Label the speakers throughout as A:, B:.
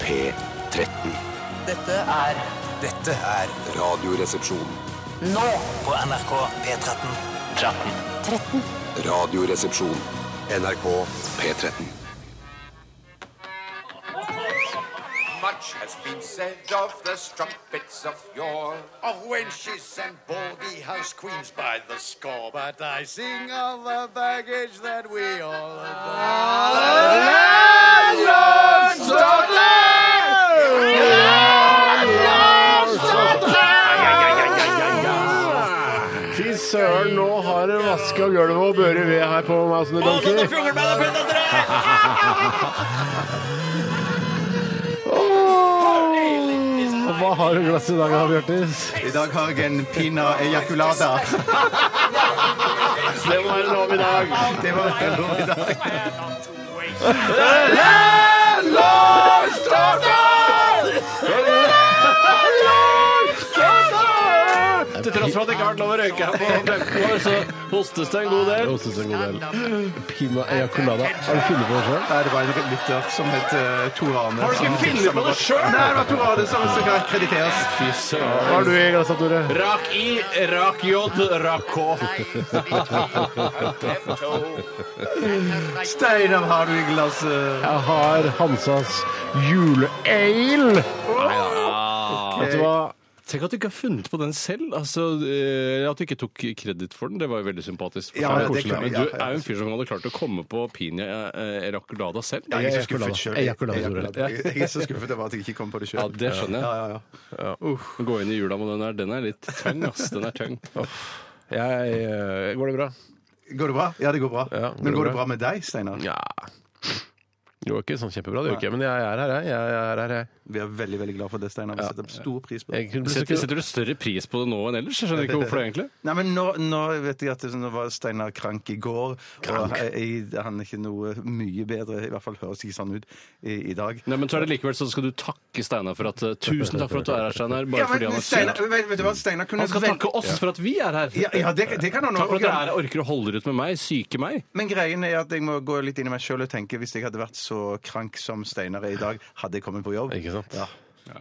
A: P13.
B: Dette er
C: Dette er
A: Radioresepsjon.
B: nå
C: på NRK P13.
B: 13.
A: Radioresepsjon. NRK P13.
D: Much has been said of the strumpets of yore, of wenches and baldy house queens by the score. But I sing of the baggage that we all
E: Fy søren, nå har du vaska gulvet og børre ved her på meg som det danker. Åh, Hva har du i glasset i dag, Bjørtis?
F: I dag har jeg en pina ejaculada.
E: Det må være lov i dag.
F: Det var det lov i dag.
G: Til tross for at det ikke har vært lov å røyke her på 15 år, så hostes det en god
E: Det
G: del.
E: hostes en god del. Pina ejaculada. Har du funnet på det sjøl?
F: Nei, det var en lytter som het eh, Tor Arne.
G: Har du ikke
F: som
G: funnet
F: tipset
G: på
F: meg
G: det selv?
F: Nei, det var Tor Arne som skal krediteres. Fy søren.
E: Hva har du i glasset, Tore?
G: Rak I, rak J, rak K.
F: Steinar har du i
G: eh?
F: glasset.
E: Jeg har Hansas juleale. Vet du hva?
G: Tenk at du ikke har funnet på den selv. Altså, eh, At du ikke tok kreditt for den, det var jo veldig sympatisk. for
F: Ja,
G: deg.
F: ja, det er klart,
G: Men
F: ja,
G: du
F: ja.
G: er jo en fyr som hadde klart å komme på Pina eh, Raculada selv.
F: Jeg er så skuffet
E: Ejaculada.
F: selv.
E: Ejaculada,
F: Ejaculada. Jeg er så skuffet over at jeg ikke kom på det sjøl.
G: Ja, det skjønner jeg.
F: Ja, ja, ja.
G: Gå inn i jula med den der. Den er litt tung, ass. Den er tung.
E: Jeg, eh, går det bra?
F: Går det bra? Ja, det går bra.
E: Ja, går
F: Men
E: det
F: går det
E: bra?
F: bra med deg, Steinar?
E: Nja Det går ikke sånn kjempebra, det gjør ikke jeg, men jeg er her, jeg. Jeg er her, jeg.
F: Vi er veldig veldig glad for det, Steinar. Vi setter stor pris på det.
E: jeg kunne bli så
G: Setter,
E: kul.
G: setter du større pris på det nå enn ellers? Jeg skjønner ikke hvorfor det, egentlig.
F: Nei, men nå, nå vet jeg at det, nå var Steinar Krank i går, og jeg, han er ikke noe mye bedre, i hvert fall høres ikke sånn ut, i, i dag.
G: Nei, men så er det likevel så skal du takke Steinar for at eh, Tusen takk for at du er her, Steinar. Bare
F: Ja, men
G: fordi han er
F: Steinar,
G: syk.
F: vet, vet du hva, Steinar kunne
G: Han skal
F: vel-
G: takke oss for at vi er her.
F: Ja, ja det, det kan han
G: Takk for at dere
F: også gjøre.
G: er her, orker å holde ut med meg, syke meg.
F: Men greien er at jeg må gå litt inn i meg sjøl og tenke hvis jeg hadde vært så krank som Steinar er i dag, hadde jeg kommet på jobb.
E: Ikke sant?
F: Ja.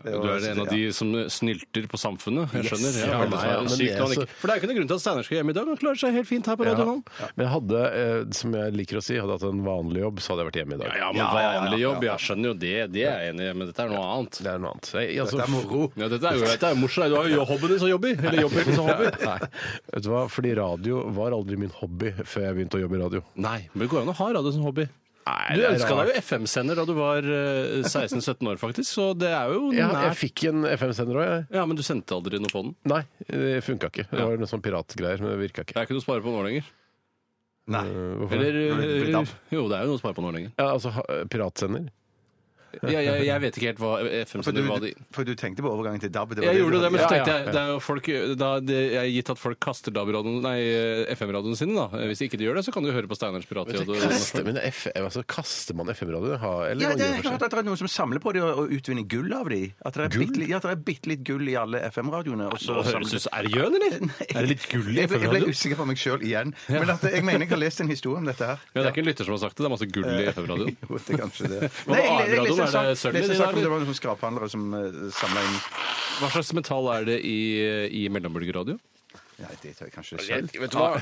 G: Du er en av de som eh, snylter på samfunnet. Jeg skjønner.
E: Ja,
G: Ja,
E: nei,
G: det er
E: ja, men
G: sykt
E: det er
G: når han
E: så-
G: ikke- For det er jo ikke noen grunn til at Steinar skal hjem i dag. Han klarer seg helt fint her på
E: Ja.
G: radioen.
E: Men jeg hadde, eh, som jeg liker å si, hadde hatt en vanlig jobb, så hadde jeg vært hjemme i dag.
G: Ja, ja, men vanlig jobb, jeg skjønner jo det. Det er jeg enig i, men dette er noe annet.
E: Det er noe annet. Jeg, altså,
F: Det er moro.
G: Ja, dette er jo dette er jo morsomt. Du har jo hobben din som jobber. Eller jobben din som hobby.
E: Nei, vet du hva? Fordi radio var aldri min hobby før jeg begynte å jobbe i radio.
G: Nei, men det går an å ha radio som hobby.
E: Nei,
G: Du
E: det er
G: ønska
E: rart.
G: deg jo FM-sender da du var eh, 16-17 år, faktisk, så det er jo
E: Ja, jeg
G: nært.
E: fikk en FM-sender òg, jeg.
G: Ja, men du sendte aldri noe på den?
E: Nei, det funka ikke. Det var noe sånn piratgreier, men det virka
G: Det
E: ikke.
G: er ikke noe å spare på nå lenger.
F: Nei.
G: Øh,
E: Eh, Hvorfor?
G: Eller
F: det blir
G: eh,
F: DAB.
G: Jo, det er jo noe å spare på nå lenger.
E: ja, altså, ha- piratsender?
G: Jeg, jeg, jeg vet ikke helt hva
F: For du,
G: FM-sender var. de-
F: for du tenkte på overgangen til DAB. det var
G: Jeg
F: det
G: gjorde
F: du
G: det, men så
F: hadde-
E: Ja, ja,
G: tenkte jeg
E: ja.
G: det er jo folk, da, det, jeg er Gitt at folk kaster DAB-radioen, nei, FM-radioene sine, da. Eh, Hvis ikke de gjør det, så kan du høre på Steinars piratradio.
E: Kaster, men F, altså, kaster man FM-radio? Ha- eller
F: Ja,
E: hva
F: det
E: gjør
F: er
E: man seg?
F: klart at det er noen som samler på det og, og utvinner gull av de. At det er bitte litt- ja, at det er bitte litt gull i alle FM-radioene. og så
G: Nå
F: samler-
G: høres det ut som Ergjøn, eller? Er det litt gull i
F: Jeg ble, jeg ble
G: FM-radioen?
F: usikker på meg sjøl igjen. Men at, jeg mener jeg har lest en historie om dette her.
G: Ja, det er ikke en lytter som har sagt det, det er masse gull i FM-radioen.
F: Jo, det er kanskje det.
G: Hva med A-radioen? Er det sølv i de
F: leste en sak
G: der,
F: om det
G: eller?
F: var noen skraphandlere som uh, samla inn
G: Hva slags metall er det i, i mellombølgeradio?
F: Nei, det tør jeg kanskje selv.
E: Vet du hva?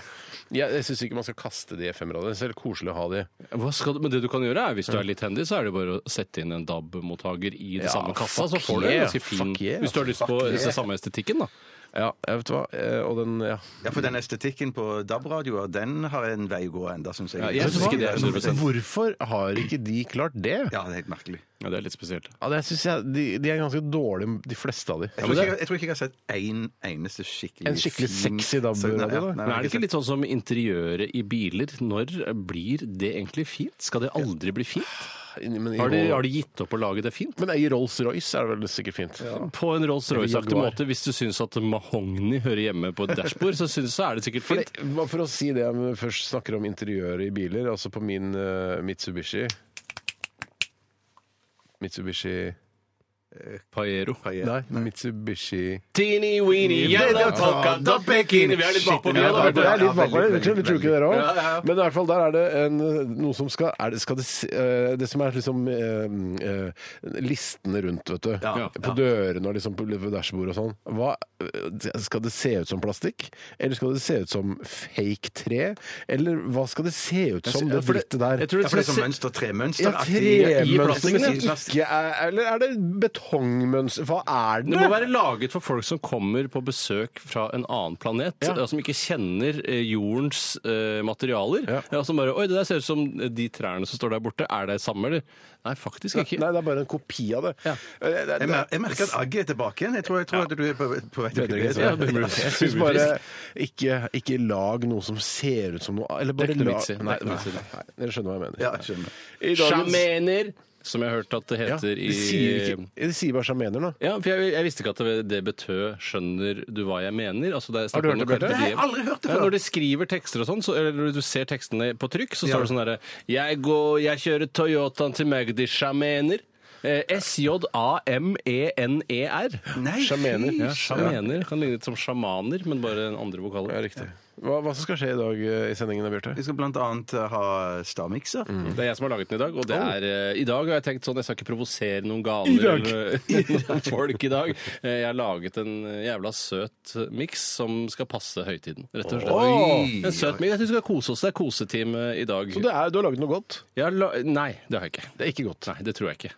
E: Jeg, jeg syns ikke man skal kaste de FM-radioene. Det er litt koselig å ha de.
G: Hva skal du, men det du kan gjøre er, hvis du er litt handy, så er det bare å sette inn en DAB-mottaker i det
E: Ja,
G: samme kassa, så
E: fuck
G: får du en
E: yeah,
G: ganske fin
E: fuck yeah,
G: Hvis du har lyst på
F: fuck yeah.
G: den samme estetikken, da.
E: Ja, jeg vet hva. Eh, Og den, ja.
F: Ja, for den estetikken på DAB-radioer, den har en vei å gå enda, syns jeg.
G: Ja, jeg synes ikke det er 100%.
E: Hvorfor har ikke de klart det?
F: Ja, det er helt merkelig.
G: Ja, det er litt spesielt.
E: Ja, det synes jeg, de, de er ganske dårlige, de fleste av de.
F: Jeg tror, ikke, jeg, jeg tror ikke jeg har sett en eneste skikkelig
E: En skikkelig
F: fin-
E: sexy DAB-radio,
F: Nei,
E: da?
F: nei,
G: Men er det ikke
F: sett.
G: litt sånn som interiøret i biler? Når blir det egentlig fint? Skal det aldri bli fint?
E: Men i,
G: Har de, har de gitt opp å lage det fint?
E: men i Rolls-Royce er det vel sikkert fint.
G: På en Rolls-Royce-aktig
E: Jaguar.
G: måte, hvis du syns at mahogni hører hjemme på et dashbord, så, synes, så er det sikkert
E: For,
G: fint.
E: det, bare for å si det, om vi først snakker om interiøret i biler, altså på min eh, Mitsubishi Mitsubishi
G: Paiero.
E: Nei, Mitsubishi
G: Teeny weeny, yellow polka dot bikini. Vi er litt bakpå, vi
E: Ja,
G: da.
E: det er
H: Ja,
E: litt bakpå.
H: veldig,
E: Jeg tror- jeg tror ikke dere òg.
G: Ja, ja, ja.
E: Men i hvert fall der er det en, noe som skal, er det, skal det, s- eh, det som er liksom eh, eh, listene rundt, vet du.
G: Ja, ja.
E: På dørene og liksom på dashbordet og sånn. Hva, eh, skal det se ut som plastikk? Eller skal det se ut som fake tre? Eller hva skal det se ut som, det
F: for det-
E: drittet der?
F: Jeg tror det
G: Ja, for
F: er
G: det
F: sånn
G: ser-
F: mønster,
E: Ja,
F: tremønster.
E: tremønster,
G: plastikken,
E: men ikke er, Eller er det betongmønster? Hva er det?
G: Det må være laget for folk som kommer på besøk fra en annen planet, og som ikke kjenner eh, jordens eh, materialer. Ja.
E: Ja.
G: som bare Oi, det der ser ut som de trærne som står der borte. Er det samme, eller? Nei, faktisk ikke.
E: Nei, det er bare en kopi av det.
G: Ja.
E: Eh, det- det-
F: Jeg, mer jeg merker at Aggie er tilbake igjen. Jeg tror, jeg tror at du er på, på vei til å bli
E: Bedre,
F: bedre.
G: bedre.
E: Jeg syns bare ikke, ikke lag noe som ser ut som noe Eller bare
G: Det er ikke noe
E: la-
G: vits i. Det er
E: Nei,
G: ikke noe
E: nei,
G: vits i det.
E: nei, dere skjønner hva jeg mener.
F: Ja, jeg skjønner.
E: I dagens-
G: Sjamener, som jeg har hørt at det
E: ja,
G: heter
E: de, sier ikke, de sier bare sjamener nå.
G: Ja, for jeg, jeg visste ikke at det, det betød 'skjønner du hva jeg mener'. Altså, det er snakk
E: Har du
G: om
E: hørt
G: noe
E: det, Bjarte?
G: carpe
E: Nei,
G: diem.
F: jeg har aldri hørt det
G: Ja,
F: før.
G: Når de skriver tekster og sånn, så, eller når du ser tekstene på trykk, så står det sånn herre 'Jeg går, jeg kjører Toyotaen til Magdisha mener'. Eh, E S-J-A-M-E-N-E-R.
F: Nei,
E: Sjamener,
F: fy
E: ja.
G: Sjamener kan ligne litt som sjamaner, men bare en andre vokaler.
E: Ja, riktig. Hva, hva som skal skje i dag eh, i sendingen, da, Bjarte?
F: Vi skal blant annet eh, ha stavmikser.
G: Det er jeg som har laget den i dag. Og det er, eh, i dag har jeg tenkt sånn Jeg skal ikke provosere noen ganer
E: dag.
G: eller noen folk i dag. Eh, Jeg har laget en jævla søt miks som skal passe høytiden, rett og slett.
E: Oi!
G: En søt miks. Jeg syns vi skal kose oss. Det er kosetime i dag.
E: Så det er, du har laget noe godt?
G: Jeg har la nei, det har jeg ikke.
E: Det er ikke godt.
G: Nei, det tror jeg ikke.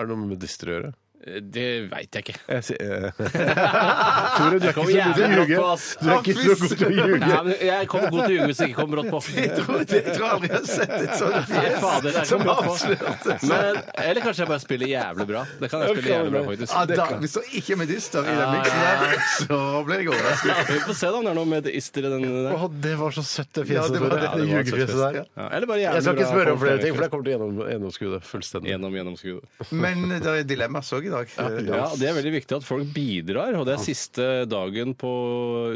E: Er det noe med distre å gjøre?
G: Eh, Det veit jeg ikke.
E: Jeg sier, eh. Tore, du er ikke
G: Kom
E: så god til å
G: jævlig brått
E: ljuge.
G: på, ass.
E: Du er ikke så god til å ljuge.
G: Nei, men jeg kommer godt til å ljuge hvis jeg ikke kommer brått
F: Jeg
G: på.
F: tror, jeg tror aldri jeg har sett et sånt
G: Nei, fader, det er
F: fjes
G: ikke
F: som
G: bra på.
F: avslørte seg.
G: Men, eller kanskje jeg bare spiller jævlig bra. Det kan jeg spille jævlig bra, faktisk.
F: Ah, da, Hvis det ikke er medister i den miksen der, så ble jeg overrasket.
G: Ja, vi får se da om det er noe med det ister i den der.
E: Å, det var så søtt, det
F: Ja,
E: fjeset,
F: det var-
E: Tore.
F: ja,
E: Det
F: det var et søtt
E: ljugefjeset
F: fjes,
E: der.
F: ja.
G: Eller bare jævlig
E: Jeg skal ikke
G: bra
E: spørre om flere
G: folk-
E: ting, for jeg kommer til å gjennom- gjennomskue det fullstendig.
G: Gjennom gjennomskuddet.
F: Men det er dilemmas òg i dag.
G: Ja, Det er veldig viktig at folk bidrar, og det er siste dagen på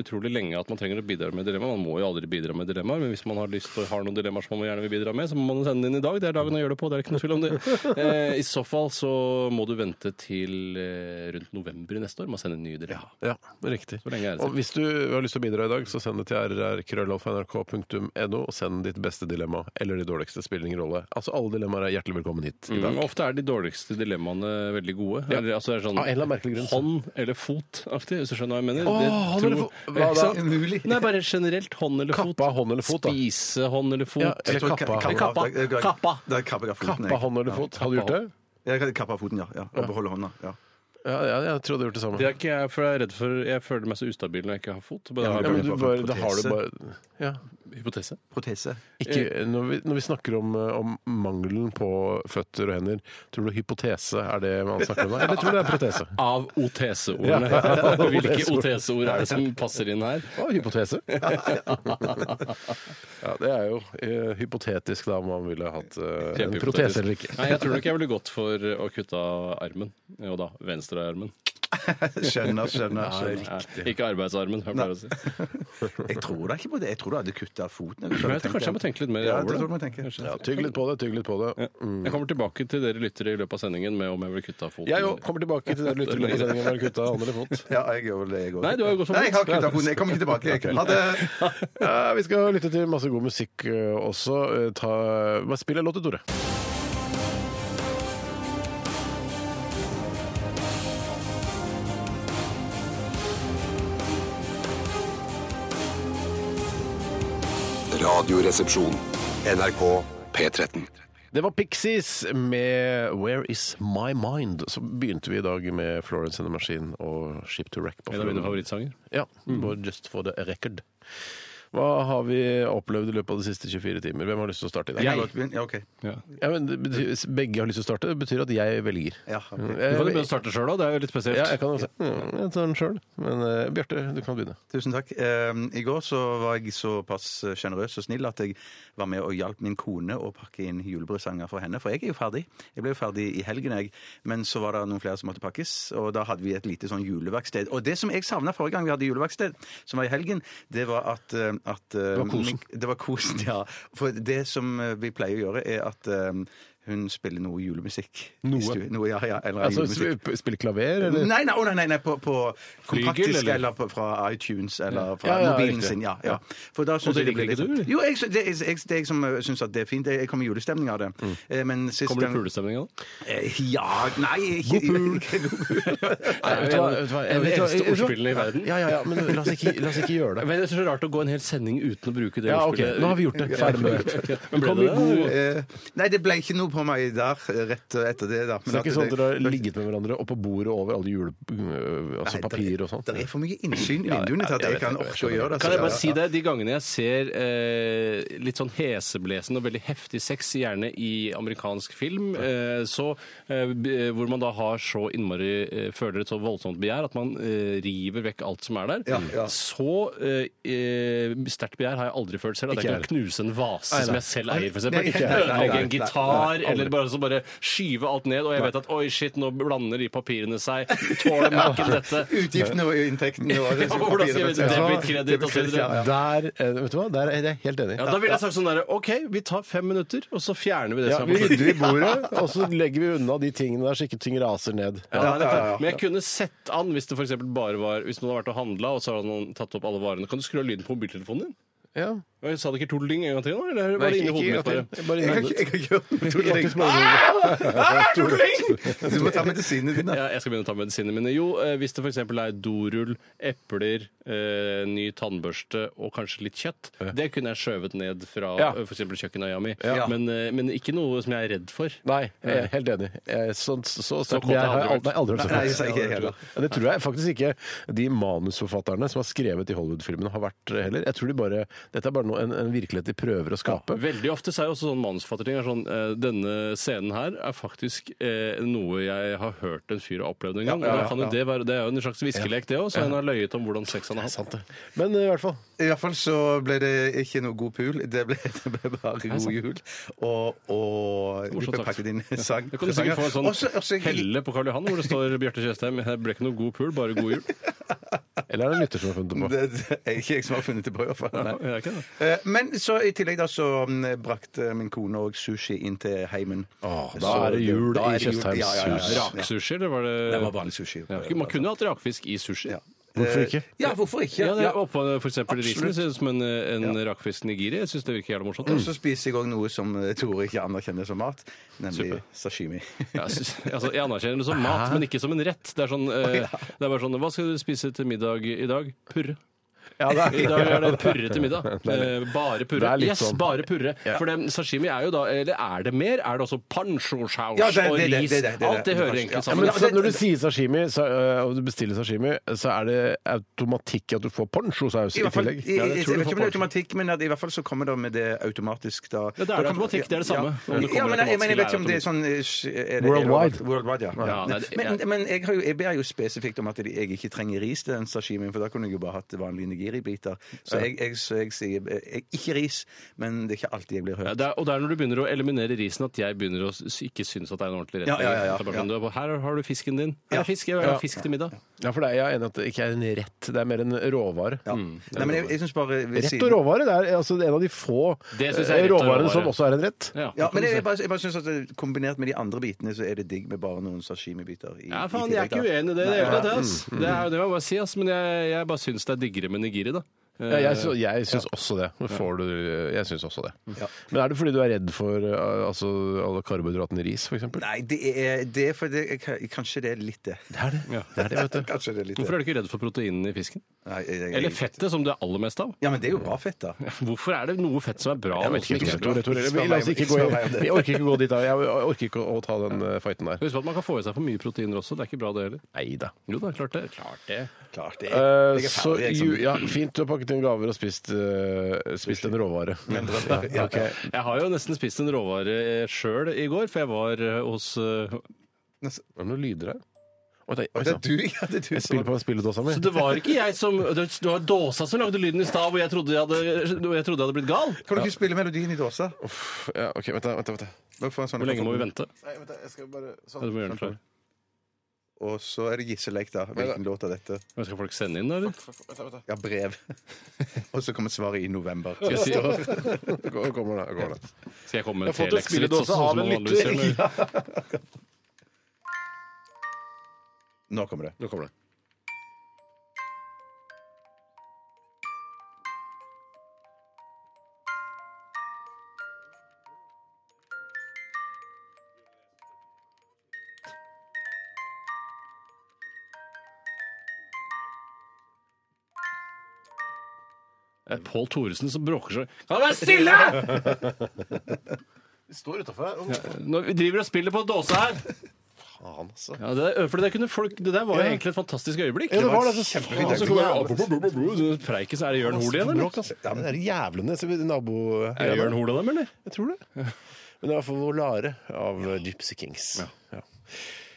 G: utrolig lenge at man trenger å bidra med dilemma. Man må jo aldri bidra med dilemmaer, men hvis man har lyst og har noen dilemmaer som man gjerne vil bidra med, så må man sende det inn i dag. Det er dagen å gjøre det på, det er ikke noe tvil om det. Eh, I så fall så må du vente til eh, rundt november i neste år med å sende nye dilemmaer.
E: Ja, riktig.
G: Så lenge er det
E: Og hvis du har lyst til å bidra i dag, så send det til rrkrøllalfa.nrk.no, og send ditt beste dilemma eller de dårligste. Spiller ingen rolle. Altså, alle dilemmaer er hjertelig velkommen hit. i dag.
G: Mm, ofte er de dårligste dilemmaene veldig gode. Eller, altså, det er sånn,
E: Av en eller annen merkelig grunn, så.
G: Hånd eller fot-aktig, hvis du skjønner hva jeg mener.
E: Åh,
G: Det
E: hånd
G: tror-
E: eller fot. Hva
G: Ikke sant?
F: da? Umulig.
G: Nei, bare generelt hånd eller fot.
E: Kappa hånd eller fot, da.
G: Spise hånd eller fot.
E: Ja, eller
F: tror
E: kappa.
F: ka-
G: Kappa.
F: jeg- jeg-
G: Kappa.
F: Da kapper jeg foten.
E: Kappa
F: Jeg.
E: hånd eller fot. Hadde du gjort det?
F: Jeg kan kappe foten, ja. ja. Og beholde hånda. Ja.
E: Ja, ja, jeg tror jeg hadde gjort det samme.
G: Det er ikke jeg, for jeg er redd for Jeg føler meg så ustabil når jeg ikke har fot. Bare har
E: Ja,
G: jeg
E: men du bare, da har du bare ja.
G: bare hypotese.
F: Protese.
E: ikke, når, vi, når vi snakker om, eh, om mangelen på føtter og hender, tror du hypotese er det man snakker om der? Eller tror du det er protese?
G: Av OTS-ordene.
E: Ja.
G: Hvilke OTS-ord er det som passer inn her?
E: Å, hypotese. ja, det er jo eh, hypotetisk da om man ville hatt eh, en
G: Kjempehypotetisk.
E: protese eller ikke.
G: Nei, jeg tror nok jeg ville gått for å kutte av armen. Jo da, venstrearmen.
F: Skjønner, skjønner. skjønner.
G: Nei, Ikke arbeidsarmen, jeg pleier å si.
F: Jeg tror da ikke på det. Jeg tror du hadde kutta foten. eller
G: Men jeg
F: sånn,
G: tror kanskje jeg må tenke litt mer
F: ja,
G: over
F: det.
G: det.
F: Tror jeg må tenke.
E: Ja, tygg litt på det, tygg litt på det.
G: Jeg kommer tilbake til dere lyttere i løpet av sendingen med om jeg vil kutte av foten.
E: Mm. Jeg òg kommer tilbake til den lytterløpesendingen med kutta hånd eller fot.
F: Ja, jeg gjør vel det, jeg òg.
G: Nei, du har jo gått for
F: Nei, jeg har
G: fot.
F: kutta foten. Jeg kommer ikke tilbake. Jeg. Ha det.
E: Ja, vi skal lytte til masse god musikk eh, også. Eh, Ta, bare spill en låt til Tore.
A: Radioresepsjon. NRK P13.
E: Det var Pixies med 'Where Is My Mind'. Så begynte vi i dag med Florence and the Machine og 'Ship to Wreck'. på
G: En av mine
E: forhånd.
G: favorittsanger.
E: Ja, bare Just for the record. Hva har vi opplevd i løpet av de siste 24 timer? Hvem har lyst til å starte i dag?
F: Jeg kan godt begynne. Ja, OK.
E: Ja, men det betyr, begge har lyst til å starte. Det betyr at jeg velger.
F: Ja, ok.
G: Du kan jo begynne
E: jeg,
G: å starte sjøl òg, det er jo litt spesielt.
E: ja, jeg kan også. Mm, Jeg tar den sjøl. Men eh, Bjarte, du kan begynne.
F: Tusen takk. Ehm, I går så var jeg såpass sjenerøs og snill at jeg var med og hjalp min kone å pakke inn julebresanger for henne, for jeg er jo ferdig. Jeg ble jo ferdig i helgen, jeg. Men så var det noen flere som måtte pakkes, og da hadde vi et lite sånn juleverksted. Og det som jeg savna forrige gang vi hadde juleverksted, som var i helgen, det var at, eh, at eh,
E: Det var kosen.
F: min- Det var kosen, ja. For det som eh, vi pleier å gjøre, er at eh, Hun spiller noe julemusikk. i
E: Noe?
F: stu- noe ja, ja, eller
E: Altså,
F: julemusikk.
E: sp- spille klaver, eller?
F: Nei, nei, å, nei, nei, nei, på, på kompaktisk
G: eller?
F: eller, på, fra iTunes eller fra
E: Ja, ja,
F: mobilen
E: riktig.
F: sin. Ja, ja. For da synes
G: Og det
F: jeg
G: liker
F: blir
G: ikke
F: litt-
G: du, eller?
F: Jo, jeg, sy- det, er- jeg, det er jeg som ø, synes at det er fint. Jeg jeg kommer i julestemning av det. Eh, Men sist
G: Kommer det
F: gang-
G: pulestemning av det?
F: Eh, Ja, nei ikke, ikke-
E: Nei, vet du hva- vet du hva-
G: En av de
E: vet du hva-
G: eldste
E: vet du hva-
G: ordspillene i verden.
E: Ja, ja, ja, men la oss ikke, la oss ikke gjøre det.
G: Men det er så rart å gå en hel sending uten å bruke det
E: Ja, ok, nå har vi gjort det. Ferdig med det.
G: Men ble det det?
F: Eh, Nei, det ble ikke noe på meg der eh, rett etter det. da. Men
E: Så det er
F: at
E: ikke sånn at dere har ligget med hverandre og på bordet over alle jule... øh, Altså
F: Nei,
E: papir og
F: Det
E: sånt?
F: er for mye innsyn i vinduene til at
E: jeg
F: jeg
E: vet
F: kan
E: det, jeg
F: orke å
E: skjønner
F: gjøre det.
G: Kan jeg
F: så-
G: bare si det? De gangene jeg ser eh, litt sånn heseblesende og veldig heftig sex, gjerne i amerikansk film, eh, så, eh, b- hvor man da har så innmari eh, føler et så voldsomt begjær at man eh, river vekk alt som er der,
F: Ja, ja.
G: så eh, eh, sterkt begjær har jeg aldri følt selv. At jeg
E: Ikke
G: kan knuse en vase som jeg selv eier, for
F: Nei,
G: eksempel.
F: ikke jeg. Nei,
G: Ødelegge
F: nei,
G: en gitar, eller bare, så bare skyve alt ned, og jeg vet at oi, shit, nå blander de papirene seg. Tåler Mac-en dette?
F: Utgiftene og inntektene og
G: Ja, hvordan skal vi debit, kredit og så videre?
F: Ja, ja.
E: Der, eh, vet du hva? Der er jeg helt enig.
G: Ja, Da ville jeg sagt sånn derre OK, vi tar fem minutter, og så fjerner vi det
E: Ja,
G: som
E: vi
G: er på
E: rydder i bordet, og så legger vi unna de tingene der så ikke ting raser ned.
G: Ja, det er klart. Men jeg kunne sett an hvis det for eksempel bare var Hvis man hadde vært og handla, og så hadde noen tatt opp alle varene. Kan du skru av lyden på mobiltelefonen din?
E: Ja.
G: Og Jeg sa det ikke tulling en gang til nå, eller var det inni hodet mitt bare?
E: Bare
F: Jeg
E: inni
F: kan ikke-
E: hodet.
F: jeg kan ikke gjøre noe. Tore Ring. Du må ta medisinene dine.
G: Ja, jeg skal begynne å ta medisinene mine. Jo, eh, hvis det f.eks. er dorull, epler, eh, ny tannbørste og kanskje litt kjøtt, det kunne jeg skjøvet ned fra
E: Ja.
G: eh, for eksempel kjøkkenøya mi.
F: Ja.
G: Men, eh, men ikke noe som jeg er redd for.
E: Nei, jeg er helt enig. Jeg, er sånn- så så sterkt
G: kåt
E: jeg
G: har
E: har
G: jeg aldri
E: aldri, aldri
F: Nei,
E: vært så
F: nei,
E: kåt.
F: jeg sier ikke heller.
E: Ja, Det tror jeg faktisk ikke de manusforfatterne som har skrevet i Hollywood-filmene, har vært heller. Jeg tror de bare, Dette er bare noe, en, en virkelighet de prøver å skape.
G: Veldig ofte så er jo også sånn manusforfatterting er sånn eh, Denne scenen her er faktisk eh, noe jeg har hørt en fyr har opplevd en gang. og
F: ja, ja,
G: da kan jo
F: ja.
G: Det være, det er jo en slags viskelek, det òg, så en har løyet om hvordan sex han har hatt.
E: Men eh, i hvert fall.
F: I hvert fall så ble det ikke noe god pul. Det ble, det ble bare god jul. Og, og du
G: Morsomt
F: ble
G: sagt.
F: pakket inn i sang.
G: Det kan du sikkert få en sånn
F: Også- også-
G: helle på Karl Johan hvor det står Bjarte Tjøstheim 'Det ble ikke noe god pul, bare god jul'.
E: Eller er det en lytter som har funnet det på?
F: Det, det er ikke jeg som har funnet det på, i hvert fall.
G: Nei, det
F: Nei.
G: er ikke det.
F: Eh, Men så i tillegg da så mm, brakte min kone òg sushi inn til heimen.
E: Åh, da
F: Så
E: er det jul
F: da
E: i
F: er det jul.
E: Tjøstheims
F: Ja, ja, ja, ja.
G: Raksushi, eller var det
F: Det var vanlig sushi.
G: Ja, ikke- Man kunne jo hatt rakfisk i sushi.
F: Ja.
E: Hvorfor ikke?
F: Ja, hvorfor ikke?
G: Ja, det
F: Ja.
G: er oppå f.eks. risen.
F: Absolutt.
G: Det ser ut som en, en
F: Ja. Mm.
G: rakfisk nigiri. Jeg syns det virker jævla morsomt. altså.
F: Og så spiser jeg òg noe som eh, Tore ikke anerkjenner som mat, nemlig sashimi.
G: Ja, Jeg, synes, altså, jeg anerkjenner det som mat, men ikke som en rett. Det er, sånn, eh, det er bare sånn Hva skal du spise til middag i dag? Purre.
E: Ja, det
G: I dag er det purre til middag. Eh, bare
E: Det
G: purre.
E: er litt
G: Yes,
E: sånn.
G: bare purre. For det, sashimi er jo da Eller er det mer? Er det også panchosaus
F: Ja, det- det-
G: og
F: det- det-
G: ris?
F: det- det- det-
G: Alt det hører
F: Ja, altså-
G: egentlig
E: Ja,
G: sammen.
E: men så, når du sier sashimi, så, øh, og du bestiller sashimi, så er det automatikk i at du får ponchosaus
F: I
E: i
F: hvert fall, i,
E: tillegg.
F: i,
G: Ja, det
F: jeg
G: tror du får
F: vet ikke om det er
G: poeng.
F: automatikk, men at i hvert fall så kommer det med det automatisk da.
G: det er
F: Da kan-
G: automatikk, det er det samme.
F: Ja,
G: Om det kommer
F: ja men, jeg, men jeg vet
G: automatisk
F: ikke om det er sånn eh, er det,
E: Worldwide.
F: Worldwide, ja.
G: Ja, nei, det-
F: men men jeg, har jo, jeg ber jo spesifikt om at jeg ikke trenger ris til den sashimien, for da kunne jeg jo bare hatt vanlige nigiri-biter. Så jeg, jeg, så jeg sier eh, jeg, ikke ris, men det er ikke alltid jeg blir
G: Ja,
F: hørt.
G: det er, og det er når du begynner å eliminere risen at jeg begynner å s- ikke synes at det er en ordentlig rett.
F: Ja, ja, ja, ja.
G: Det er bare sånn, du er på- Her har du fisken din. Her er fisk, jeg vil
E: Ja.
G: ha fisk til middag.
E: Ja, for det er jeg er enig i at det ikke er en rett, det er mer en råvare.
F: Ja.
G: mm,
F: Nei, men jeg, jeg synes bare ved
E: Rett og
F: siden-
E: råvare det er altså en av de få
G: Det synes jeg er
E: eh,
G: rett og
E: råvarene
G: råvare.
E: som også er en rett.
G: Ja,
F: Ja,
G: det kan du
F: men jeg, jeg
G: si.
F: bare, jeg bare synes at det, kombinert med de andre bitene, så er det digg med bare noen sashimi-biter. i-
G: Ja,
F: i
G: faen, jeg er ikke
F: tillegg, da.
G: uenig
F: Mm,
G: i det. Det er jo det, ass. Det er jo det jeg bare sier, ass. Men jeg, jeg bare syns det er diggere med nigiri, da. Eh,
E: Ja, jeg, sy- jeg syns også det. Nå Får du, øh, jeg syns også det. Men er det fordi du er redd for eh, altså, alle karbohydratene i ris, f.eks.?
F: Nei, det er, det er for det, jeg- kanskje det er litt det.
E: Det er det.
G: Ja.
E: Det er det, vet du.
F: Kanskje det er litt det.
G: Hvorfor er du ikke redd for proteinene i fisken?
F: Nei, jeg- jeg-
G: Eller fettet, som det er aller mest av?
F: Ja, men det er jo bra fett, da.
G: Hvorfor er det noe fett som er bra? og noe som
E: Tore,
G: ikke er bra?
E: Tore, Tore, vi- la oss ikke gå i- Vi orker ikke gå dit. da. Jeg orker ikke å å ta den eh, fighten der.
G: Husk på at man kan få i seg for mye proteiner også. Det er ikke bra, det heller.
E: Nei da.
G: Jo da, klart det. Klart det.
F: Klart det.
E: Eh,
F: Jeg er
E: Så,
F: ferdig, jeg,
E: ju,
F: som-
E: ja, fint, du har pakket inn gaver og spist, eh, spist en råvare. Ja, ok.
G: Jeg har jo nesten spist en råvare eh, sjøl i går, for jeg var eh, hos eh,
E: Er det noen lyder her? Oi, det er- oi,
F: Det er
E: sann.
F: du, ja, det er du
E: Jeg spiller
F: som
E: på spilledåsa mi.
G: Så det var ikke jeg som Det det var dåsa som lagde lyden i stad, hvor jeg trodde jeg hadde, hvor jeg trodde jeg hadde blitt gal.
F: Kan du ikke spille melodien i dåsa?
E: Uff, Ja, ok, vent da, vent da, vent da.
F: Bare få en sånn-
G: Hvor lenge må vi vente?
E: Nei, vent da, jeg skal bare
G: Ja, du må gjøre den klar.
F: Og så er det Gisselek, da. Hvilken låt er dette?
G: Men Skal folk sende inn, da? eller?
F: Ja, brev. Og så kommer svaret i november.
G: Skal jeg, si, skal
E: Nå Kommer det, nå kommer det.
G: jeg komme med sånn en
E: Jeg har fått en
G: telexvits?
E: spilledåse av en lytter.
F: Nå kommer det.
G: Nå kommer det. Det er Pål Eh, Thoresen som bråker seg. Kan du være stille?!
E: Vi står utafor her.
G: Nå vi driver og spiller på dåse her.
E: Faen, altså.
G: Ja, det, der, for det, kunne folk, det der var jo egentlig et fantastisk øyeblikk.
E: Ja, det var det.
G: så
E: Så kjempefint.
G: Og så kommer det så preiket, så er det Jørn Hoel igjen, eller?
E: Bråk, altså. Ja, men det er jævlene. så vi- Nabo...
G: Er det Jørn Hoel av dem, eller?
E: Jeg tror det. Men det er i hvert fall Volare av eh, Gypsy Kings. Ja.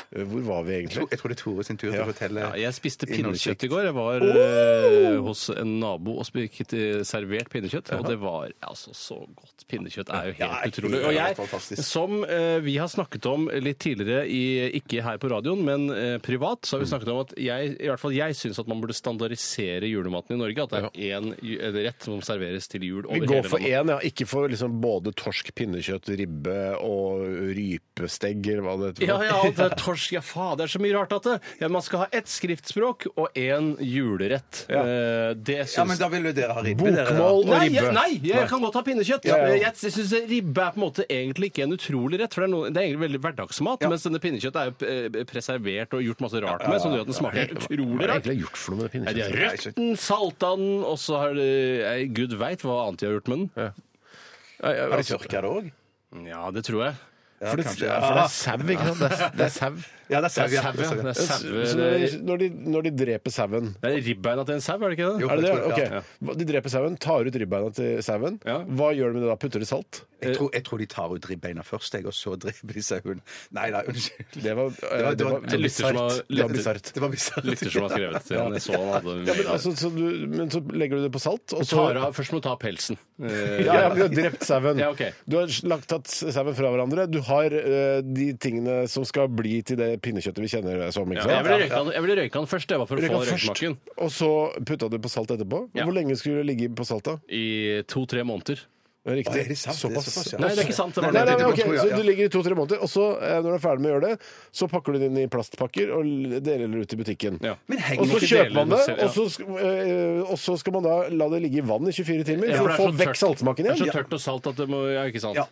E: Eh, Hvor var vi egentlig?
F: Jeg tror det er Tore sin tur til å fortelle.
G: Ja, jeg spiste
F: Innholdskjøtt.
G: pinnekjøtt i går. Jeg var eh, hos en nabo og spiket, eh, servert pinnekjøtt, og det var altså så godt. Pinnekjøtt er jo helt utrolig. Og jeg, som eh, vi har snakket om litt tidligere, i, ikke her på radioen, men eh, privat, så har vi snakket om at jeg, i hvert fall jeg syns at man burde standardisere julematen i Norge. At det er én ju- en rett som serveres til jul
E: Vi
G: over
E: går
G: hele
E: for
G: landet.
E: én, ja. Ikke for liksom både torsk, pinnekjøtt, ribbe og rypestegg, eller hva det heter.
G: Ja,
E: for noe.
G: ja, alt det er torsk. Ja, faen, det er så mye rart at det. Ja, man skal ha ett skriftspråk og én julerett.
E: Ja.
G: Eh, det syns
F: Ja, men da vil jo dere ha ribbe, dere. da.
E: Bokmål og
G: Nei,
E: ribbe.
G: jeg, nei, jeg kan godt ha pinnekjøtt.
E: Ja, ja, ja.
G: Jeg, jeg syns ribbe er på en måte egentlig ikke en utrolig rett, for det er, noe, det er egentlig veldig hverdagsmat. Mens denne pinnekjøttet er jo eh, preservert og gjort masse rart med, som gjør at den smaker helt
E: Hva
G: utrolig
E: er det
G: rart.
E: egentlig gjort for noe med
G: Nei,
E: det
G: de har
E: pinnekjøttet?
G: røkt den, salta den, og så har de eh, Gud veit hva annet de har gjort med den.
E: Nei, ja,
F: Har de
E: altså,
F: tørka det òg?
G: Ja, det tror jeg.
F: Ja,
E: for det,
F: kanskje.
E: ja, for det er sau, ikke sant? Det er, det er sau.
F: Ja, det er
G: Det
F: sau.
G: er sau,
F: ja.
G: ja. Det er
E: Så
G: sau.
E: så
G: Det
E: når
G: er-
E: de, når, de, når de dreper sauen
G: det er ribbeina til en sau, er det ikke det?
F: Jo.
E: Er det det?
F: jeg tror det, ja.
E: Ok. Hva- De dreper sauen, tar ut ribbeina til sauen.
G: Ja.
E: Hva gjør de med det da? Putter de salt?
G: Eh,
F: Jeg tror, jeg tror de tar ut ribbeina først, jeg, og så dreper de sauen. Nei da, unnskyld.
E: Det var, eh,
F: var- det
E: det
F: var-
E: var,
F: det
G: lytter som har-
E: bisart. Det var bisart.
F: Det var bisart.
G: Lytter som har skrevet til han. Jeg så han hadde
E: Ja, men, altså, så du, men så legger du det på salt, og så
G: Tar av- Først må du ta av pelsen. Eh,
E: ja, ja, men Du har drept sauen.
G: Ja, ok.
E: Du har lagt tatt sauen fra hverandre. Du har eh, de tingene som skal bli til det pinnekjøttet vi kjenner det som.
G: ja,
E: ikke
G: jeg, ville
E: sant?
G: røyka, den- jeg ville røyka den først, det var for å
E: Røyka
G: få
E: først,
G: røyksmaken.
E: Og så putta du på salt etterpå.
G: Ja.
E: Hvor lenge skulle det ligge på salta?
G: I to-tre måneder.
F: Å,
E: Riktig.
F: er det sant? Det er
E: Såpass.
F: såpass, ja.
G: Nei, det er ikke sant. Det
E: Nei,
G: var
E: nei,
G: det.
E: nei,
F: det var
E: ok,
F: to, ja,
E: så
F: ja.
E: Du ligger i to-tre måneder, og så eh, når du er ferdig med å gjøre det, så pakker du det inn i plastpakker og l- deler det ut i butikken.
G: Ja.
F: Men henger
E: Og så
G: ikke
E: kjøper man det,
G: deler den
E: og så, sk- eh, og så skal man da la det ligge i vann i 24 timer
G: Ja, for
E: for å
G: det er
E: få
G: så
E: vekk
G: tørt.
E: saltmaken
G: Det er
E: igjen.
G: så tørt og salt at det må Ja, ikke sant?
F: Ja.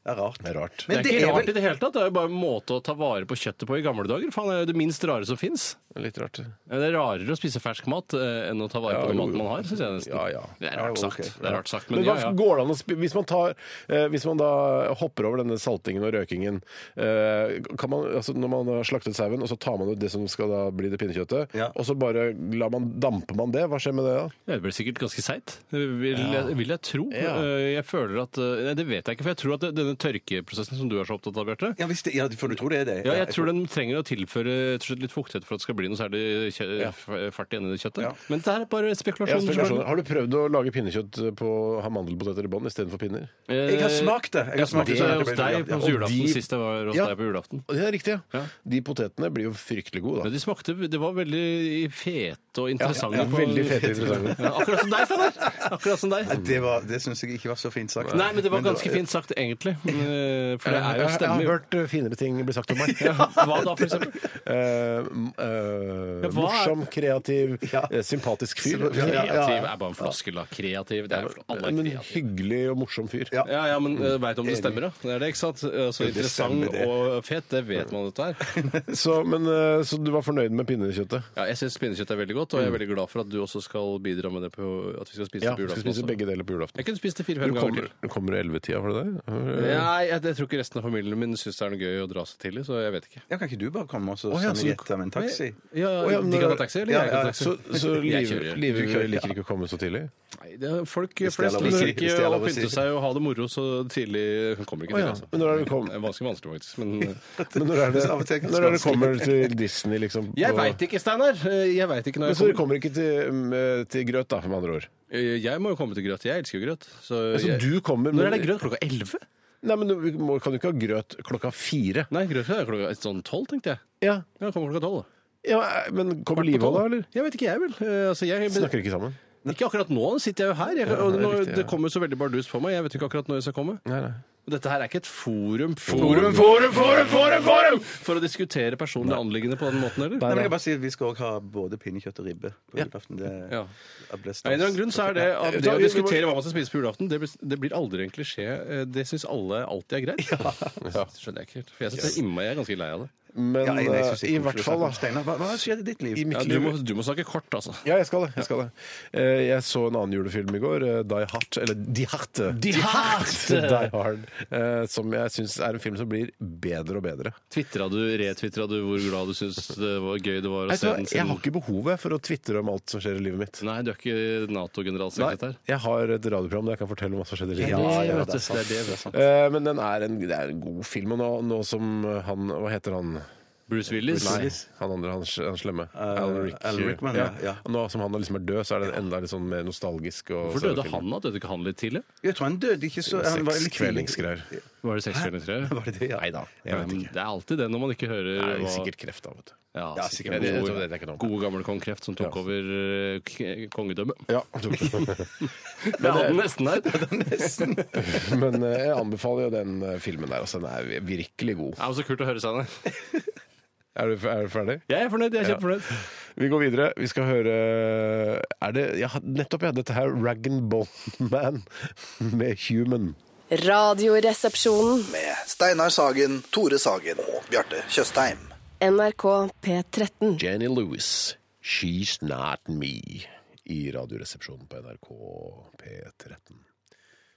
F: Det er rart.
E: Det er rart.
G: Det
F: Men
G: er ikke rart i det hele tatt. Det er jo bare en måte å ta vare på kjøttet på i gamle dager. Faen, det er jo det minst rare som fins.
E: Litt rart.
G: Det er rarere å spise fersk mat eh, enn å ta vare
E: Ja,
G: på den
E: jo,
G: maten
E: jo.
G: man har, syns jeg nesten.
E: Ja, ja.
G: Det er rart
F: Ja,
G: sagt.
F: ok.
G: Det er rart sagt,
E: Men
G: men
E: hva
G: ja, ja.
E: går det an å spi- hvis man, tar, eh, hvis man da hopper over denne saltingen og røkingen eh, kan man, altså Når man har slaktet sauen, og så tar man ut det som skal da bli det pinnekjøttet,
F: Ja.
E: og så bare lar man, damper man det? Hva skjer med det da?
G: Det blir sikkert ganske seigt, vil, vil jeg tro.
E: Ja.
G: Eh, Jeg føler at eh, Nei, det vet jeg ikke, for jeg tror at det- denne tørkeprosessen som du er så opptatt av, Bjarte
F: Ja, hvis det, ja, for du tror det er det?
G: ja, jeg tror den trenger å tilføre rett og slett litt fuktighet for at det skal bli noe særlig kjø f- fart igjen i det kjøttet. Men dette her er bare
E: Jeg
G: spekulasjoner.
E: har spekulasjoner. Har du prøvd å lage pinnekjøtt eh, på ha mandelpoteter i bånn istedenfor pinner?
G: Eh,
F: Jeg har smakt det. Jeg har smakt
G: det
F: det.
G: hos deg på
F: Ja,
E: og
G: julaften
E: de-
G: sist jeg var hos
E: Ja.
G: deg på julaften.
E: Det er riktig, ja.
G: Ja.
E: De potetene blir jo fryktelig gode,
G: Men de
E: da.
G: smakte Det var veldig fete og interessante.
E: ja,
G: på-
E: veldig fete og interessante.
G: Ja, akkurat som deg, Steinar! Akkurat som deg.
F: Nei, Det, var- det syns jeg ikke var så fint sagt.
G: Nei, men det var ganske fint sagt, egentlig. Eh, For det er jo
E: jeg har
G: stemmer.
E: hørt eh, finere ting bli sagt om meg.
G: Hva da, for eksempel?
E: Eh, m- eh,
G: Ja, hva er-
E: morsom, kreativ,
F: Ja.
E: eh, sympatisk fyr.
F: Ja, ja, ja.
G: Kreativ er bare en floskel, da. Kreativ. Det er jo alle er
E: Men
G: kreative.
E: hyggelig og morsom fyr.
F: Ja.
G: Ja, ja, men uh, veit om det stemmer, da. Det er det, ikke sant? Uh, Så
F: det
G: interessant
F: stemmer, det.
G: og fet, det vet man dette er.
E: Så, men, eh, så du var fornøyd med pinnekjøttet?
G: Ja, jeg syns pinnekjøtt er veldig godt, og jeg er veldig glad for at du også skal bidra med det på at vi skal spise
E: Ja,
G: det på
E: skal
G: julaften.
E: spise
G: også.
E: begge deler på julaften.
G: Jeg kunne spist det
E: Du
G: fire-fem ganger
E: kommer,
G: til.
E: du kommer i ellevetida for det der?
G: Nei, jeg, jeg tror ikke resten av familien min syns det er noe gøy å dra seg tidlig, så jeg vet ikke.
F: Ja, kan ikke du bare komme og så
E: Å, ja,
F: sende
E: så du-
F: gjette med en taxi?
G: Ja,
E: Å, ja, men
G: de kan
E: da-
G: ta taxi, eller
F: ja,
G: jeg kan
F: ja,
G: ta taxi?
E: Så, så
G: Jeg
E: liv,
G: kjører.
E: Liv
F: Du kjører, ja.
E: liker ikke å komme så tidlig?
G: Nei, det er folk
F: det er
G: flest
F: lov å si,
G: liker
F: hvis det er
G: å
F: lov å si.
G: pynte seg og ha det moro så tidlig. Hun kommer ikke
E: Å,
G: til,
E: ja.
G: altså.
E: Men når er det kom-
G: Det er vanskelig, vanskelig faktisk. Men eh,
E: Men når er det,
F: Så av og til ganske
E: når er det kommer til Disney, liksom?
G: jeg
E: på-
G: veit ikke, Steinar. Eh, Jeg veit ikke når
E: Men
G: jeg
E: så dere
G: kommer. Eh,
E: kommer ikke til, mm, til grøt, da, med andre ord?
G: Jeg må jo komme til grøt. Jeg elsker jo grøt. Så
E: Altså,
G: jeg-
E: du kommer
G: Når er det grøt? Klokka elleve?
E: Nei, men du vi må, kan jo ikke ha grøt klokka fire.
G: Nei, grøt er klokka sånn tolv, tenkte jeg.
E: Ja,
G: Ja, det kommer klokka tolv. da.
E: ja Men kommer
G: Klokka
E: Live
G: tolv.
E: da, eller?
G: Jeg vet ikke, jeg vel. Eh, Altså, jeg,
E: Snakker ikke sammen.
G: Ikke akkurat nå, sitter jeg jo her. Jeg,
E: Ja,
G: og
E: det er
G: nå,
E: riktig, ja.
G: det kommer så veldig bardust på meg. Jeg vet ikke akkurat når jeg skal komme.
E: Nei, nei.
G: Og Dette her er ikke et forum,
E: Forum, forum, forum, forum! forum!
G: for å diskutere personlige anliggende på den måten, eller?
F: Nei, men jeg kan bare si at Vi skal også ha både pinnekjøtt og ribbe på julaften. Det
G: Ja.
F: det ble
G: Av en eller annen grunn så er det at
E: Ja.
G: det å diskutere hva man skal spise på julaften, det, blir- det blir aldri en klisjé. Eh, Det syns alle alltid er greit. Ja. Skjønner jeg ikke helt. For jeg synes det er innmari jeg er ganske lei av det.
E: Men
F: Ja, jeg- jeg synes det
E: eh, i
F: er
E: hvert
F: koselig å snakke om.
E: fall, da.
F: Steinar, hva, hva skjedde i ditt liv?
E: I mitt
G: Ja, du,
E: liv
G: må, du må snakke kort, altså.
E: Ja, jeg skal det. Jeg, skal det. Eh, jeg så en annen julefilm i går, eh, Die Hard, eller Die Hard. Die Hard! Die Hard eh, som jeg syns er en film som blir bedre og bedre.
G: Tvitra du, retwitra du hvor glad du syns det var gøy det var å
E: Jeg,
G: se
E: tror,
G: den
E: jeg har
G: siden?
E: ikke behovet for å tvitre om alt som skjer i livet mitt.
G: Nei, du er ikke Nato-generalsekretær.
E: jeg har et radioprogram der jeg kan fortelle om hva som skjedde i
G: Ja,
E: livet mitt.
G: ja, det er det. vet du.
E: Eh, Men den er en, det er en god film. Og nå, nå som han Hva heter han?
G: Bruce Willis.
E: Nei, han andre, han, sl- han slemme. Alan, Rick,
F: Alan Eh, Rickman, ja, ja.
E: Nå som han liksom er død, så er den enda litt sånn mer nostalgisk. Og
G: Hvorfor døde han da? Døde ikke han litt tidlig?
F: Jeg tror han døde ikke så han var litt
E: Seks
F: tidlig.
E: kveldingsgreier.
G: Var det seks kvelder tre?
F: Var det det? Ja.
E: Nei da.
G: Ja,
E: Jeg vet
G: men
E: ikke.
G: Det er alltid det når man ikke hører
E: Det er
G: hva-
E: sikkert kreft, da. vet du.
G: Ja,
E: Ja,
G: sikkert
E: sikkert. Det-
G: noe-
E: det- det er ikke noe.
G: Gode gamle kong Kreft som tok
E: Ja.
G: over eh, k- kongedømmet.
E: Ja.
G: Jeg hadde den nesten her.
E: Men eh, jeg anbefaler jo den eh, filmen der. Altså, den er virkelig god.
G: Det er jo så kult å høre, Steinar.
E: Er du, er du ferdig?
G: Jeg er fornøyd. jeg er kjempefornøyd.
E: Vi går videre. Vi skal høre Er det ja, Nettopp, ja. Dette her Rag and Bone Man med Human.
I: Radioresepsjonen.
J: med Steinar Sagen, Tore Sagen og Bjarte Tjøstheim.
I: NRK P13.
E: Jenny Lewis, She's Not Me, i Radioresepsjonen på NRK P13.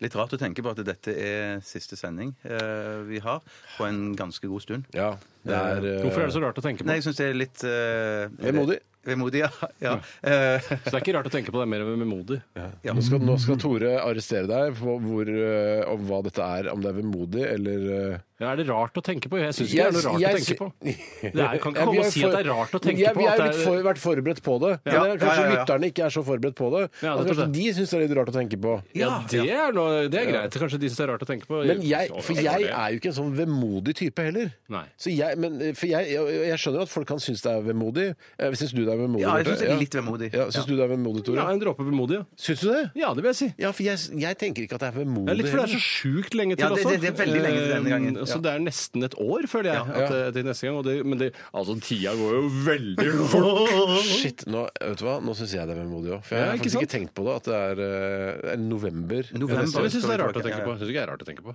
F: Litt rart å tenke på at dette er siste sending eh, vi har på en ganske god stund.
E: Ja, det er eh,
G: Hvorfor er det så rart å tenke på?
F: Nei, jeg syns det er litt eh,
E: Vemodig.
F: Vemodig, ja. ja. Eh,
G: Så det er ikke rart å tenke på, det er mer vemodig.
E: nå, skal, nå skal Tore arrestere deg på hvor, eh, om hva dette er, om det er vemodig eller eh,
G: Ja, er det rart å tenke på? Jeg syns ikke det er noe rart å
E: jeg-
G: tenke på.
E: jeg-
G: Det er, kan ikke
E: Ja, vi
G: komme
E: er
G: og si at
E: for-
G: det er rart å tenke
E: jeg,
G: på.
E: Vi
G: at
E: har
G: det
E: blitt, for, vært forberedt på det.
G: Ja,
E: Men det er
F: ja,
E: kanskje
F: ja, ja.
E: lytterne ikke er så forberedt på det.
G: Ja,
E: At
G: det er
E: kanskje
G: det.
E: de syns det er litt rart å tenke på.
G: ja, det er, noe, det er greit. Kanskje de syns det er rart å tenke på.
E: Men jeg,
G: sånn
E: for jeg
G: Ja,
E: er jo ikke en sånn vemodig type heller.
G: Nei.
E: Så jeg, men, eh, for jeg, jeg, jeg skjønner at folk kan synes det er vemodig. Eh, Syns du det er vemodig?
F: ja, jeg
E: Bjarte?
F: syns det er litt vemodig.
E: Ja, syns du det er vemodig, Tore?
G: Ja, en dråpe vemodig, ja.
E: Syns du det?
G: Ja, det vil jeg si.
E: Ja, for jeg, jeg tenker ikke at det er vemodig.
G: Det er litt fordi det er så
E: heller.
G: sjukt lenge til
F: Ja, det-
G: også.
F: det- det er veldig lenge til denne gangen.
G: Eh,
F: Ja.
G: Så det er nesten et år, føler jeg,
E: ja.
G: At, det- til neste gang. Og det, men det, altså, tida går jo veldig
F: sånn-
G: fort.
E: Shit, nå, vet du hva? Nå syns jeg det er vemodig òg. For jeg
G: Ja,
E: har
G: ikke
E: faktisk
G: sant?
E: ikke tenkt på det. At det er, eh, er november.
F: November.
E: Ja,
G: Så
E: neste år.
G: jeg syns det er rart å
F: Ja, ja.
G: tenke på. Jeg synes ikke det er rart å tenke på.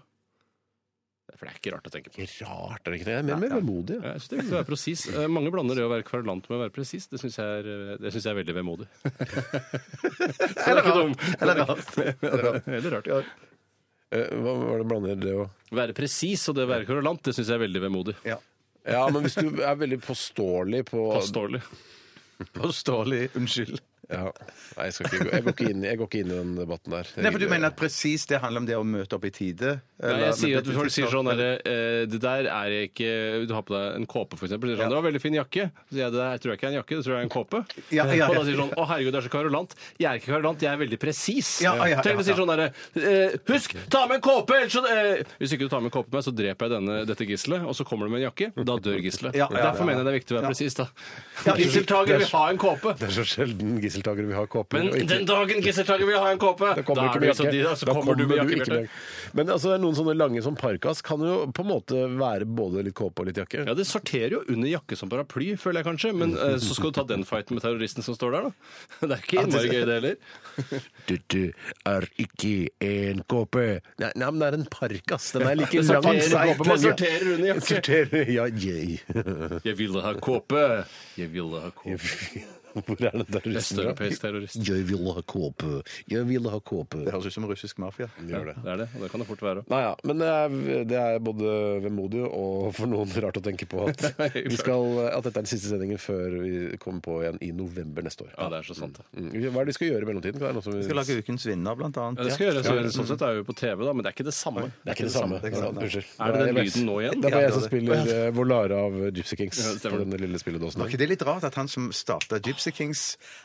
G: For det er ikke rart å tenke på.
E: Ikke rart, er det ikke det? Jeg er mer, mer vemodig. Ja.
G: Jeg synes det er viktig å være presis. Eh, Mange blander det å være kvarulant med å være presis. Det syns jeg, er, eh, det synes jeg er veldig vemodig. Så det er ikke dum.
F: Eller rart.
G: Eller rart. Ja.
E: Eh, Hva var det blander det og
G: Være presis og det å være kvarulant, det syns jeg er veldig vemodig.
E: Ja, men hvis du er veldig påståelig på
G: Påståelig.
F: Påståelig. Unnskyld.
E: Ja. Nei, jeg, skal ikke gå. Jeg, går ikke inn, jeg går ikke inn i den debatten der.
F: Nei, for du mener at presis det handler om det å møte opp i tide?
G: Nei,
F: Eller-
G: jeg sier
F: men
G: at
F: det-
G: folk sier sånn der, eh, Det der er ikke Du har på deg en kåpe, for eksempel. Sier Sånn, 'Det var en veldig fin jakke.' Så sier jeg, 'Det der tror jeg ikke er en jakke, det tror jeg er en kåpe'.
F: Ja, ja, ja.
G: Og da sier de sånn 'Å herregud, det er så karolant'. Jeg er ikke karolant, jeg er veldig presis.
F: Ja, ja, ja,
G: Tenk om du
F: ja.
G: sier sånn derre eh, 'Husk, ta med en kåpe, ellers så eh, Hvis ikke du tar med en kåpe med, så dreper jeg denne, dette gisselet, og så kommer du med en jakke. Da dør gisselet.
F: Ja, ja,
G: Derfor
F: ja.
G: mener jeg det er viktig å være
F: Ja.
G: presis, da. Gisseltaker vil ha en kåpe.
E: Det er så sjelden gisseltakere vil ha kåper.
G: Men
E: og ikke-
G: den dagen gisseltaker vil ha en kåpe,
E: Da kommer
G: da
E: du
G: er
E: ikke
G: du
E: med
G: altså de,
E: jakke.
G: da, så kommer du med jakke.
E: ikke
G: Bjarte.
E: med jakke. Men altså, det er noen sånne lange som parkas kan jo på en måte være både litt kåpe og litt jakke.
G: Ja, det sorterer jo under jakke som paraply, føler jeg kanskje. Men eh, så skal du ta den fighten med terroristen som står der, da. Det er ikke innmari gøy, det heller.
E: Dette er ikke en kåpe. Nei, nei, men det er en parkas. Den er like
G: Det
E: lang
G: sorterer-
E: som
G: det
E: kåpe
G: sorterer under jakke.
E: Sorterer, ja, yay.
G: Jeg ville ha kåpe. Jeg ville ha kåpe.
E: Hvor er det terroristen fra?
G: Østeuropeisk terrorist.
E: Jeg ville ha kåpe. Jeg ville ha kåpe.
F: Det høres ut som russisk mafia.
E: Gjør det.
G: Det er det, og det kan det fort være.
E: Nei, ja, men det er, det er både vemodig og for noen rart å tenke på at, vi skal, at dette er den siste sendingen før vi kommer på igjen i november neste år.
G: Ja, det er så sant. det.
E: Mm. Hva er det de skal gjøre i mellomtiden? Kan det være noe som vi-
F: Vi skal lage Ukens vinner, blant annet.
G: Ja, det skal gjøres. Sånn sett er vi på TV, da, men det er ikke det samme.
E: Det er ikke det samme.
F: det er ikke det samme.
E: Ja, Unnskyld.
G: Er det den
E: bare-
G: lyden nå igjen?
E: Det er bare jeg
F: Ja,
E: som
F: det
E: spiller eh, Volara av Gypsy Kings
G: Ja, det stemmer.
E: på denne lille spilledåsen.
F: Var ikke det litt rart at han som starta Gypsy Dixie Kings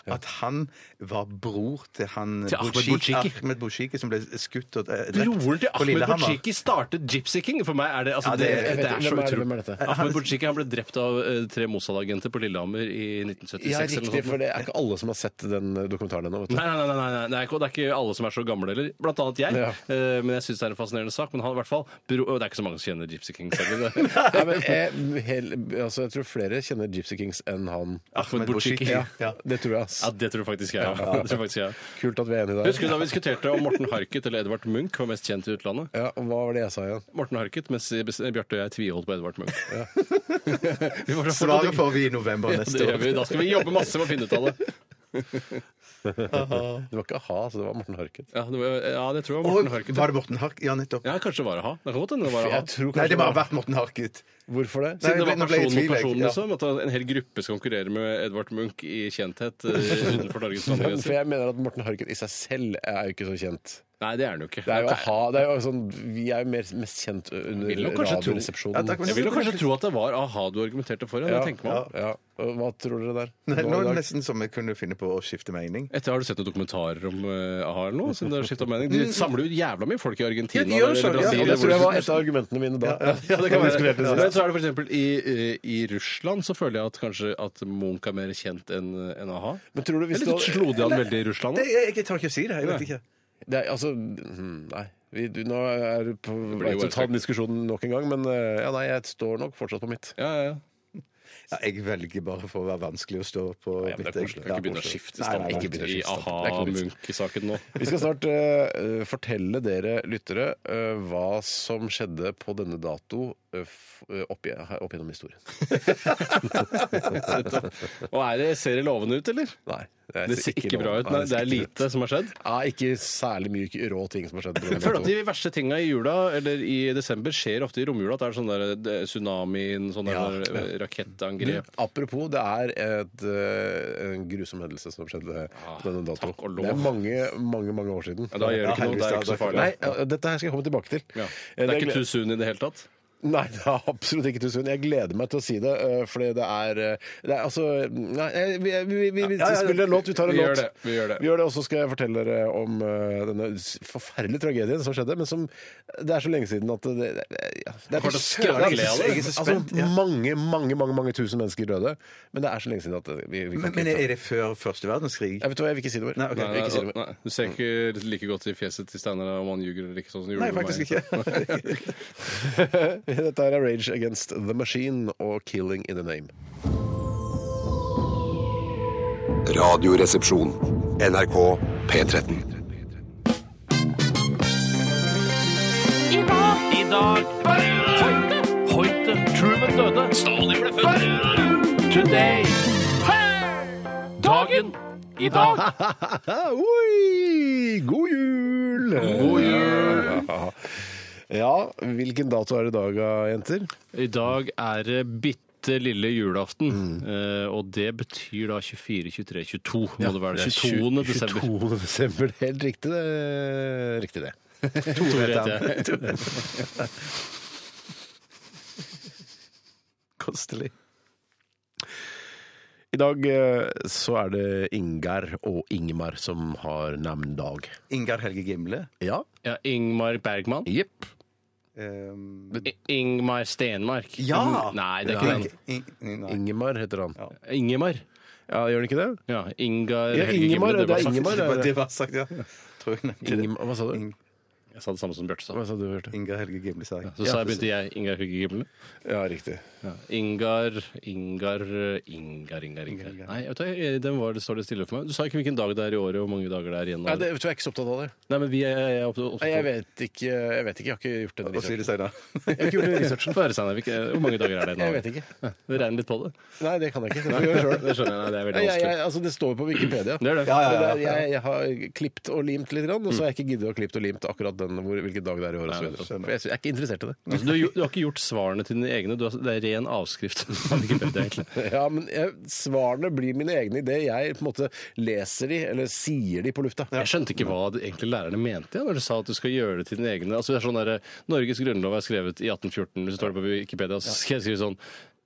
F: at han var bror til han
G: Til Ahmed
F: Bouchiki-
G: Bouchiki.
F: Ahmed Bouchiki, som ble skutt og eh, drept
G: Broren til
F: på
G: Ahmed
F: Lillehammer.
G: Bouchiki startet Gypsy King. For meg er det altså,
F: Ja, det-
G: det,
F: jeg
G: det,
F: vet
E: ikke.
G: er
E: Hvem
G: så
E: er det? Hvem er
G: utrolig.
E: dette?
G: Ahmed Bouchiki han ble drept av eh, tre Mossad-agenter på Lillehammer i 1976.
E: Ja,
G: eller noe
E: riktig,
G: sånt.
E: for det er ikke alle som har sett den eh, dokumentaren ennå. vet du.
G: Nei, nei, nei, nei, nei, nei. og Det er ikke alle som er så gamle heller. Blant annet jeg.
E: Ja.
G: Eh, Men jeg syns det er en fascinerende sak. Men han i hvert fall bro, og Det er ikke så mange som kjenner Gypsy King selv. Det.
E: Nei, men jeg, hel, altså, jeg tror flere kjenner Gypsy Kings enn han.
G: Ahmed Bouchiki.
E: Ja,
G: Ja.
E: det tror jeg, ass.
G: det tror faktisk jeg. Ja. Det tror faktisk jeg.
E: Kult at vi er enige
G: Husker du
E: der.
G: da vi diskuterte om Morten Harket eller Edvard Munch var mest kjent i utlandet?
E: Ja, og hva var det jeg sa igjen?
G: Morten Harket, mens Bjarte og jeg tviholdt på Edvard Munch. vi får fortsatt-
F: Svaret får vi i november
G: det
F: neste
G: gjør
F: år.
G: vi. Da skal vi jobbe masse med å finne ut av det.
E: Det var ikke a-ha, så det var Morten Harket.
G: Ja, det, var, ja, det tror jeg var
F: Og,
G: Morten Harket.
F: var det Morten Hark? Ja, nettopp.
G: Ja, kanskje det var a-ha. Det kan godt hende det var a-ha.
E: Jeg tror kanskje
F: Nei, det må ha vært Morten Harket.
E: Hvorfor det?
F: Nei,
G: Siden det
F: nå
G: var
F: ble jeg
G: person
F: i
G: mot
F: tvil, jeg.
G: person, liksom.
F: Ja.
G: At en hel gruppe skal konkurrere med Edvard Munch i kjenthet eh, utenfor Norges
E: Ja, For
G: landegrenser.
E: jeg mener at Morten Harket i seg selv er jo ikke så kjent.
G: Nei, det er den jo ikke.
E: Det er jo a-ha. Det er jo sånn, vi er jo mer, mest kjent
G: Vil
E: under
G: nok kanskje tro-
F: Ja,
E: Radioresepsjonen.
F: takk, men-
G: Jeg vil jo kanskje tro at det var a-ha du argumenterte for. Ja.
E: Ja,
G: det tenker man.
E: ja, ja. Og Hva tror dere der?
F: Nei, nå
E: Nå i
F: er det
E: dag?
F: nesten som jeg kunne finne på å skifte mening.
G: Etter Har du sett noen dokumentarer om eh, a-ha eller noe? Siden det har skiftet mening? De samler jo jævla mye folk i Argentina
F: Ja, de gjør
G: eller
F: så, ja.
G: Brasil.
E: Ja, det tror jeg var et av argumentene mine da.
G: sånn. Ja, det kan
E: Da vi
G: være.
E: diskuterte det sist.
G: Men så er det for eksempel i, eh, i Russland så føler jeg at kanskje at Munch er mer kjent enn enn a-ha.
E: Men tror du hvis
G: Eller
E: du-
G: slo de han veldig i Russland?
F: Det,
G: da?
F: jeg, jeg tør ikke å si det. Jeg vet ikke.
E: Det er, altså, hmm, nei. Vi, du, nå er du på
G: blir
E: vei
G: jo
E: til å ta
G: bare-
E: den diskusjonen nok en gang, men eh, ja, nei, jeg står nok fortsatt på mitt.
G: Ja, ja, ja.
F: Ja, jeg velger bare for å være vanskelig å stå på
G: Ja, men det er koselig. Kan ikke begynne å skifte
F: Nei, nei, nei,
G: standpunkt
F: ikke
G: i
F: begynne å skifte standpunkt.
E: Det er ikke noe vits.
G: a-ha-Munch-saken nå.
E: Vi skal snart eh, eh, fortelle dere lyttere eh, hva som skjedde på denne dato eh, f- eh, opp, i- her- opp gjennom historien.
G: Og er det, ser det lovende ut, eller?
E: Nei, det,
G: Det ser ikke bra ut. Nei, det er lite som har skjedd.
E: Ja, ikke særlig mye k- rå ting som har skjedd. på denne
G: Jeg føler at
E: datoen.
G: de verste tinga i jula, eller i desember, skjer ofte i romjula. At det er sånn der det- tsunamien, sånn der,
E: Ja,
G: eh, rakettangrep.
E: Mm. Apropos, det er et, eh, en grusom hendelse som skjedde på denne dato.
G: Ah, takk og lov.
E: Det er mange, mange, mange år siden.
G: Ja, da gjør det ikke noe. Det er ikke så farlig.
E: Nei, ja, dette her skal jeg komme tilbake til.
G: Ja.
E: Eh,
G: Det er ikke
E: gle-
G: too soon i det hele tatt.
E: Nei, det er absolutt ikke tusen. Jeg gleder meg til å si det, eh, fordi det er eh, Det er altså Nei, eh, vi, vi, vi, vi
G: Ja, ja, ja.
E: spiller en låt. Vi tar en
G: Vi gjør
E: låt.
G: det, vi gjør det.
E: Og så skal jeg fortelle dere om eh, denne s- forferdelige tragedien som skjedde, men som Det er så lenge siden at det, det, ja, det
G: kommer til å skremme
E: søren-
G: av det.
E: Jeg er så spent.
F: Ja.
E: Altså, mange, mange, mange mange tusen mennesker døde, men det er så lenge siden at eh, vi, vi kan
F: Men, men
E: ikke
F: er det før første verdenskrig?
E: jeg vet hva, jeg vil ikke si det mer.
F: Nei, ok.
E: Jeg vil ikke si det mer.
G: nei, du ser ikke like godt i fjeset til Steinar om han ljuger eller ikke. sånn som du gjorde
F: Nei,
G: med
F: faktisk
G: meg.
F: ikke.
E: Dette er Rage Against The Machine og Killing In The Name.
A: Radioresepsjon. NRK P13.
K: I dag Hoite Hoite Truman døde Stalin ble født Today Dagen I dag
E: Oi! God jul! God jul! Ja, hvilken dato er det i dag, da, jenter?
G: I dag er det bitte lille julaften, eh, og det betyr da 24, 23, 22. Må det være det 22. desember.
E: 22. desember. Det er Helt riktig, det. Riktig det.
G: To vet jeg.
F: Kostelig.
E: I dag eh, så er det Ingar og Ingmar som har navnedag.
F: Ingar Helge Gimle.
E: Ja.
G: Ja, Ingmar Bergman.
E: Jepp.
F: Um,
G: I- Ingmar Stenmark.
F: Ja!
G: Mm, Nei, det er ikke
F: Nei.
G: den.
F: In- nei.
E: Ingemar heter han. Ja,
G: Ingemar.
E: Gjør han ikke det?
G: Ja, Ingar
E: Ja,
G: Helge
E: Ingemar,
G: Gimle,
E: det er
G: var sagt.
E: Ingemar.
F: Det var- Det var sagt, ja. Tror jeg nevnte det.
E: Ingem- Hva sa du?
F: Ing-
G: Jeg sa det samme som Bjarte sa.
E: Hva sa du, Bjarte?
F: Ingar Helge Gimle sa jeg.
G: Så sa jeg begynte jeg Ingar Hugge Gimle.
E: Ja, riktig.
G: Ingar, Ingar, Ingar, Ingar, Ingar. Nei, vet du, hva, den var, det står det stille for meg. Du sa ikke hvilken dag det er i året og hvor mange dager det er igjen. av
E: Nei,
G: det.
E: det, vet du, jeg er ikke så opptatt av det.
G: Nei, men vi er, jeg er opptatt-
E: Nei,
G: opptatt
E: jeg vet ikke. Jeg vet ikke, jeg har ikke gjort den
F: Og si det
E: researchen.
F: senere.
E: Jeg har ikke gjort den researchen.
G: Få høre, Steinar. hvilke- Hvor mange dager er det nå?
E: Jeg vet ikke.
G: Vi regner litt på det.
E: Nei, det kan jeg ikke. Det får jeg gjøre selv.
G: Det skjønner jeg. Nei, det er veldig
E: Jeg, jeg,
G: vanskelig.
E: altså, det står jo på Wikipedia.
G: Det er det.
E: Men det er- Jeg, jeg har klippet og limt litt, grann, og så har jeg ikke giddet å klippe og limt akkurat den hvor, hvilken dag det er i året. og så videre. For Jeg, jeg er ikke interessert i det.
G: Altså, du, har gjo- du har ikke gjort svarene til dine egne. Du har, det er ren avskrift. av Wikipedia, egentlig.
E: Ja, men jeg, Svarene blir mine egne idet jeg på en måte leser de, eller sier de på lufta.
G: Jeg skjønte ikke hva det- egentlig lærerne mente ja, når de sa at du skal gjøre det til eh, dine egne. Altså, det er sånn der, Norges grunnlov er skrevet i 1814. Hvis du tar det på Wikipedia, så skal jeg skrive sånn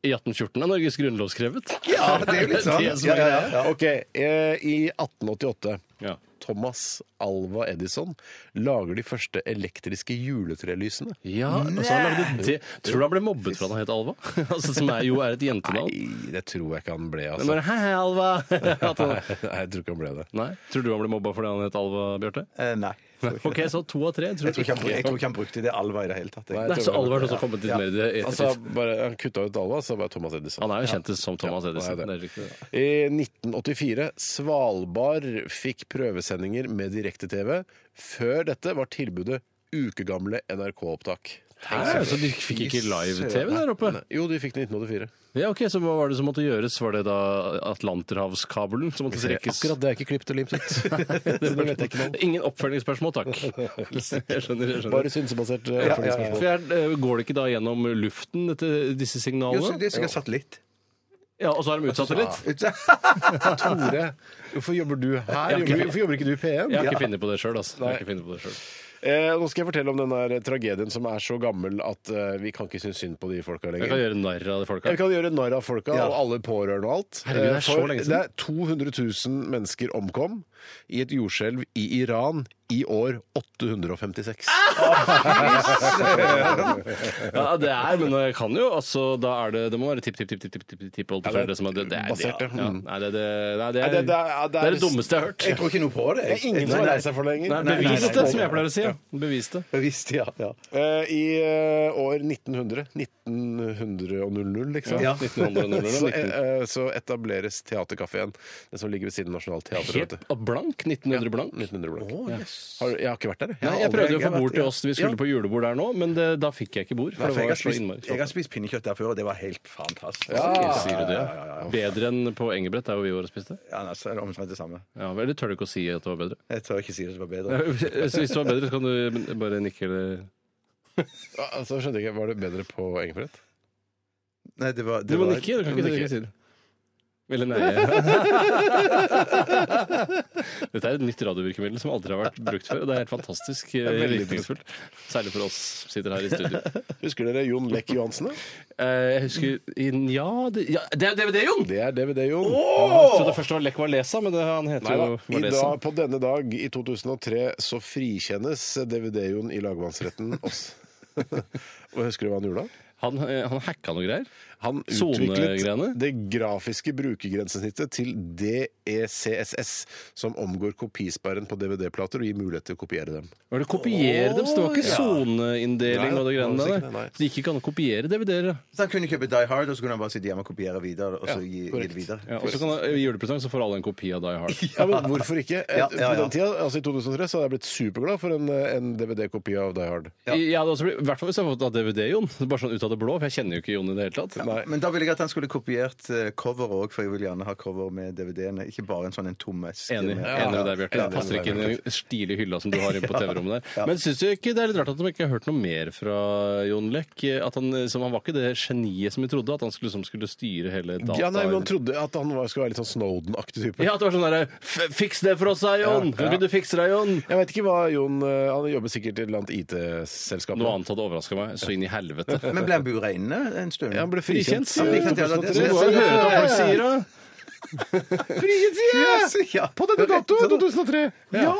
G: i 1814 er Norges grunnlov skrevet.
E: Ja, det er jo litt sånn.
G: Det er det som er
E: Ja, ja, ja. Ok, eh, I 1888
G: Ja.
E: Thomas Alva Edison lager de første elektriske juletrelysene.
G: Ja, altså han lagde det. Tror du han ble mobbet for at han het Alva? altså, som er, jo er et jentenavn.
E: Nei, det tror jeg ikke han ble,
G: Men
E: altså.
G: bare, hei, hei, Alva! At han-
E: Nei, jeg tror ikke han ble det.
G: Nei, Tror du han ble mobba fordi han het Alva, Bjarte?
F: Eh, nei.
G: Ok, så to av tre. Tror
F: Jeg tror ikke han,
G: ikke.
F: jeg tror ikke han brukte det alva i det hele tatt.
E: Nei.
F: Jeg.
G: Nei, så Alva har også kommet litt
F: Ja.
G: mer i det
E: Han,
G: ettertid.
E: sa bare, han kutta ut Alva, så var det Thomas Edison.
G: Han er jo kjent som Thomas
E: altså, Ja,
G: Edison.
E: han er
G: Det
E: det.
G: er riktig. det.
E: I 1984 Svalbard fikk prøvesendinger med direkte-TV. Før dette var tilbudet ukegamle NRK-opptak.
G: Hæ? Så de fikk ikke live-TV der oppe?
E: Jo, de fikk det i 1984.
G: Ja, ok, Så hva var det som måtte gjøres? Var det da Atlanterhavskabelen som måtte strekkes?
E: Akkurat det er ikke klippet og limt ut. det vet jeg ikke noe om.
G: Ingen oppfølgingsspørsmål, takk. Jeg skjønner. jeg skjønner.
E: Bare synsebasert eh, oppfølgingsspørsmål.
G: For jeg, eh, går det ikke da gjennom luften, dette, disse
F: Jo, så
G: signalene?
F: det er sikkert satellitt.
G: Ja, Og så har de utsatt det litt?
E: Tore, hvorfor jobber du her?
G: Jeg har ikke-
E: Jobber- Hvorfor jobber ikke du i P1?
G: Jeg har ikke funnet på det sjøl, altså. Jeg har ikke funnet på det selv.
E: Eh, nå skal jeg fortelle om den der tragedien som er så gammel at eh, vi kan ikke synes synd på de folka
G: Jeg kan
E: lenger.
G: gjøre narr av de folka.
E: Ja, Vi kan gjøre narr av folka og alle pårørende og alt.
G: Herregud, det er
E: Eh,
G: så lenge siden.
E: det er 200 000 mennesker omkom i et jordskjelv i Iran i år 856.
G: Ja, det er, men jeg kan jo altså, da er det, det må være tipp, tipp, tipp, tipp, tipp, tipp, tipp oldeforeldre som er død. Det er det,
E: basert, ja.
G: ja. Nei, det, det, nei, det, er,
E: Nei, det- det er-
G: det er det dummeste jeg har hørt.
F: Jeg tror ikke noe på det.
E: Det er ingen som har reist seg for det
G: Nei,
E: lenger.
G: bevis det, som jeg pleier å si. Ja. Bevis det.
F: Bevisst, ja. ja.
E: Eh, I eh, år 1900. 1900 og 00, liksom.
F: Ja.
G: 1900,
E: Så,
G: 1900.
E: eh, eh, så etableres Theatercaféen, den som ligger ved siden av Nationaltheatret. vet du.
G: Helt blank. 1900 blank.
E: 1900 blank. Har, jeg har ikke vært der. jeg.
G: Nei,
E: har
G: jeg
E: aldri-
G: prøvde å få
E: har
G: bord
E: vært-
G: til oss. Vi skulle på julebord der nå, men det, da fikk jeg ikke bord.
F: Nei,
G: For
F: for
G: det
F: jeg, har
G: var så
F: spist, jeg
G: innmari
F: har spist pinnekjøtt der før, og det var helt fantastisk.
G: Sier du det?
F: Ja, ja, ja.
G: Bedre enn på Engebrett, der hvor vi var og spiste.
F: Ja, nei, så er det omtrent det samme.
G: Ja, Eller tør du ikke å si at det var bedre?
F: Jeg tør ikke si det var bedre.
G: Så hvis det var bedre, så kan du bare nikke eller
E: Ja. Altså, skjønte jeg ikke, Var det bedre på Engebrett?
F: Nei, det var,
G: Du
F: det
G: må
F: var-
G: nikke, du kan
E: du må
G: ikke,
E: nikke.
G: si det. Eller neie. Dette er et nytt radiovirkemiddel som aldri har vært brukt før. og Det er helt fantastisk eh,
E: er veldig
G: virkningsfullt. Særlig for oss som sitter her i studio.
E: Husker dere Jon Lekk Johansen? da?
G: Eh, Jeg husker i- Ja, det, ja, det er DVD, Jon!
E: Det er DVD-Jon.
G: Jeg trodde først det var Lech Walesa, men det, han heter
E: Nei da.
G: jo
E: I
G: Walesa.
E: dag, på denne dag i 2003 så frikjennes DVD-Jon i lagmannsretten oss. Og Husker du hva han gjorde da?
G: Han, eh, han hacka noe greier.
E: Han
G: Sonegreiene?
E: utviklet det grafiske brukergrensesnittet til E DECSS, som omgår kopisperren på DVD-plater og gir mulighet til å kopiere dem.
G: Var det kopiere dem? Så det var ikke soneinndeling
E: Nei,
G: og det greiene
E: det var
G: der.
E: sikkert- nei.
G: Så det gikk ikke an å kopiere DVD-er. da.
F: Så han kunne kjøpe Die Hard, og så kunne han bare sitte hjemme og kopiere videre. Og så
E: Ja,
F: gi, gi det
E: korrekt.
F: videre.
G: Ja, og så kan han- I julepresang så får alle en kopi av Die Hard.
E: Ja, men Hvorfor ikke?
F: Ja, ja, ja.
E: På den tida, altså I 2003 så hadde jeg blitt superglad for en, eh, en DVD-kopi av Die Hard.
G: Ja. Jeg hadde også blitt, I hvert fall hvis jeg hadde fått av DVD, Jon. Bare sånn ut av det blå, for jeg kjenner jo ikke Jon i det hele tatt.
E: Nei.
F: Men da ville jeg at han skulle kopiert eh, cover òg, for jeg vil gjerne ha cover med DVD-ene. Ikke bare en sånn en tom eske.
G: Enig
F: med-
G: enig med deg, Bjarte.
E: Ja,
G: Det passer
E: enig
G: ikke
E: med
G: inn i
E: deg,
G: den stilige hylla som du har inne på TV-rommet der. Men syns du ikke det er litt rart at de ikke har hørt noe mer fra Jon Lech? At han, som han var ikke det geniet som vi trodde, at han skulle, liksom skulle styre hele data...
E: Ja, nei, men Han trodde at han var, skulle være litt sånn Snowden-aktig type.
G: Ja, at det var sånn derre «F- Fiks det for oss, da, Jon! Kan ikke du fikse det, Jon?
E: Jeg vet ikke hva Jon eh, Han jobber sikkert i et eller annet IT-selskap.
G: Noe
E: nå.
G: annet hadde overraska meg. Så inn i helvete.
F: Men ble han bura inne en stund?
E: Ja, han ble
G: Frikjent.
E: frikjent.
F: Ja,
E: eh,
F: frikjent, ja, det-
E: 2003.
F: det-
G: Må jo høre hva folk sier, da.
F: Yes, ja.
E: På denne datoen! 2003!
F: Ja!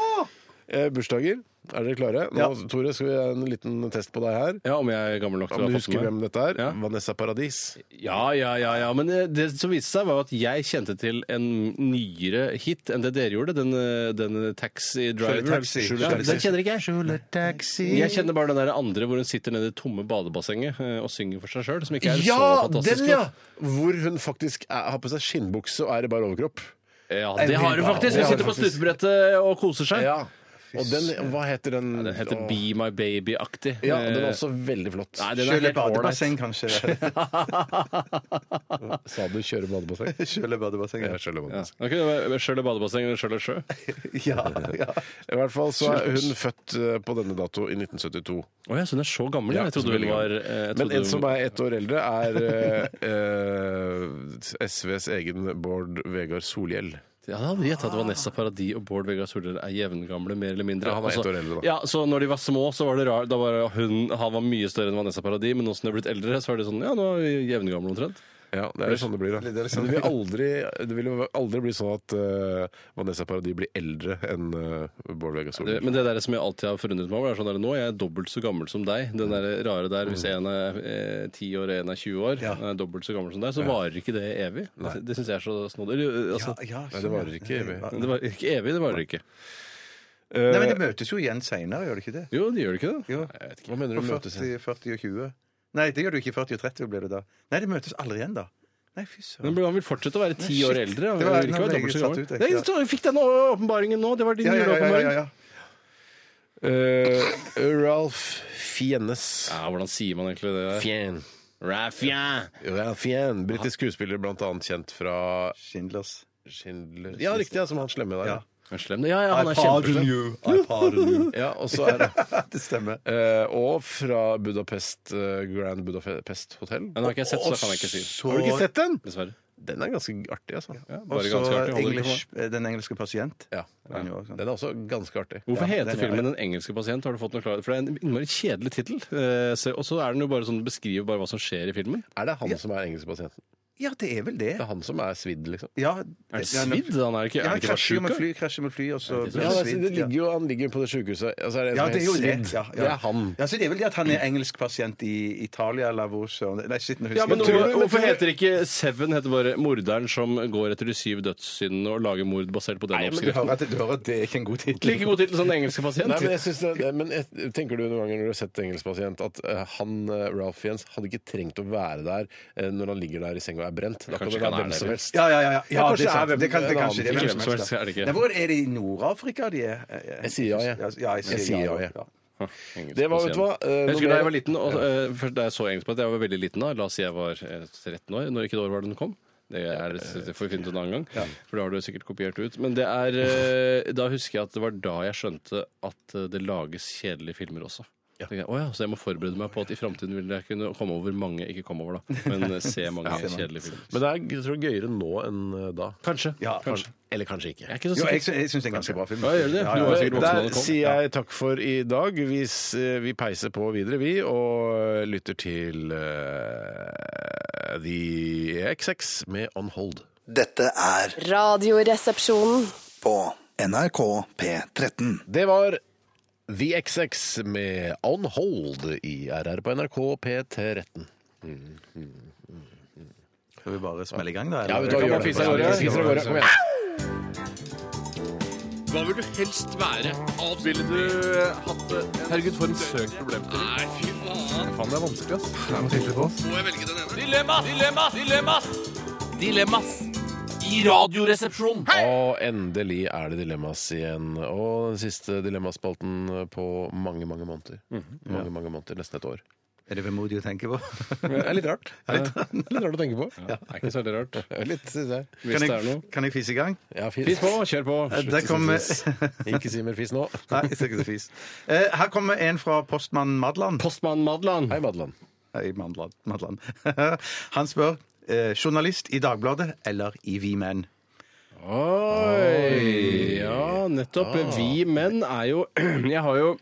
E: Eh, bursdager. Er dere klare? Nå, Tore, skal vi ha en liten test på deg her.
G: Ja, om jeg er gammel nok til å
E: Om du
G: ha fått
E: husker
G: med
E: hvem dette er?
G: Ja.
E: Vanessa Paradis.
G: Ja, ja, ja, ja. Men eh, det som viste seg, var at jeg kjente til en nyere hit enn det dere gjorde. Den, eh, den Taxi Driver.
F: Skjule taxi.
G: Skjule
F: Skjule
G: taxi.
F: taxi.
G: den kjenner ikke jeg. Jeg kjenner bare den der andre hvor hun sitter nede i det tomme badebassenget eh, og synger for seg sjøl. Som ikke er så fantastisk. låt.
E: Hvor hun faktisk er, har på seg skinnbukse og er i bar overkropp.
G: ja, det har hun faktisk!
E: Ja,
G: Hun sitter på
E: faktisk.
G: stupebrettet og koser seg.
E: Og den, hva heter den?
G: Den heter
E: Åh.
G: Be My Baby-aktig.
E: Ja, den er
G: Eh,
E: også veldig flott.
G: Nei, den er
F: Kjøle
G: helt
F: badebasseng,
G: ålreit.
F: kanskje.
E: Sa du kjøre badebasseng?
F: Kjøle badebasseng.
E: Ja, kjøle
G: Ja.
E: badebasseng.
G: Okay, det var Sjøl i badebasseng eller sjøl i sjø? Å
F: Ja, ja.
E: I hvert fall så er hun født eh, på denne dato i 1972.
G: ja, så hun er så gammel? Ja,
E: Ja,
G: jeg trodde hun
E: veldig
G: var eh,
E: gammel.
G: jeg
E: Men
G: trodde
E: en
G: hun-
E: som er ett år eldre, er eh, eh, SVs egen Bård Vegard Solhjell.
G: Ja, da hadde de gjettet at Vanessa Paradis og Bård Vegar Solhjell er jevngamle, mer eller mindre. Altså,
E: Ja, han var ett år eldre, da.
G: Ja, så når de var små, så var det rar. Da var hun, han var mye større enn Vanessa Paradis, men nå som de er blitt eldre, så er det sånn, ja, nå er vi jevngamle omtrent.
E: Ja, det er sånn det blir, da.
F: Det er litt sånn.
E: Men det vil aldri, det vil jo aldri bli sånn at eh, Vanessa Paradis blir eldre enn eh, Bård Vegar
G: Det,
E: Solhjell.
G: men det der som jeg alltid har forundret meg over, er sånn der, nå er jeg dobbelt så gammel som deg. Den der rare der hvis en er eh, 10 år og en er 20 år, en er dobbelt så gammel som deg, så varer ikke det evig. Det, det syns jeg er så snodig. Eller, Altså,
E: Nei, det varer ikke evig.
G: det var ikke evig, det varer ikke. Eh,
F: Nei, men det møtes jo igjen seinere, gjør det ikke det?
G: Jo, det gjør det ikke det.
F: Jo.
G: Nei, jeg vet ikke.
E: Hva mener
F: På
E: du møtes
F: 40, 40 og 20. Nei, det gjør du ikke. 40 og 30 blir det da. Nei, de møtes aldri igjen, da. Nei, fy
G: Men
F: søren.
G: han vil fortsette å være ti
F: Nei,
G: år
F: shit.
G: eldre. Han
F: Det
G: vil
F: var-
G: ikke være
F: nå ble jeg
G: dobbelt så
F: satt
G: gammel.
F: ut, jeg.
G: Nei, så jeg fikk den åpenbaringen nå! Det var din
F: Ja, ja, ja, ja, ja,
G: juleåpenbaring. Ja,
F: ja,
E: Eh, Ralph Fiennes.
G: hvordan sier man egentlig det? der?
E: Fien.
G: Raffia!
E: Ralph Fien. Britisk skuespiller, blant annet kjent fra
F: Schindlers.
E: Schindler Ja, riktig, ja, som han slemme der.
F: Ja.
E: Ja.
G: Er Slem. Ja, ja, han er kjempeslem.
F: you. I pardon you.
E: Ja, og så er det
F: det stemmer.
E: eh, Og fra Budapest eh, Grand Budapest Hotel.
G: Den har ikke jeg sett, så det kan jeg ikke si.
E: Har du ikke sett den?
G: Dessverre.
E: Den er ganske artig, altså.
G: Ja,
F: Og
G: bare
F: så
G: ganske artig. Holder ikke for meg.
F: English- eh, den engelske pasient.
E: Ja.
F: Han gjorde også sånn.
E: Den er også ganske artig.
G: Hvorfor
F: Ja,
G: heter
F: den er-
G: filmen 'Den engelske pasient'? Har du fått noe klarhet? For Det er en innmari kjedelig tittel. Eh, se- Og så er den jo bare sånn, den beskriver bare hva som skjer i filmen.
E: Er det han som er engelskpasienten?
F: Ja, det er vel det.
E: Det er han som er svidd, liksom?
F: Ja,
G: Er det svidd? Han er ikke,
F: Ja,
G: er
F: han
G: ikke bare
F: krasjer jo
G: sjuk,
F: med
G: da?
F: fly, krasjer med fly, og så
G: det er
F: blir
E: Ja,
F: han
E: altså, det
F: svidd.
E: ligger jo, han ligger jo på det sjukehuset. Altså, er det,
F: Ja,
E: en som
F: det er jo
E: helt
F: det.
E: svidd?
F: Ja, ja.
E: Det er han.
F: Ja, så det er vel det at han er engelsk pasient i Italia, eller hvor søren Nei, shit, nå husker
G: Ja, men
F: jeg ikke.
G: hvorfor, hvorfor heter ikke Seven heter bare morderen som går etter de syv dødssyndene og lager mord basert på den
F: Nei, men du hører
G: oppskriften?
F: at det, du hører at det er ikke en god tittel.
G: Like god tittel som Den engelske pasient.
E: Nei, men jeg synes det, det, men jeg, tenker du noen ganger når du har sett engelskpasient, at eh, han eh, Ralph Jens hadde ikke trengt å være der eh, når han ligger der i senga og er brent? Da kan
G: Kanskje
E: det
G: ikke
E: være
G: han
E: hvem
G: er
E: som
G: der.
E: helst.
F: Ja, ja, ja. ja. ja
E: kanskje
F: det er sant.
E: er hvem-
F: Det kan, det
E: en
F: kanskje det er
E: annen.
F: hvem som helst.
G: Er det ikke?
F: Nei, hvor er det i Nord-Afrika de er?
E: Jeg sier ja, jeg.
F: Ja, jeg sier ja, jeg.
G: Engelsk
E: Det var, vet du hva,
G: pasient.
E: eh,
G: Jeg
E: når
G: husker da jeg var
E: dere-
G: liten, og, eh, først da jeg så engelsk på at jeg var veldig liten da, la oss si jeg var eh, 13 år, når ikke det år var den kom. Det, er, det får vi finne ut en annen gang, for det har du sikkert kopiert ut. Men det er, eh, da husker jeg at det var da jeg skjønte at eh, det lages kjedelige filmer også. Tenkte Jeg, «Å ja, så jeg må forberede meg på at i framtiden vil jeg kunne komme over mange, ikke komme over da, men eh, se mange kjedelige filmer.
E: Men det er jeg tror, gøyere nå enn eh, da.
G: Kanskje.
F: Ja,
G: kanskje.
E: Eller kanskje ikke.
G: Jeg er ikke så
F: Jo, jeg,
G: sikker.
F: sy- jeg syns det er en ganske bra film.
G: Ja, gjør du det?
F: Ja,
G: Du
F: ja,
G: var
F: ja.
G: sikkert voksen da
E: Der
G: den kom.
E: sier jeg takk for i dag. Vi, s- eh, vi peiser på videre, vi, og lytter til eh, The XX med On Hold.
J: Dette er
I: Radioresepsjonen.
J: på NRK P13.
E: Det var The XX med On Hold i RR på NRK P13.
F: Skal vi bare smelle i gang, da?
E: Ja,
F: eller?
E: vi tar-
F: Kan man
E: gjør det.
F: fise av gårde?
E: Ja, vi fiser av gårde. Kom igjen.
G: Hva vil du helst være? Ville du eh, hatt det? Herregud, for en søk problemstilling. Nei, fy faen. Faen, det er vanskelig, ass. Må jeg velge den ene?
K: Dilemmas! Dilemmas! Dilemmas! Dilemmas i Radioresepsjonen.
E: Og endelig er det Dilemmas igjen. Og den siste Dilemmaspalten på mange, mange måneder. Mange, mange måneder, Nesten et år.
F: Er det vemodig å tenke på?
E: Det er litt rart. Litt, rart å tenke på.
G: Det er ikke så veldig rart.
E: Litt, synes jeg.
G: Hvis
F: Kan
G: det er
F: jeg,
G: noe.
F: kan jeg fise i gang?
E: Ja,
G: Fis på, kjør på.
F: Eh, Der kommer
E: Ikke si mer fis nå.
F: Nei, jeg skal ikke si fis. Eh, Her kommer en fra postmann Madland.
G: Postmann Madland.
E: Hei, Madeland.
F: Hei, Madland. Madland. Han spør eh, journalist i Dagbladet eller i Vi Menn.
G: Oi! Ja, nettopp. Vi menn er jo Jeg har jo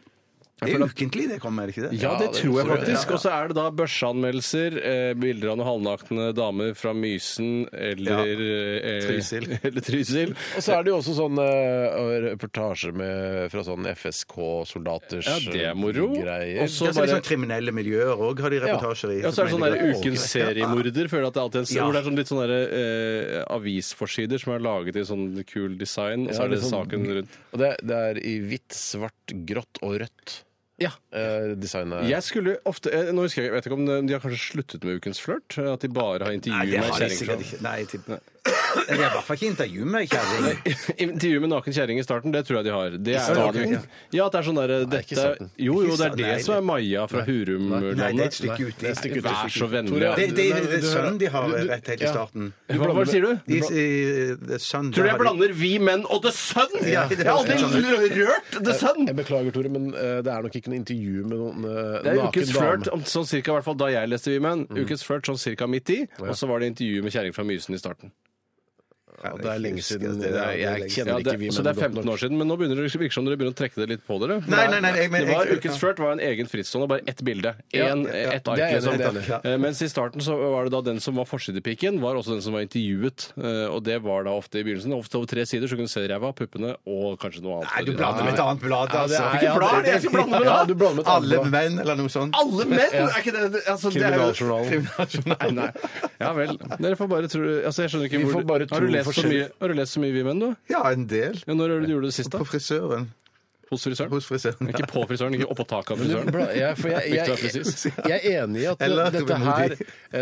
F: Det er ukentlig det kommer, er det ikke det?
G: Ja, det, tror jeg
F: jeg.
G: faktisk. Og så er det da børseanmeldelser, eh, bilder av noen halvnakne damer fra Mysen eller eh,
F: Trysil.
G: Eller Trysil.
E: Og så er det jo også sånne eh, reportasjer med, fra sånn FSK-soldaters
G: Ja, det er moro.
E: greier.
G: Og så
F: Ja, så
G: bare
F: liksom kriminelle miljøer òg har de reportasjer i.
G: Ja, så er det sånn der
F: mener jeg-
G: Ukens seriemorder. Føler jeg at det alltid er en
F: Ja.
G: hvor det er sånn litt sånn der, eh, avisforsider som er laget i sånn kul design, og så
E: Ja,
G: er det
E: litt sånn-
G: saken rundt.
E: Og det, det er i hvitt, svart, grått og rødt.
G: Ja.
E: Eh, designet
G: Jeg skulle jo ofte eh, Nå husker jeg, jeg vet ikke om de de har kanskje sluttet med Ukens flørt? eh, At de bare har
F: Nei,
G: intervju
F: det
G: med
F: har de sikkert
G: kjerring?
F: ikke. Nei, jeg tipper- Jeg har i hvert fall ikke intervju med kjerring.
G: Intervju med naken kjerring i starten, det tror jeg de har. Det er
F: starten, ja.
G: Ja, at det er sånn derre
E: ikke
G: dette
E: starten.
G: Jo,
F: Ikke
G: jo, det
F: starten,
G: er det
F: nei,
G: som
F: det-
G: er Maja fra
F: Nei, det er et
G: Hurumlandet.
F: stykke ut. Det er et stykke ut.
G: Vær så vennlig.
E: Tore,
F: Det, det, det, det, er
E: Du hører-
F: sønnen de har
E: du- du-
F: rett helt i
E: ja.
F: starten.
G: Hva, hva sier du?
F: De, i- det er sønnen
G: Tror du
F: der
G: jeg
F: har de-
G: blander Vi Menn og The Sun?
F: Ja, det
G: jeg har
F: høres
G: aldri rørt The Sun!
E: Jeg beklager, Tore, men eh, det er nok ikke noe intervju med noen eh,
G: Det er
E: naken
G: ukens flørt,
E: dame.
G: om- sånn cirka, i hvert fall da Mm. jeg leste Vi Menn. Ukens flørt sånn cirka midt i, og så var det intervju med kjerring fra Mysen i starten.
E: Ja, det er lenge siden.
F: Det er-
E: Jeg
G: Ja,
E: kjenner
G: det,
E: ikke vi
G: så det er 15 år siden, men nå begynner det virker som dere begynner å trekke det litt på dere.
F: Nei, nei, nei, jeg- men-
G: det var
F: jeg-
G: Ukens flørt var en egen frittstående, bare ett bilde.
E: Ja,
G: En,
E: ja,
G: ett
E: det
G: ark,
E: er jeg enig i, det er
G: liksom.
E: jeg enig
G: Eh, Mens i starten så var det da den som var forsidepiken, var også den som var intervjuet. eh, Og det var da ofte i begynnelsen. Ofte over tre sider, så kunne du se ræva, puppene og kanskje noe annet.
F: Nei, du blander med et annet blad.
E: Ja, det
F: Altså.
E: er-
F: Hvilket blad er det jeg skal blande med, da?
E: Ja, du blander med et annet
F: Alle
E: blad.
F: menn, eller noe sånt.
E: Alle menn!
F: Er ikke det, altså, det er jo-
E: Kriminaljournalen.
F: Kriminaljournalen.
G: Nei. Ja vel. Dere får bare tro Altså, jeg skjønner ikke
E: Vi
G: hvor
E: får
G: du-
E: bare
G: har, du
E: tro
G: lest så
E: forskjellig.
G: mye, har du lest så mye Vi menn, du?
F: Ja, en del.
G: Ja, når er det du gjorde det sist, da?
F: På frisøren.
G: Hos frisøren?
F: Hos frisøren.
G: Ikke på frisøren, ikke oppå taket av
E: Men
G: frisøren.
E: du bla- Jeg, for jeg,
G: Viktig å
E: jeg,
G: være presis.
E: jeg, er enig i at det,
F: Eller
E: dette her, eh,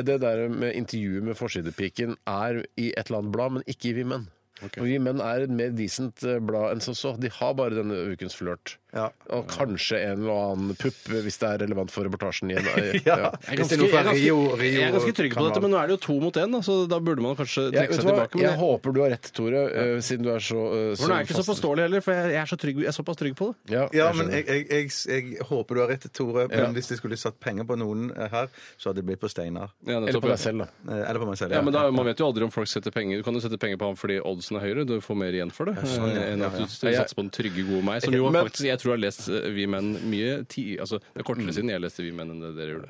F: vemodig.
E: det der med intervjuet med forsidepiken, er i et eller annet blad, men ikke i Vi menn. For Vi menn er et mer decent eh, blad enn som så. De har bare denne ukens flørt.
F: Ja.
E: Og kanskje en eller annen pupp, hvis det er relevant for reportasjen igjen. Eh,
F: Ja.
G: Jeg er
F: Hvis
G: ganske,
F: det er noe fra
G: jeg er ganske-
F: Rio- Rio-
G: jeg er ganske trygg på
F: kanal.
G: dette, men nå er det jo to mot én, da, så da burde man kanskje
E: Jeg,
G: trekke
E: vet
G: seg
E: du hva?
G: tilbake. Men
E: jeg
G: jeg,
E: håper du har rett, Tore, eh, siden du er så, eh,
G: for nå er jeg ikke så
E: fast-
G: påståelig heller, for jeg, jeg, er så trygg, jeg er såpass trygg på det.
E: Ja,
F: Ja,
E: jeg
F: men
E: skjønner.
F: jeg, jeg, jeg, jeg håper du har rett, Tore. Men
E: Ja.
F: hvis jeg skulle satt penger på noen eh, her, så hadde det blitt på Steinar.
G: Ja, nettopp,
E: Eller på
G: ja.
E: deg selv, da.
F: Eh, Eller på meg selv.
G: Ja, men da, Man vet jo aldri om folk setter penger. Du kan jo sette penger på ham fordi oddsen er høyere. Du får mer igjen for det.
F: sånn, ja.
G: eh, Enn at du
E: Ja, ja.
G: satser på den trygge, gode meg, som jo
E: Men-
G: faktisk jeg tror har lest eh, Vi menn mye ti, altså, Det er kortere siden jeg leste Vi menn enn det dere gjorde.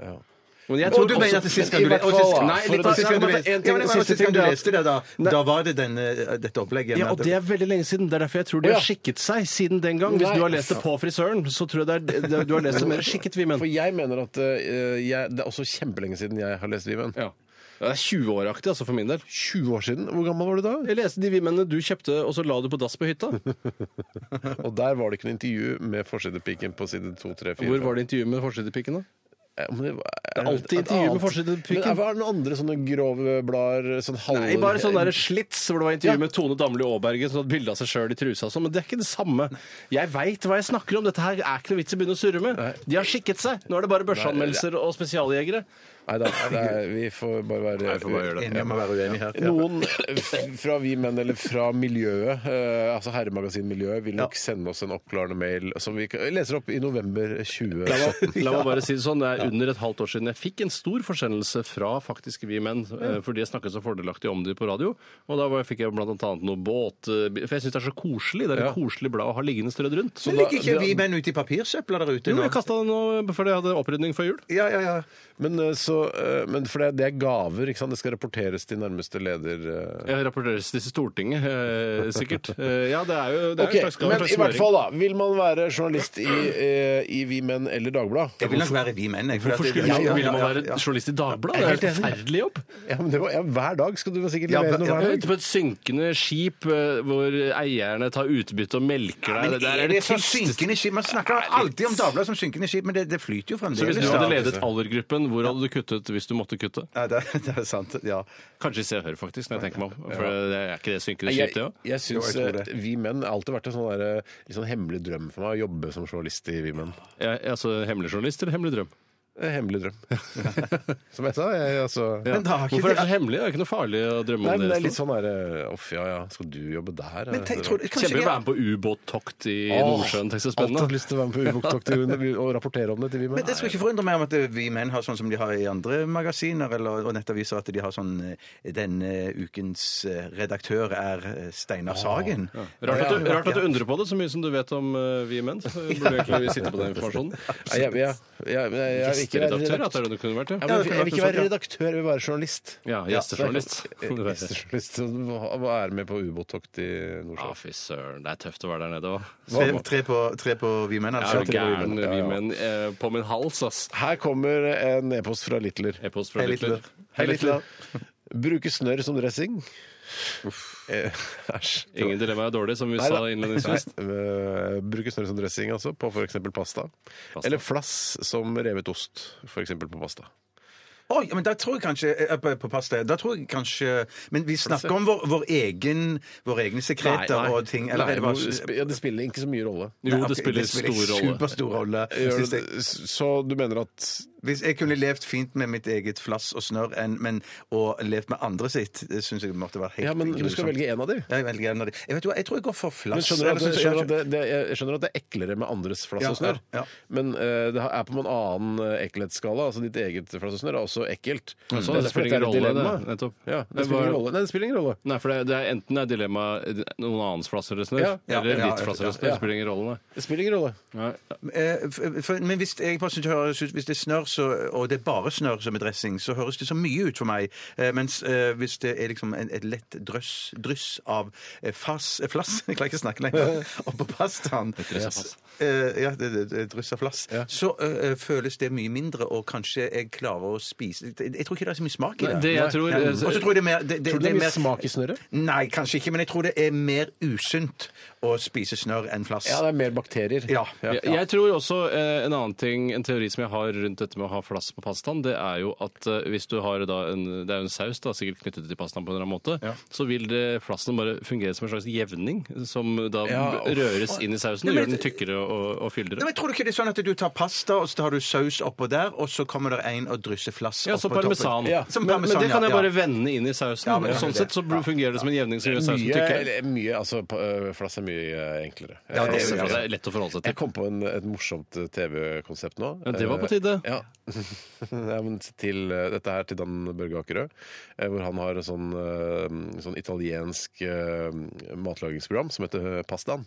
G: Men jeg
F: Mm. Og du
G: også-
F: mener at sist gang
E: Men
F: du
E: i hvert
F: leste og
E: fall,
F: sist-
E: da,
F: Nei,
E: for
F: litt
E: å
F: av-
E: si-
F: siste gang du
G: men
F: leste-
G: en ting-
F: Ja, men
G: siste
F: sist gang
G: ting
F: du
G: er at-
F: leste det, da
G: Nei.
F: Da var det denne, dette
G: Ja,
F: opplegget. med
G: og
F: at-
G: det er veldig lenge siden. Det er derfor jeg tror de
E: Å, ja.
G: har skikket seg siden den gang. Hvis
E: Nei.
G: du har lest det på frisøren, så tror jeg det er, det, du har lest det mer skikket, vi menn.
E: For jeg mener at eh, jeg, det er også kjempelenge siden jeg har lest Vi menn.
G: Ja. Det er 20-åraktig, altså, for min del.
E: 20 år siden? Hvor gammel var du da?
G: Jeg leste de vi-mennene du kjøpte, og så la du på dass på hytta.
E: Og der var det ikke noe intervju med forsidepiken på side 2, 3, 4.
G: Hvor var det intervjuet med forsidepikken, da?
E: Eh, det?
G: er alltid intervju med forsidepiken.
E: Men Var det noen andre sånne grove blader? Sånn halv...
G: Nei, bare sånn der slits hvor det var intervju
E: Ja.
G: med Tone Damli Aaberge som hadde bilde av seg sjøl i trusa og sånn, men det er ikke det samme. Jeg veit hva jeg snakker om, dette her er ikke noe vits i å begynne å surre med. De har skikket seg. Nå er det bare børseanmeldelser og spesialjegere.
E: Nei, da, nei, vi får bare være
G: vi får bare gjøre det.
F: Enig om å være uenig her.
E: Noen f- fra Vi Menn eller fra miljøet, eh, altså herremagasinmiljøet, vil nok sende oss en oppklarende mail som vi kan- leser opp i november 2017.
G: La meg bare si det sånn, det er under et halvt år siden jeg fikk en stor forsendelse fra faktisk Vi Menn, eh, fordi jeg snakket så fordelaktig om de på radio. Og da var- fikk jeg blant annet noe båt... eh, For jeg syns det er så koselig. Det er
E: Ja.
G: et koselig blad å ha liggende strødd rundt.
F: Men ligger ikke vi menn ute i papirsøpla der ute
G: jo,
F: nå?
G: jeg kasta det nå fordi jeg hadde opprydning før jul.
F: Ja, ja, ja.
E: Men, eh, så, eh, men for det, det er gaver, ikke sant? Det skal rapporteres til nærmeste leder. eh,
G: Jeg rapporteres til Stortinget, eh, sikkert. Eh, ja, det er jo det er
E: Ok,
G: en slags, en
E: men
G: slags
E: i hvert
G: smøring.
E: fall da, vil man være journalist i, eh, i Vi Menn eller Dagbladet?
F: Jeg vil nok være vi menn. jeg, for
G: Hvorfor
F: at-
G: skulle
F: Ja,
G: man,
F: ja,
G: ville man
F: ja,
G: være
F: ja.
G: journalist i Dagbladet?
E: Jeg
G: Det er
E: er
G: en
E: helt enig.
G: forferdelig jobb.
E: Ja, men det var, ja, hver dag skal du sikkert
F: Ja,
E: levere noe
F: ja,
E: hver
G: Ute
E: dag.
G: på et synkende skip eh, hvor eierne tar utbytte og melker deg.
F: Men
G: Det der
F: er det sånn
G: tristeste-
F: synkende skip? Man snakker alltid om Dagbladet som synkende skip, men det, det flyter jo
G: Så
F: fremdeles.
G: hvis du hadde
F: da.
G: ledet aldergruppen, hvor hadde du kuttet hvis du måtte kutte?
F: Ja, det, det er sant. Ja.
G: Kanskje i Se og Hør, faktisk, når jeg tenker meg om. For det er ikke det synkende
E: Jeg,
G: skip, det òg.
E: jeg syns
F: Jo, jeg tror det.
E: eh, Vi Menn har alltid vært en sånn der, eh, litt sånn hemmelig drøm for meg, å jobbe som journalist i Vi Menn.
G: Ja, altså hemmelig journalist eller hemmelig drøm?
E: Eh, Hemmelig drøm. Som jeg sa, jeg altså
F: Men da har ikke
G: Hvorfor er det
F: de-
G: så hemmelig? Det er ikke noe farlig å drømme
E: Nei,
G: om
E: men det
G: det.
E: er litt
G: Sånn.
E: sånn derre Uff, ja ja, skal du jobbe der?
F: Men tenk, tror du- kanskje
G: Kjempegøy å
F: ikke-
G: være med på ubåttokt i Nordsjøen. Tenk så
E: Alt har
G: spennende.
E: lyst til å være med på ubåttokt og rapportere om det til Vi
F: Men
E: Menn.
F: det skal ikke forundre meg om at eh, vi menn har sånn som de har i andre magasiner eller, og nettaviser, at de har sånn eh, 'Denne ukens eh, redaktør er eh, Steinar Sagen'. Eh,
G: Rart at, du, rart at du undrer på det, så mye som du vet om eh, vi menn. Så burde vi egentlig sitte på den informasjonen.
E: Nei, jeg, jeg, jeg, jeg, jeg, vil ikke være
G: Gjesteredaktør, at
E: redaktør.
G: det er det du kunne vært,
E: Ja,
G: ja.
E: men Jeg vil ikke være redaktør, jeg vil være journalist.
G: Ja, gjestejournalist.
E: Gjestejournalist som var- er med på ubåttokt i
G: Ja,
E: Nordsjøen.
G: fy søren, det er tøft å være der nede òg.
F: Tre, tre, på, tre på vi menn,
G: Jeg er
F: altså.
G: jo
F: Tre på
G: gæren
E: Ja,
G: vi
E: ja.
G: menn eh, på min hals, ass.
E: Her kommer en e-post fra Littler.
G: E-post
F: Hei,
G: fra Littler.
F: Littler.
G: Hei, Littler.
E: Bruke snørr som dressing? Eh, Æsj.
G: Ingen dilemma er dårlig, som vi
E: Nei da.
G: sa innledningsvis.
E: Nei, eh, Bruke snørr som dressing, altså, på f.eks. pasta.
G: Pasta.
E: Eller flass som revet ost, f.eks. på pasta.
F: Oi, men da tror jeg kanskje eh, på, på pasta, da tror jeg kanskje Men vi snakker om vår, vår egen våre egne sekreter
G: Nei, nei.
F: og ting Eller er det
E: Nei,
F: bare
E: hvor- ja, det spiller ikke så mye rolle.
G: Jo,
F: Nei, ok,
G: det spiller stor rolle.
F: Superstor rolle.
E: Gjør
F: synes jeg.
E: det- Så du mener at
F: Hvis jeg kunne levd fint med mitt eget flass og snørr, enn- men og levd med andre sitt, det syns jeg måtte vært helt
E: Ja, men du skal
F: grusomt.
E: velge en av de.
F: Ja, Jeg velger en av de. Jeg vet hva, jeg tror jeg går for flass.
E: Men skjønner du
F: Eller
E: at,
F: så-
E: skjønner du at det, det, jeg skjønner at det er eklere med andres flass
F: Ja,
E: og snørr,
F: ja, ja.
E: men eh, det er på en annen eh, ekkelhetsskala. Altså ditt eget flass og snørr er også ekkelt. Mm.
G: Så
E: Det
G: det
E: er derfor
G: spiller ingen
E: dette er et
G: rolle.
E: dilemma.
G: Det, nettopp.
E: Ja, det,
G: Det
E: spiller
G: var-
E: ingen rolle. Nei, det spiller ingen rolle.
G: Nei, for det, det er enten er dilemma eh, noen annens flasser eller snørr,
E: Ja,
F: ja,
G: eller
F: ja,
G: ditt flasser
F: ja,
G: eller snørr. Det
E: ja.
G: Spiller ingen rolle, nei.
E: Det spiller ingen rolle.
G: nei.
F: Eh, f- for, men hvis, jeg bare synes det høres ut, hvis det er snørr, så- og det er bare snørr som er dressing, så høres det så mye ut for meg. Eh, mens eh, hvis det er liksom en, et lett drøss, dryss av eh, fass, eh, flass Jeg klarer ikke å snakke lenger. Oppå pastaen.
G: dryss av fass.
F: Eh, ja, det, det, det, dryss av flass. Så eh, eh, føles det mye mindre, og kanskje jeg klarer å spise Jeg, jeg tror ikke det er så mye smak i det.
G: Nei, det jeg tror-
F: Nei. Og så tror jeg det er mer det,
E: Tror du det er
F: mer-
E: mye smak i snørret?
F: Nei, kanskje ikke, men jeg tror det er mer usunt å spise snørr enn flass.
E: Ja, det er mer bakterier.
F: Ja, ja,
G: Jeg, jeg tror også eh, en annen ting, en teori som jeg har rundt dette med å ha flass på pastaen, det er jo at eh, hvis du har da en, det er jo en saus da, sikkert knyttet til pastaen på en eller annen måte, så vil det, flassen bare fungere som en slags jevning, som da
E: Ja, uff.
G: røres inn i sausen og gjør den tykkere og, og
F: Nei,
G: fyldigere.
F: men Tror du ikke det er sånn at du tar pasta, og så har du saus oppå der, og så kommer det en og drysser flass
G: Ja,
F: oppå
G: så parmesan.
F: toppen?
E: Ja,
F: Som
G: men, men
F: parmesan,
G: det kan jeg
F: ja, ja.
G: bare vende inn i sausen,
F: Ja,
G: og
F: men det er
G: sånn
F: det.
G: sett så bl- fungerer det som en jevning som gjør sausen
E: Mye,
G: tykkere.
E: mye altså, pa- øh, flass er mye øh, enklere.
G: Ja,
E: Jeg-
G: det,
F: ja, ja.
G: det er lett å forholde seg
E: Jeg
G: til.
E: kom på en, et morsomt eh, TV-konsept nå.
G: Ja, det var på
E: Eh,
G: tide.
E: Ja. ja men til, eh, dette her til Dan Børge Akerø, eh, hvor han har en sånn, eh, sånn italiensk eh, matlagingsprogram som heter eh, Pastaen.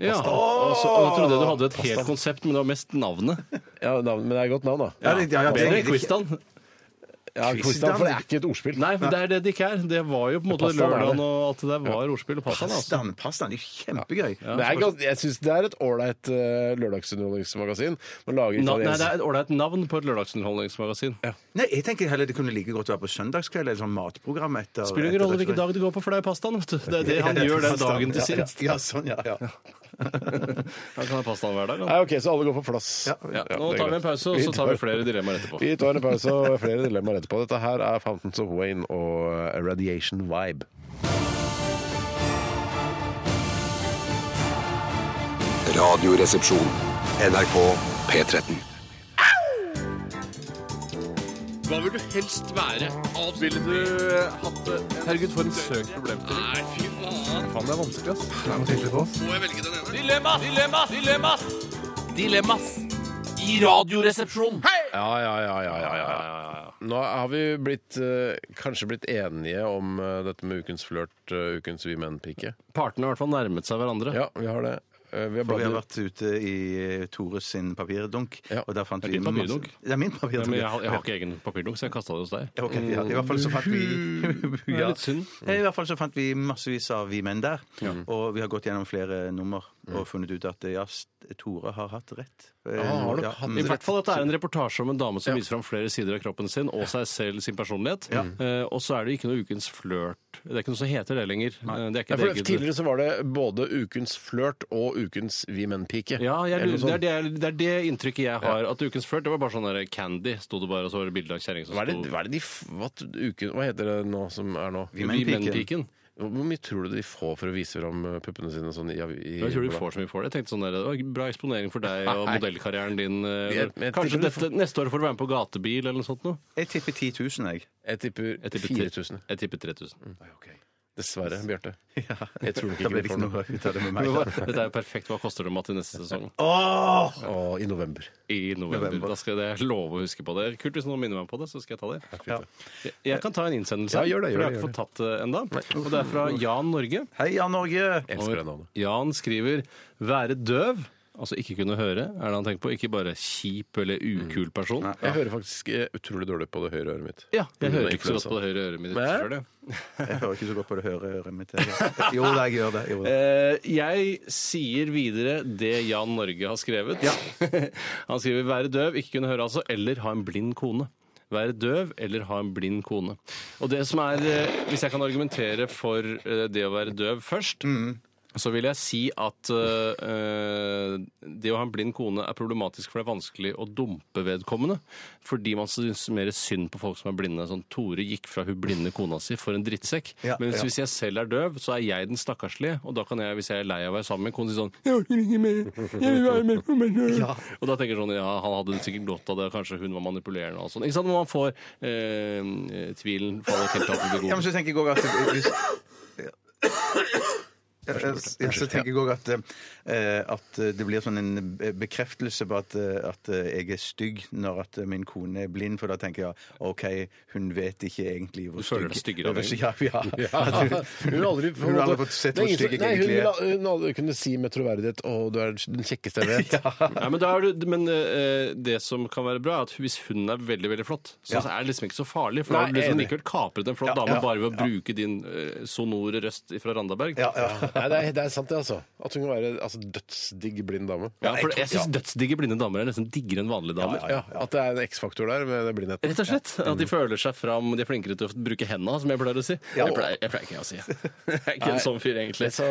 G: Ja, og så, og jeg trodde du hadde et helt konsept, men det var mest navnet.
E: Ja, navn, men det er et godt navn, da.
F: Ja, det- ja, ja, det-
G: Bedre
F: det-
G: enn Quistan.
E: Ja, Quizdan, for det er ikke et ordspill.
G: Nei, men det er det det ikke er. Det var jo på en måte
E: Pastaen er det.
G: lørdagen og alt det der var ordspill og pastaen. Altså.
F: Pastaen, pastaen, det er jo kjempegøy.
E: Det er gans- jeg syns det er et ålreit eh, lørdagsunderholdningsmagasin. Man lager
G: Na, nei, det
E: italiensk
G: er et ålreit navn på et lørdagsunderholdningsmagasin.
F: Nei, jeg tenker heller det kunne like godt være på søndagskveld, eller sånn matprogram etter
G: Spiller ingen rolle hvilken dag det går på, for det er pastaen. vet du. Det er det han gjør den dagen til sin.
F: Ja, sånn, ja. ja.
G: Han kan ha pastaen hver dag.
E: Nei,
G: Han.
E: OK, så alle går for plass.
F: Ja,
G: Ja,
E: Ja,
G: nå
E: det
G: tar vi
E: er
G: en
E: greit.
G: pause, og så tar vi flere dilemmaer etterpå.
E: Vi tar en pause og flere dilemmaer etterpå. Dette her er Fountains of Wayne og eh, Radiation Vibe.
A: Radioresepsjon. NRK P13.
K: Hva vil du helst være? Ville du hatt det? Herregud, for en søk problem til. Nei, fy faen. Faen, det er vanskelig, ass. Det er noe tydelig på oss. Må jeg velge den ene? Dilemmas! Dilemmas! Dilemmas! Dilemmas! I radioresepsjonen. Hei!
E: Ja, ja, ja, ja, ja, ja, ja. Nå har vi blitt, eh, kanskje blitt enige om eh, dette med ukens flørt, eh, ukens vi menn-pike.
G: Partene har i hvert fall nærmet seg hverandre.
E: Ja, vi har det. Eh, vi har
F: Og vi har
E: bladd
F: vært ute i Tores sin papirdunk,
E: Ja.
F: og der fant
G: Det er
F: vi
G: din
F: masse-
G: papirdunk.
F: Det er min
G: Ja,
F: papirdunk.
G: men jeg, har- jeg har ikke egen papirdunk, så jeg kasta det hos deg.
F: Ok, ja. I hvert fall så fant vi
G: Det er litt synd.
F: Eh, I hvert fall så fant vi massevis av Vi menn der. Og vi har gått gjennom flere nummer og funnet ut at ja, s- Tore har hatt rett. Eh,
E: han har nok hatt
F: mm.
G: I hvert fall at det er en reportasje om en dame som viser fram flere sider av kroppen sin og seg selv, sin personlighet. Eh, og så er det ikke noe ukens flørt. Det er ikke noe som heter det lenger. Eh, Det er
E: Ja,
G: ikke
E: for
G: det eget-
E: tidligere så var det både ukens flørt og ukens vi menn-pike.
G: Ja, jeg, lurer-
E: Eller sånn. noe sånt.
G: det, er det, det er det inntrykket jeg har. At ukens flørt det var bare sånn der candy, sto det bare, og så var det bilde av kjerring som
E: Hva er det,
G: sto
E: hva er det de f- hva, t- uke, hva heter det nå som er nå?
F: Vi menn piken.
G: piken.
E: Hvor mye tror du de får for å vise fram eh, puppene sine sånn i, i
G: Jeg tror du får så mye for det. Jeg tenkte sånn der, det var Bra eksponering for deg og
E: Nei.
G: modellkarrieren din. eh,
E: Jeg- jeg
G: Kanskje
E: tipper du
G: dette, neste år får du være med på gatebil eller noe sånt noe?
F: Jeg tipper 10 000, jeg.
E: Jeg tipper,
G: Jeg tipper
E: 4000.
G: Jeg tipper
E: Mm.
G: 3000.
E: Dessverre, Bjarte. Jeg tror nok
F: Da
E: ikke
F: blir
E: vi
F: det
E: får
F: ikke
E: noe.
F: noe ut av det med
G: Men
F: meg.
G: hva- Dette er jo perfekt. Hva koster det meg til neste sesong?
E: Å, I november.
G: I november.
F: November.
G: Da skal jeg- jeg love å huske på det. Kult hvis noen minner meg på det, så skal jeg ta det.
E: Ja.
G: Jeg, jeg kan ta en innsendelse,
E: Ja, gjør det, gjør
G: for jeg har ikke
E: det, gjør
G: fått tatt det enda. Og det er fra Jan Norge.
F: Hei, Jan Norge!
E: Elsker det navnet.
G: Jan skriver 'være døv'. Altså ikke kunne høre, er det han tenker på. Ikke bare kjip eller ukul
E: Mm.
G: person.
E: Jeg hører faktisk eh, utrolig dårlig på det høyre øret mitt.
G: Ja, jeg
E: Under
G: hører ikke så godt
E: influensa.
G: på det høyre øret mitt.
E: Nei.
G: selv, jeg.
F: Jeg hører ikke så godt på det høre øret mitt. jeg. Jo da, jeg gjør det. Jo, da.
G: Eh, jeg sier videre det Jan Norge har skrevet. Han skriver 'være døv, ikke kunne høre altså', eller 'ha en blind kone'. Være døv eller ha en blind kone. Og det som er, eh, Hvis jeg kan argumentere for eh, det å være døv først så vil jeg si at eh, det å ha en blind kone er problematisk, for det er vanskelig å dumpe vedkommende. Fordi man syns mer synd på folk som er blinde. Sånn, Tore gikk fra hun blinde kona si for en drittsekk.
F: Ja,
G: Men hvis,
F: ja.
G: hvis jeg selv er døv, så er jeg den stakkarslige. Og da kan jeg, hvis jeg er lei av å være sammen med konen, si sånn jeg orker ikke mer, jeg vil være med på meg selv». Og da tenker jeg sånn Ja, han hadde sikkert godt av det, kanskje hun var manipulerende og alt sånt. Ikke sant? Når man får eh, tvilen faller helt av til det
F: Ja, men
G: gode.
F: så tenker jeg også at hvis... Ja, ja, så tenker jeg også at, eh, at det blir sånn en bekreftelse på at, eh, at jeg er stygg når at eh, min kone er blind, for da tenker jeg OK, hun vet ikke egentlig hvor
G: Du føler deg
F: stygg
G: styggere av det.
F: Ja, ja. At
E: Ja, Hun har aldri,
F: hun har aldri fått sett
E: Det er
F: hvor
E: ingen som-
F: stygg jeg
E: nei, hun
F: egentlig
E: vil
F: er.
E: al- Hun har aldri kunne si med troverdighet 'Å, du er den kjekkeste jeg vet'.
G: Nei, men, da er du, men eh, det som kan være bra, er at hvis hun er veldig veldig flott, så er det liksom ikke så farlig. For da
E: Nei,
G: har du liksom
E: enig.
G: likevel kapret en flott
F: Ja,
G: dame
F: ja,
G: bare ved å bruke din eh, sonore røst fra Randaberg.
F: Ja, ja.
E: Nei, det er, det er sant, det, altså. At hun kan være altså, dødsdigg blind dame.
G: Ja, for jeg syns dødsdigge blinde damer er nesten diggere enn vanlige damer.
E: Ja, At det er en X-faktor der med den blindheten.
G: Rett og slett. At de føler seg fram, de er flinkere til å bruke hendene, som jeg pleier å si. Jeg, pleier, jeg pleier ikke å si. Jeg er ikke en sånn fyr, egentlig.
E: Det sa,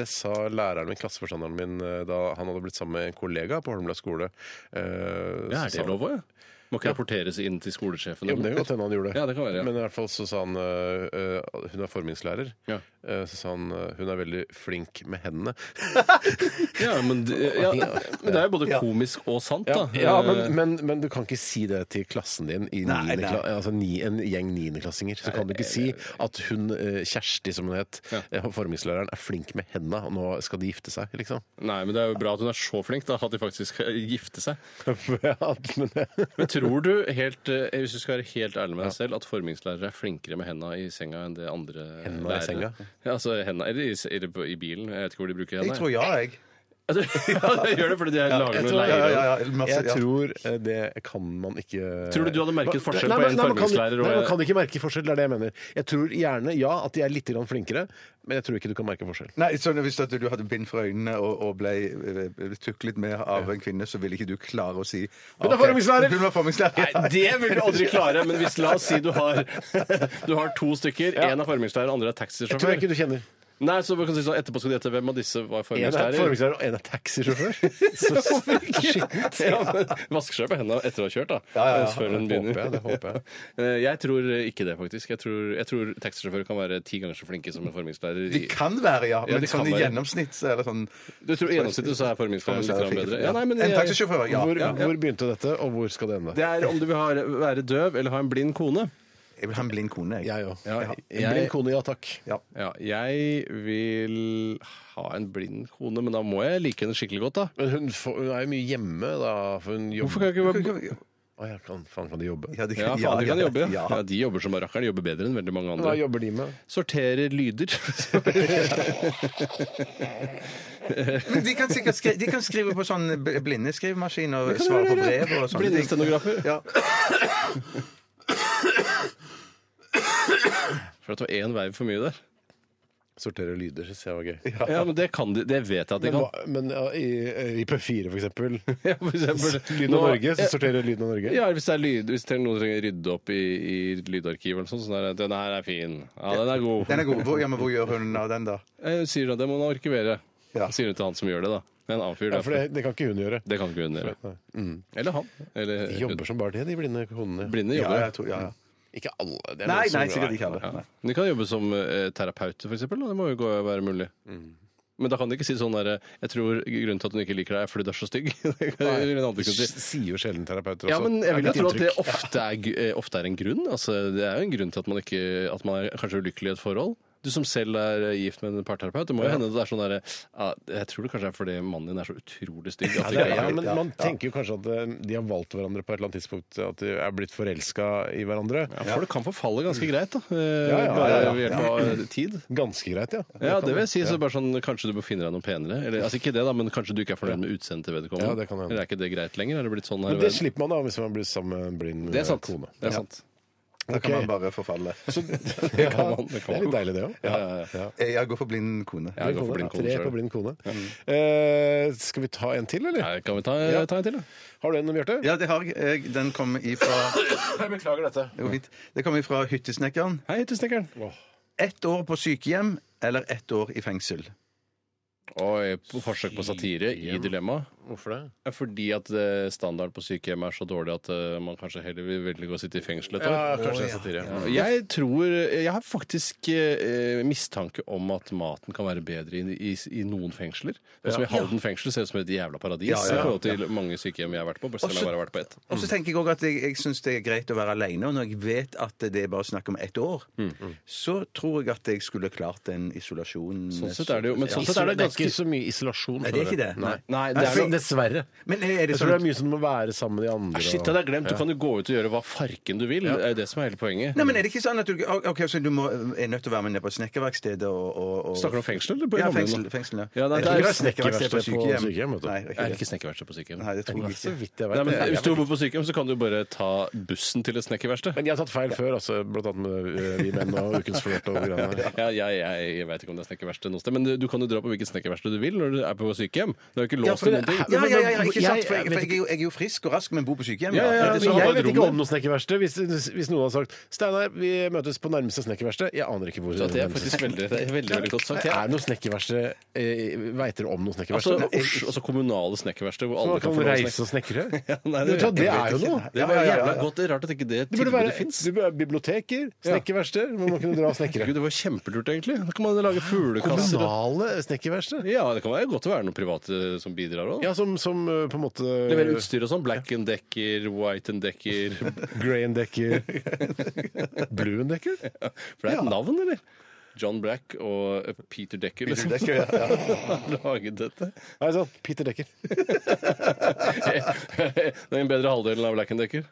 E: det sa læreren min, klasseforstanderen min, eh, da han hadde blitt sammen med en kollega på Holmlia skole. Eh,
G: Ja,
E: så
G: er
E: sa
G: det
E: han-
G: lov òg? ja? Må ikke rapporteres inn til skolesjefen?
E: Jo, men det kan godt hende han gjorde.
G: Ja, det kan være, ja.
E: Men i hvert fall så sa han eh, eh, Hun er formingslærer.
G: Ja.
E: Eh, så sa han eh, hun er veldig flink med hendene.
G: Ja, men, det- ja, men det er jo både komisk og sant, da.
E: ja men, men, men du kan ikke si det til klassen din, i
F: Nei,
E: niende
F: nei.
E: kla- altså ni, en gjeng niendeklassinger. Så kan du
G: eh,
E: ikke si at hun eh, Kjersti, som hun het, eh, formingslæreren, er flink med henda, og nå skal de gifte seg, liksom.
G: Nei, men det er jo bra at hun er så flink, da, at de faktisk skal gifte seg.
E: ja, men det
G: Men tror du, helt, eh, hvis du skal være helt ærlig med deg selv, at formingslærere er flinkere med henda i senga enn det andre
E: Henda i
G: lærere?
E: senga?
G: Ja, altså henda, eller i, eller på- i bilen. Jeg vet ikke hvor de bruker henda.
F: Jeg tror ja, jeg.
G: Ja, du- ja, det gjør det fordi de er laget med
E: tror-
G: leire.
F: Ja, ja, ja, masse,
E: Jeg
F: ja.
E: tror eh, det kan man ikke
G: altså, Tror du du hadde merket forskjell
E: Nei,
G: på
E: men-
G: en
E: nei, man kan-
G: forminglærer og
E: Nei, man kan ikke merke forskjell, det er det jeg mener. Jeg tror gjerne, ja, at de er litt grann flinkere, men jeg tror ikke du kan merke forskjell.
F: Nei, så Hvis at du hadde bind for øynene og, og ble eh, tuklet med av en kvinne, så ville ikke du klare å si
E: Hun er
F: «Ok,
E: formingslærer!»
F: Hun er formingslærer!
G: Nei, det vil du aldri klare, men hvis la oss si du har, du har to stykker. Én er forminglærer, andre er
E: Jeg tror
G: taxisjåfør.
E: ikke du kjenner.
G: Nei, så vi kan si sånn, Etterpå skal de gjette hvem av disse var
E: En er
G: forminglærer.
E: formingslærer, og en er taxisjåfør. Skittent.
G: Ja, men vasker seg på hendene etter å ha kjørt, da.
E: ja, ja.
G: Før hun
E: Det håper
G: begynner.
E: jeg, det håper jeg.
G: Eh, jeg tror ikke det, faktisk. Jeg tror, jeg tror taxisjåfører kan være ti ganger så flinke som en formingslærer.
F: De kan være, ja. Men
G: de kan
F: sånn i
G: være.
F: gjennomsnitt så er det sånn
G: Du tror i gjennomsnittet så er formingslærer litt grann bedre? Ja, nei, men
F: En
G: jeg,
F: taxisjåfør, ja.
E: Hvor, hvor begynte dette, og hvor skal det ende?
G: det er om du vil ha, være døv eller ha en blind kone.
F: Jeg vil ha en blind kone, jeg.
E: Jeg òg.
G: Ja,
E: En blind kone, ja takk.
G: Ja, jeg vil ha en blind kone, men da må jeg like henne skikkelig godt, da.
E: Men hun, får, hun er jo mye hjemme, da. For hun
G: Hvorfor kan jeg
E: jobber.
G: ikke være
E: Å, ja, kan, faen, kan de jobbe?
F: Ja, de
G: Ja,
F: ja,
G: faen, de kan
F: ja,
G: jobbe.
F: ja.
G: Ja, de jobber som rakkeren. De jobber bedre enn veldig mange
E: Hva
G: andre.
E: jobber de med?
G: Sorterer lyder.
F: Men de kan sikkert skrive, de kan skrive på sånn b- blindeskrivemaskin og svare på brev og sånne ting.
G: Blindestenografer.
F: Ja.
G: For at det var én veiv for mye der.
E: Sortere lyder, syns jeg var gøy.
G: Ja, men det kan de. Det vet jeg at de
E: Men,
G: kan.
E: hva- men ja, i, i P4, for eksempel.
G: Ja, for eksempel.
E: Lyden av
G: Nå-
E: Norge, så
G: Ja,
E: sorterer Lyden av Norge.
G: Ja, hvis, det er lyd, hvis det er noen som trenger å rydde opp i, i lydarkivet eller sånn, sånn er det, den her er fin. Ja, den er god.
F: Den er god. Hvor, ja, men hvor gjør hun av den, da?
G: Jeg sier at det må hun arkivere.
F: Ja.
G: Sier hun til han som gjør det, da. Det er en annen fyr.
E: Ja, for
G: det,
E: det, det kan ikke hun gjøre.
G: det kan ikke hun gjøre. Eller han. Eller,
E: De jobber som bare det, de blinde konene.
G: Blinde
F: Ja,
G: jobber.
F: jeg tror, ja, ja.
E: Ikke alle. det er
F: Nei,
E: noen som-
F: nei, sikkert ikke alle.
G: Ja. De kan jobbe som eh, terapeuter, f.eks. Det må jo gå, være mulig. Men da kan de ikke si sånn derre Jeg tror grunnen til at hun ikke liker deg, er fordi du er så stygg. Det kan en annen kunne si.
E: S- Sier jo sjelden terapeuter også.
G: Ja, men jeg vil jo
E: Er det
G: tro
E: et
G: at det
E: inntrykk?
G: ofte er, gu- eh, ofte er en grunn. Altså, det er jo en grunn til at man, ikke, at man er kanskje ulykkelig i et forhold. Du som selv er eh, gift med en parterapeut, det må jo hende det er sånn derre ja, Jeg tror det kanskje er fordi mannen din er så utrolig stygg. At det
E: Ja,
G: ikke er
E: men man tenker jo kanskje at eh, de har valgt hverandre på et eller annet tidspunkt, at de er blitt forelska i hverandre.
G: ja, Folk kan forfalle ganske greit, da. eh,
E: Ja, ja, ja, ja.
G: Bare ved hjelp av eh, tid.
E: Ganske greit, ja.
G: Ja,
E: kan
G: det vil
E: man.
G: jeg si. Så bare sånn, kanskje du må finne deg noe penere. Eller, altså ikke det, da, men kanskje du ikke er fornøyd med utseendet til vedkommende.
E: Ja, det kan hende.
G: Eller er ikke det greit lenger? Er det blitt sånn her? i
E: Men det
G: verden?
E: slipper man da hvis man blir sammen med en blind
G: det er sant.
E: kone.
G: Det er sant.
F: Da kan
E: Ok.
F: man bare forfalle.
E: Så,
G: Det kan man, det
E: det
G: kan
E: er
G: man.
E: litt deilig, det òg.
G: Ja, ja, ja.
F: Eh, Jeg går for blind kone.
G: Jeg går for blind kone
E: Tre
G: selv.
E: på blind kone.
G: Mm.
E: Eh, skal vi ta en til, eller?
G: Ja, Kan vi ta, ta en til, da?
E: Har du en, Bjarte?
F: Ja, det har jeg. jeg. Den kommer ifra
E: Jeg beklager dette.
F: Det går fint. Det kommer ifra Hyttesnekkeren.
G: Hei, hyttesnekkeren.
F: Ett år på sykehjem eller ett år i fengsel?
G: Oi, eh, på forsøk på satire i Dilemma.
E: Hvorfor det?
G: Ja, Fordi at eh, standarden på sykehjem er så dårlig at eh, man kanskje heller vil velge å sitte i fengsel et år.
E: Ja, kanskje det er satire.
G: Ja, Jeg tror Jeg har faktisk eh, mistanke om at maten kan være bedre i, i, i noen fengsler. Sånn som i Halden fengsel ser ut som et jævla paradis
F: Ja, ja,
G: i
F: ja.
G: forhold til mange sykehjem jeg har vært på. Selv om jeg bare har vært på ett.
F: Og så tenker jeg også at jeg, jeg syns det er greit å være aleine. Og når jeg vet at det er bare snakk om ett år, så tror jeg at jeg skulle klart den isolasjonen.
G: Sånn sett er det jo, men sånn sett er det ganske
E: ikke så mye isolasjon.
F: Nei, det er ikke det.
E: Nei.
G: Nei,
E: Det
G: det
E: er
G: er jo
E: sånn, dessverre.
F: Men er det
E: Jeg tror
F: sånn
E: det er mye som må være sammen med de andre.
G: Ah, Shit, det hadde jeg glemt. Du kan jo gå ut og gjøre hva farken du vil. Det er det som er hele poenget.
F: Nei, men er det ikke sånn at du, ok, så du må, er nødt til å være med ned på snekkerverkstedet og, og, og
G: Snakker du om fengsel, eller? på
F: Ja,
G: gamle
F: fengsel,
G: nå?
F: fengsel, ja.
G: Ja, nei, det
F: Jeg tror
G: er
F: ikke det snekkerverksted
E: snekkerverksted på sykehjem, vet du.
G: Er
F: Nei, det er
G: det
F: ikke det.
G: ikke snekkerverksted på sykehjem?
F: Nei, det tror jeg
E: Så
F: ikke.
E: vidt jeg
G: Nei,
E: vet.
G: men
E: Jeg
G: Hvis
E: vet
G: du
E: ikke.
G: bor på sykehjem, så kan du jo bare ta bussen til et snekkerverksted.
E: Men jeg har tatt feil før, altså, blant annet med eh, Vi menn og Ukens flørt og greiene der.
G: Ja, jeg, jeg, jeg vet ikke om det er snekkerverksted noe sted, men du, du kan jo dra på hvilket snekkerverksted du vil når du er på sykehjem. Det er jo ikke
F: Ja,
G: låst
F: for
G: til
F: det,
G: noen ting.
F: ja, ja, ja, ja, ikke sant?
E: Jeg-
F: For jeg, for jeg, er jo, jeg er jo frisk og rask, men bor på sykehjem.
G: Ja, ja, ja,
F: Det er
G: men
F: sånn
E: jeg
G: har
E: vet
G: bare
E: ikke
G: et rom
E: om noe snekkerverksted. Hvis, hvis noen hadde sagt 'Steinar, vi møtes på nærmeste snekkerverksted', jeg aner ikke hvor
G: Så Det er faktisk veldig, det er veldig, veldig godt sagt.
E: Det
G: Jeg
E: er noe snekkerverksted eh, Veit dere om noe
G: Altså,
E: snekkerverksted?
G: Oslo, altså kommunale snekkerverksted hvor
E: Så
G: alle
E: man
G: kan
E: kan
G: få lov å
E: reise
G: snekke.
E: og snekre?
G: nei,
E: det,
G: det vet
E: det
G: jeg
E: er jo
G: ikke.
E: noe!
G: Det var jævla godt. Det er rart at ikke det
E: Det burde være
G: tilbudet fins.
E: det burde være biblioteker, snekkerverksteder, hvor man kunne dra og snekre.
G: Gud, det var kjempelurt, egentlig. Da kan man lage fuglekasser. og-
E: Kommunale snekkerverksted?
G: Ja, det kan være godt å være noen private som bidrar òg.
E: Ja, som, som eh, på en måte
G: Leverer utstyr og sånn. Black and Decker, White and Decker
E: Grey and Decker. Blue and Decker?
G: For det er et navn, eller? John Black og eh, Peter Decker, liksom.
F: Dekker, ja,
G: Har Laget dette.
E: Nei, sant. Peter Decker.
G: det er en bedre halvdelen av Black and Decker.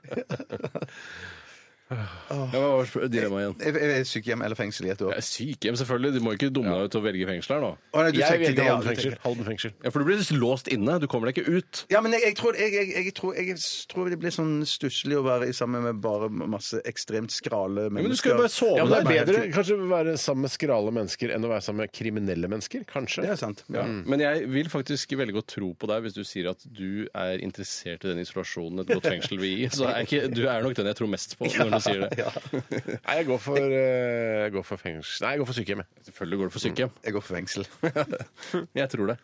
G: Ja, hva var sp- dilemmaet igjen?
F: Er- er- er Sykehjem eller fengsel i et år.
G: Ja, Sykehjem, selvfølgelig. Du må ikke dumme deg ut og velge fengsel her nå.
F: Å, nei, du
E: Jeg
F: tenkte
E: velger
F: det, ja,
E: Halden
F: du
E: fengsel.
F: tenker-
E: Halden fengsel.
G: Ja, For du blir låst inne. Du kommer deg ikke ut.
F: Ja, men jeg, jeg, tror, jeg, jeg, jeg, tror, jeg tror det blir sånn stusslig å være i- sammen med bare masse ekstremt skrale mennesker.
G: men du skal jo bare sove
E: Ja, men det er
G: der.
E: bedre kanskje å være sammen med skrale mennesker enn å være sammen med kriminelle mennesker, kanskje.
F: Det er sant.
G: Ja. Men jeg vil faktisk velge å tro på deg hvis du sier at du er interessert i den isolasjonen et godt fengsel vil gi. Så er ikke, du er nok den jeg tror mest på når du sier det.
E: Nei, jeg går for, eh, jeg går for fengsel. Nei, jeg går for sykehjem. jeg.
G: Selvfølgelig går du for sykehjem.
F: Jeg går for fengsel.
G: Jeg tror det.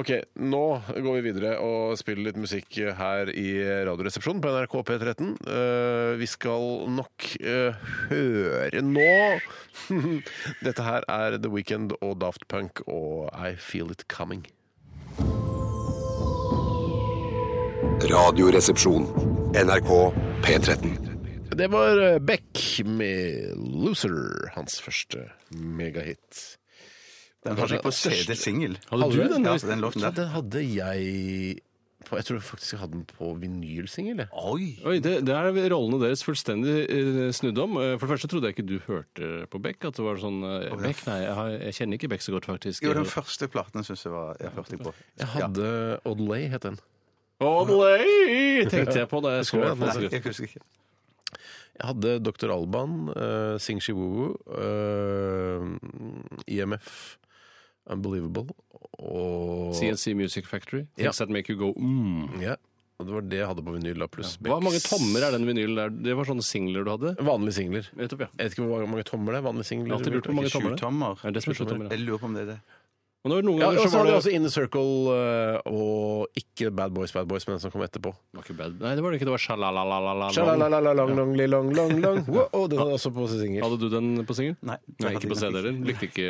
E: Ok, nå går vi videre og spiller litt musikk her i Radioresepsjonen på NRK P13. Eh, vi skal nok eh, høre nå Dette her er The Weekend og Daft Punk og I Feel It Coming.
A: Radioresepsjon. NRK P13.
E: Det var eh, Beck med 'Loser', hans første megahit.
F: Den hadde jeg på CD-singel.
G: Hadde du altså, den?
F: Ja, den låten
E: Så
F: der.
E: den hadde jeg på, Jeg tror faktisk jeg hadde den på vinylsingel. jeg.
F: Oi!
G: Oi, det, det er rollene deres fullstendig eh, snudd om. Eh, For det første trodde jeg ikke du hørte på Beck. At det var sånn eh, Beck, nei, jeg, har, jeg kjenner ikke Beck så godt, faktisk.
F: Jo, den første platen syns jeg var jeg hørte jeg på.
E: Jeg hadde Oddley, het den.
G: Oddley! Tenkte jeg på da jeg så
E: Skål,
G: den.
F: Nei, jeg husker ikke.
E: Jeg hadde Dr. Alban, uh, Sing Shiwoo, eh, IMF, E Unbelievable og
G: CNC Music Factory.
E: Ja.
G: Things That Make You Go mm.
E: Ja, og det var det jeg hadde på vinyl. da, Pluss
G: Hvor mange
E: Becks.
G: tommer er den vinylen der? Det var sånne singler du hadde?
E: Vanlige singler.
G: Nettopp, ja.
E: Jeg vet ikke hvor mange tommer det er. vanlige singler.
G: Jeg har alltid lurt på hvor mange tommer det er.
F: Sjutommer.
G: Er det som er sjutommer,
F: Jeg
G: ja.
F: lurer på om det er det.
G: Og nå er det noen
E: Ja,
G: ganger
E: og
G: så
E: så
G: var
E: hadde
G: det,
E: jeg også Inner Circle eh, og ikke Bad Boys, Bad Boys, men den som kom etterpå.
G: Det var ikke bad. Nei, det var det ikke. Det var sjalalalalalala.
E: Sjalalala, lang, lang, li, lang, lang, lang. Wow, og den hadde jeg også på singel.
G: Hadde du den på singel?
F: Nei, det
G: Nei,
F: hadde
G: ikke på
F: jeg
G: CD
F: nok
G: heller. Likte ikke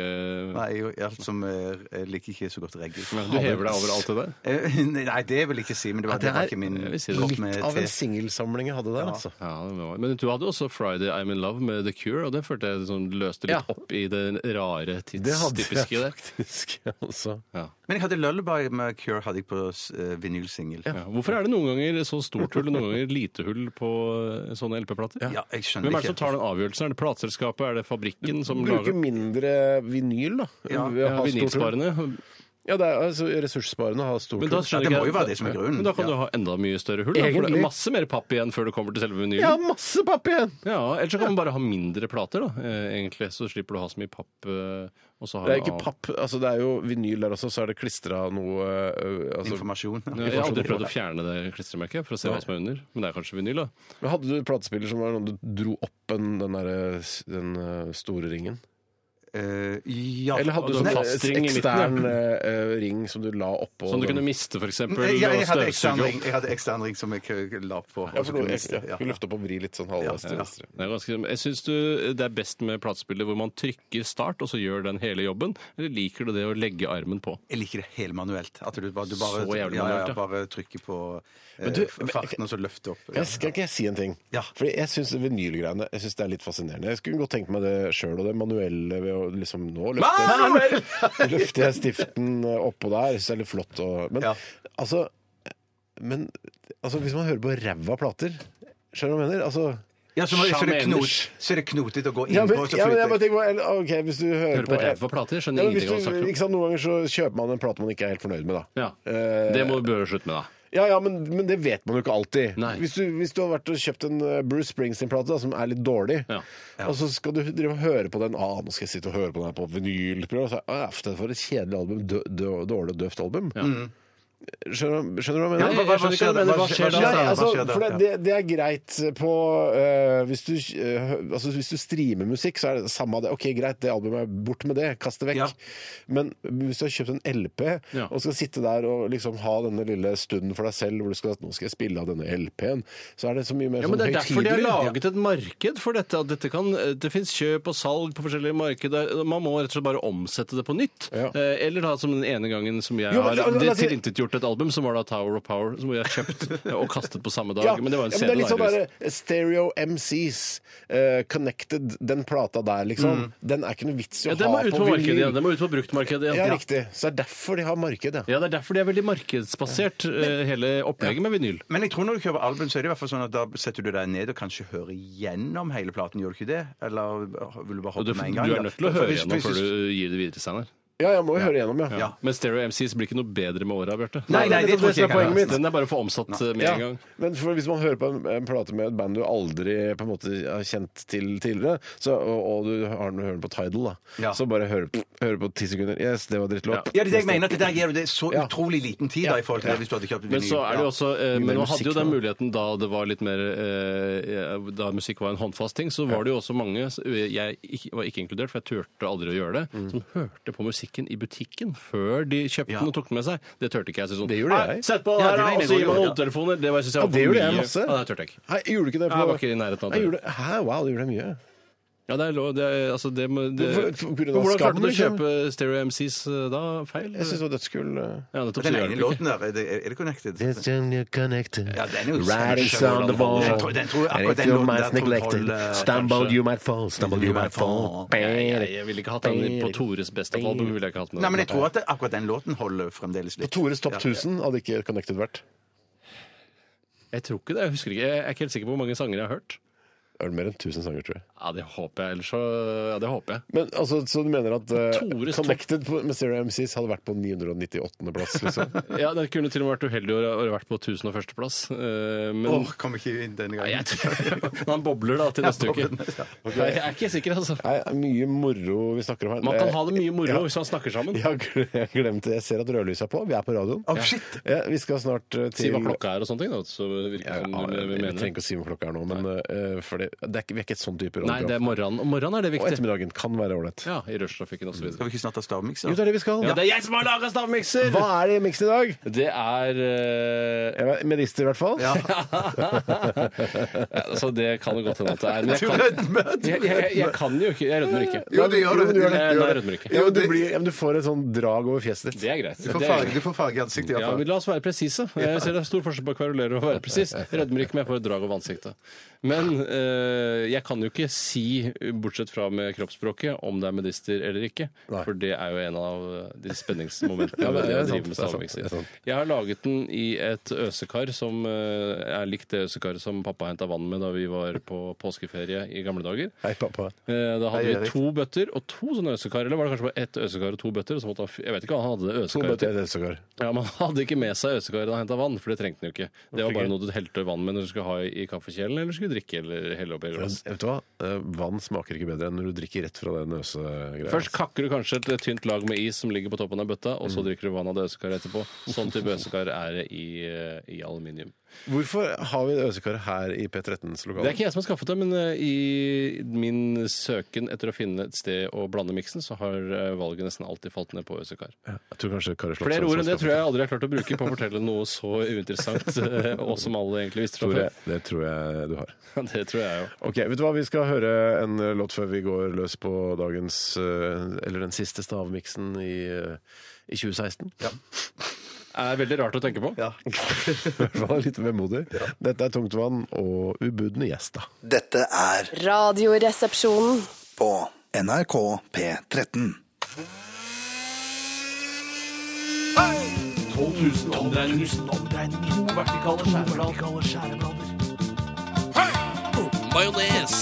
F: Nei, jeg, jeg, som, eh, jeg liker ikke så godt reggae.
G: Du hever deg over alt det der?
F: Eh, Nei, det vil jeg ikke si, men det var, det var ikke min
G: jeg vil si det.
F: kopp med
E: Litt av
F: te.
E: en singelsamling jeg hadde der, altså.
G: Ja, det var. Men du hadde også 'Friday I'm In Love' med The Cure, og det følte jeg sånn løste litt
E: Ja.
G: opp i det rare
E: Det hadde
G: tidstypiske
E: jeg
G: der.
E: faktisk altså. også.
F: Men jeg hadde Lullaby med Cure hadde jeg på eh, vinylsingel.
G: Ja. Hvorfor er det noen ganger så stort hull og noen ganger lite hull på eh, sånne LP-plater?
F: Ja, jeg skjønner
G: Hvem er det som
F: ikke.
G: tar den avgjørelsen? Er det plateselskapet? Er det fabrikken som
E: Bruke
G: lager
E: mindre vinyl, da.
F: Ja,
E: Ved å
G: ja,
E: ha stort hull.
G: vinylsparende?
E: Ja, det er altså, ressurssparende å ha stort
G: Men da
E: hull.
G: skjønner
F: det
G: ikke
F: må
G: jeg-
F: jo være det som er grunnen.
G: Men da kan du ha enda mye større hull. Da, for det
E: Egentlig.
G: er masse mer papp igjen før du kommer til selve vinylen.
E: Jeg har masse papp igjen!
G: Ja, Eller så kan man bare ha mindre plater, da, eh, egentlig. Så slipper du å ha så mye papp. eh, Og så har
E: Det er
G: du
E: ikke
G: av-
E: papp, altså det er jo vinyl der også, så er det klistra noe øh, altså.
F: Informasjon.
G: Ja, Jeg har aldri prøvd å fjerne det klistremerket for å se hva som er under. Men det er kanskje vinyl, da.
E: Men Hadde du platespiller som var sånn du dro opp en, den, der, den øh, store ringen?
F: Eh, ja.
E: Eller hadde du
F: Nei,
E: sånn fast
G: plastring i midten,
E: ekstern eh, ring som du la oppå
G: Som du kunne miste, f.eks.
F: Nei, jeg, jeg, hadde ekstern ring, jeg hadde ekstern ring som jeg k- la på.
E: Ja,
F: og så
E: for
F: kunne
E: noe
F: jeg
E: ekstra.
F: miste, ja.
E: Du løfte opp og vri litt sånn halvveis
F: Ja,
E: til
F: ja.
E: venstre.
G: Det er ganske, jeg syns du det er best med platespiller hvor man trykker start, og så gjør den hele jobben. Eller liker du det å legge armen på?
F: Jeg liker det hele manuelt. At du bare, du
G: Så
F: bare,
G: jævlig
F: ja, ja,
G: manuelt, ja.
F: bare trykker på eh,
E: Men du-
F: f- farten og så løfter opp.
E: Jeg skal ikke jeg si en ting?
F: Ja.
E: Fordi jeg syns vinylgreiene jeg synes det er litt fascinerende. Jeg skulle godt tenkt meg det sjøl, og det manuelle ved å liksom nå løfte Løfter jeg stiften oppå der, syns det er litt flott. Og, men,
F: Ja.
E: altså, men altså, hvis man hører på ræva plater Skjønner du hva jeg mener? Altså,
F: Ja, så, må, så, er det
G: Sjaman
F: knot,
G: Anders.
F: så er det knotete å gå
E: ja,
F: inn
E: men,
F: på. og så
E: ja, men jeg
F: flyter-
E: bare tenker på eller, OK, hvis du hører,
G: Hører på ræva plater, skjønner
E: Ja, men
G: ingenting av hva
E: hvis
G: du
E: du-
G: snakker om.
E: ikke sant, Noen ganger så kjøper man en plate man ikke er helt fornøyd med, da.
G: Ja.
E: Eh,
G: Det må du bør slutte med, da.
E: Ja, ja, men, men det vet man jo ikke alltid.
G: Nei.
E: Hvis du, hvis du har vært og kjøpt en eh, Bruce Springsteen-plate da, som er litt dårlig,
G: Ja.
E: og så skal du drive og høre på den ah, 'Nå skal jeg sitte og høre på den her på vinyl.' prøve», og så, «Å, ja, for det var et kjedelig album. Dø, dø, dårlig og døvt album. Skjønner, du- skjønner du hva jeg
F: Ja,
E: mener?
F: hva, hva, hva skjer da? Hva skjer da?
E: Nei, altså,
F: Hva skjer da?
E: for det,
F: Ja.
E: det, det er greit på eh, hvis, du, eh, hø- altså, hvis du streamer musikk, så er det samme av det. Ok, greit, det albumet er bort med det, kast det vekk.
F: Ja.
E: Men hvis du har kjøpt en LP
G: Ja.
E: og skal sitte der og liksom ha denne lille stunden for deg selv hvor du skal nå skal jeg spille av denne LP-en, så er det så mye mer
G: Ja, men Det
E: sånn
G: er derfor de har
E: høytidelig.
G: laget et marked for dette. At dette kan, eh, det fins kjøp og salg på forskjellige markeder. Man må rett og slett bare omsette det på nytt.
E: Ja.
G: Eh, Eller da som den ene gangen som jeg
E: Jo, men-
G: har
E: la
G: det
E: oss si-
G: tilintetgjort et album, som var da Tower of Power, som jeg kjøpt og kastet på samme dag.
E: Ja,
G: Men det var en
E: ja,
G: CD.
E: er litt
G: da,
E: sånn
G: heldigvis.
E: der, Stereo MCs, eh, Connected, den plata der, liksom. Den er ikke noe vits i å
G: Mm. ja, det må
E: ha
G: ut
E: på
G: på markedet
E: vinyl.
G: igjen. Det må ut på bruktmarkedet
E: Ja,
G: igjen.
E: riktig. Så det er derfor de har marked, ja.
G: Ja, det er derfor de er veldig markedsbasert, eh, hele opplegget med vinyl.
F: Men jeg tror når du kjøper album, så er det i hvert fall sånn at da setter du deg ned og kanskje hører gjennom hele platen. Gjør du ikke det? Eller vil du bare
G: Du, du
F: hoppe med en gang?
G: er nødt til å høre gjennom før
F: før
G: du
F: du
G: gir det videre, Steinar.
E: Ja, jeg må jo høre igjennom, ja.
F: Ja.
G: Men Stereo MCs blir ikke noe bedre med åra, Bjarte.
F: Nei, nei, det tror jeg ikke.
E: poenget
F: jeg
E: mitt.
F: kan gjøre.
G: Den er bare for omsatt eh, med
E: Ja,
G: en gang.
E: Men for hvis man hører på en, en plate med et band du aldri på en måte har kjent til tidligere, så, og, og du har du hører den på Tidal, da,
F: Ja.
E: så bare hør, hør på ti sekunder. Yes, det var
F: Ja,
E: drittlåt.
F: det er det jeg mener. at det Der gir du det så
E: Ja.
F: utrolig liten tid da, i forhold til det hvis du hadde kjøpt
G: Men
F: vinyl.
G: så er det jo
F: Ja.
G: også eh,
E: Mye
G: Men
E: mer
G: nå hadde jo
E: musikk
G: den
E: nå.
G: muligheten da det var litt mer eh, Da musikk var en håndfast ting, så var det jo også mange eh, Jeg ikke- var ikke inkludert, for jeg turte aldri å gjøre det,
E: Mm.
G: som hørte på musikken i butikken før de kjøpte
F: Ja.
G: den og tok den med seg. Det turte ikke jeg. Så sånn,
E: Det gjorde jeg.
G: «Nei, Sett på
F: Ja,
G: her,
F: det
G: da,
F: mener
G: og
F: jeg
G: så gir
F: også,
G: man
F: ja.
G: hodetelefoner. Det var- synes jeg
E: Ja,
G: var
E: det
G: for
E: gjorde jeg
G: mye.
E: masse.
G: Ja, det turte jeg ikke.
E: Hei, gjorde du ikke det?
G: Nei, jeg var ikke i nærheten av det.
E: Nei, gjorde, hæ, wow, du gjorde det mye.
G: Ja, det er lov. Det er, altså, det må, det,
E: For- for- på grunn av
G: hvordan
E: skam,
G: klarte du å
E: liksom?
G: kjøpe Stereo MCs eh, da? Feil?
E: Jeg syns det var dødskull. eh.
G: Ja, nettopp, så
F: Den
G: gjør
F: ene
G: du ikke.
F: låten der, er det, er det connected?
E: This time you're connected.
F: Ja, den er jo
E: Riding
F: smash,
E: on the wall.
F: Jeg tror- den tror jeg-
E: And
F: akkurat
E: if
F: den
E: your
F: låten der
E: mind's
F: tror jeg
E: neglected,
F: holder, eh,
E: Stumble,
F: kanskje.
E: you might fall. Stumble, you might fall.
G: Nei, jeg, jeg ville ikke hatt den på Tores beste album. Ville jeg ikke hatt den.
F: Nei, men jeg tror at det, akkurat den låten holder fremdeles
E: På
F: litt.
E: Tores topp
F: Ja.
E: 1000 hadde ikke Connected vært.
G: Jeg tror ikke det. Jeg husker ikke. Jeg er ikke helt sikker på hvor mange sanger jeg har hørt.
E: Det er vel mer enn 1000 sanger, tror jeg.
G: Ja, det håper jeg. Ellers så Ja, det håper jeg.
E: Men altså, Så du mener at eh,
G: Tores topp-
E: Connected på, med Stereo MCs hadde vært på 998. plass? Liksom.
G: Ja, Det kunne til og med vært uheldig å ha vært på 1001. plass. eh, Men
F: Åh, kom ikke inn denne
G: Nei, jeg
F: gangen.
G: tror Han bobler da til neste uke.
F: bobler, ja.
G: Jeg jeg er ikke sikker, altså.
E: Nei, det er mye moro vi snakker om her.
G: Man kan ha det mye moro
E: Ja.
G: hvis man snakker sammen.
E: Jeg har gle- jeg har glemt det. Jeg ser at rødlyset er på. Vi er på radioen.
F: Åh, shit!
E: Ja, vi skal snart eh, til
G: Si hva klokka er og sånne ting, da. Så virker
E: Ja,
G: det som
E: ja,
G: du-
E: vi
G: vi mener
E: trenger
G: det.
E: ikke å si hva klokka er nå, men eh, for det, det er ikke, vi er ikke et sånn type
G: Nei, det er
E: radioprogram.
G: morgenen. Og morgenen er det
E: Og
G: viktig.
E: ettermiddagen kan være ålreit.
G: Ja, I rushtrafikken osv.
F: Skal vi ikke snart ha stavmikser?
E: Jo, det er det vi skal.
G: Ja, det er jeg som har laga stavmikser!
E: Hva er det i miksen i dag?
G: Det er eh,
E: Jeg vet- Med rister, i hvert fall.
G: ja, altså, Det kan jo godt hende at det er. Men jeg
F: Du
G: kan,
F: rødmer!
G: jeg, jeg, jeg kan jo ikke. Jeg rødmer ikke.
F: Jo, det gjør
E: Jo,
F: du.
E: du gjør det.
G: Nei, jeg rødmer ikke.
E: Ja, men du, blir, ja, men du får et sånn drag over fjeset ditt.
G: Det er greit.
F: Du får
G: Det er
F: farge,
G: greit.
F: du får farge i ansiktet i hvert
G: Ja,
F: fall.
G: men La oss være presise. Jeg ser det er stor forskjell på å kverulere og å være presis. Jeg Rødmer ikke, men jeg får et drag over ansiktet. Men eh, jeg kan jo ikke si, bortsett fra med kroppsspråket, om det er medister eller ikke. For det er jo en av eh, de spenningsmomentene
E: Ja, det
G: ved
E: er
G: det å
E: sant,
G: drive med
E: det er sant, det er
G: stavmikser.
E: sant.
G: Jeg har laget den i et øsekar som eh, er likt det øsekaret som pappa henta vann med da vi var på påskeferie i gamle dager.
E: Hei, pappa.
G: Eh, Da
F: Hei,
G: hadde vi
F: Erik.
G: to bøtter og to sånne øsekar. Eller var det kanskje bare ett øsekar og to bøtter? og Så måtte han, f- jeg vet ikke hva han hadde det
E: To
G: øsekaret til.
E: bøtter i det sågar.
G: Ja, Man hadde ikke med seg øsekaret da han henta vann, for det trengte han jo ikke. Det var bare noe du helte vann med når du skulle ha i kaffekjelen eller skulle drikke. eller helle opp i
E: Men,
G: glass.
E: Vet du hva? Eh, Vann smaker ikke bedre enn når du drikker rett fra den øsegreia.
G: Først kakker du kanskje et tynt lag med is som ligger på toppen av bøtta, og så drikker du vann av det øsekaret etterpå. Sånn type øsekar er det i, eh, i aluminium.
E: Hvorfor har vi det øsekaret her i P13s
G: Det er
E: lokaler?
G: ikke jeg som har skaffet det, men eh, i min søken etter å finne et sted å blande miksen, så har eh, valget nesten alltid falt ned på Øsekar.
E: Jeg tror kanskje Kari Slottsson
G: Flere ord
E: som
G: enn det
E: skal-
G: tror jeg aldri jeg har klart å bruke på å fortelle noe så uinteressant, eh, og som alle egentlig visste fra
E: Tror jeg-
G: før.
E: Det tror jeg du har.
G: Det tror jeg jo.
E: Ok, vet du hva? Vi skal høre en eh, låt før vi går løs på dagens eh, Eller den siste stavmiksen i, eh, i 2016. Ja.
G: er veldig rart å tenke på.
E: I hvert fall litt vemodig. Dette er Tungtvann og Ubudne gjesta.
J: Dette er
I: Radioresepsjonen.
J: på NRK P13.
K: 12 000 omdreininger. To vertikale skjæreblader. Majones.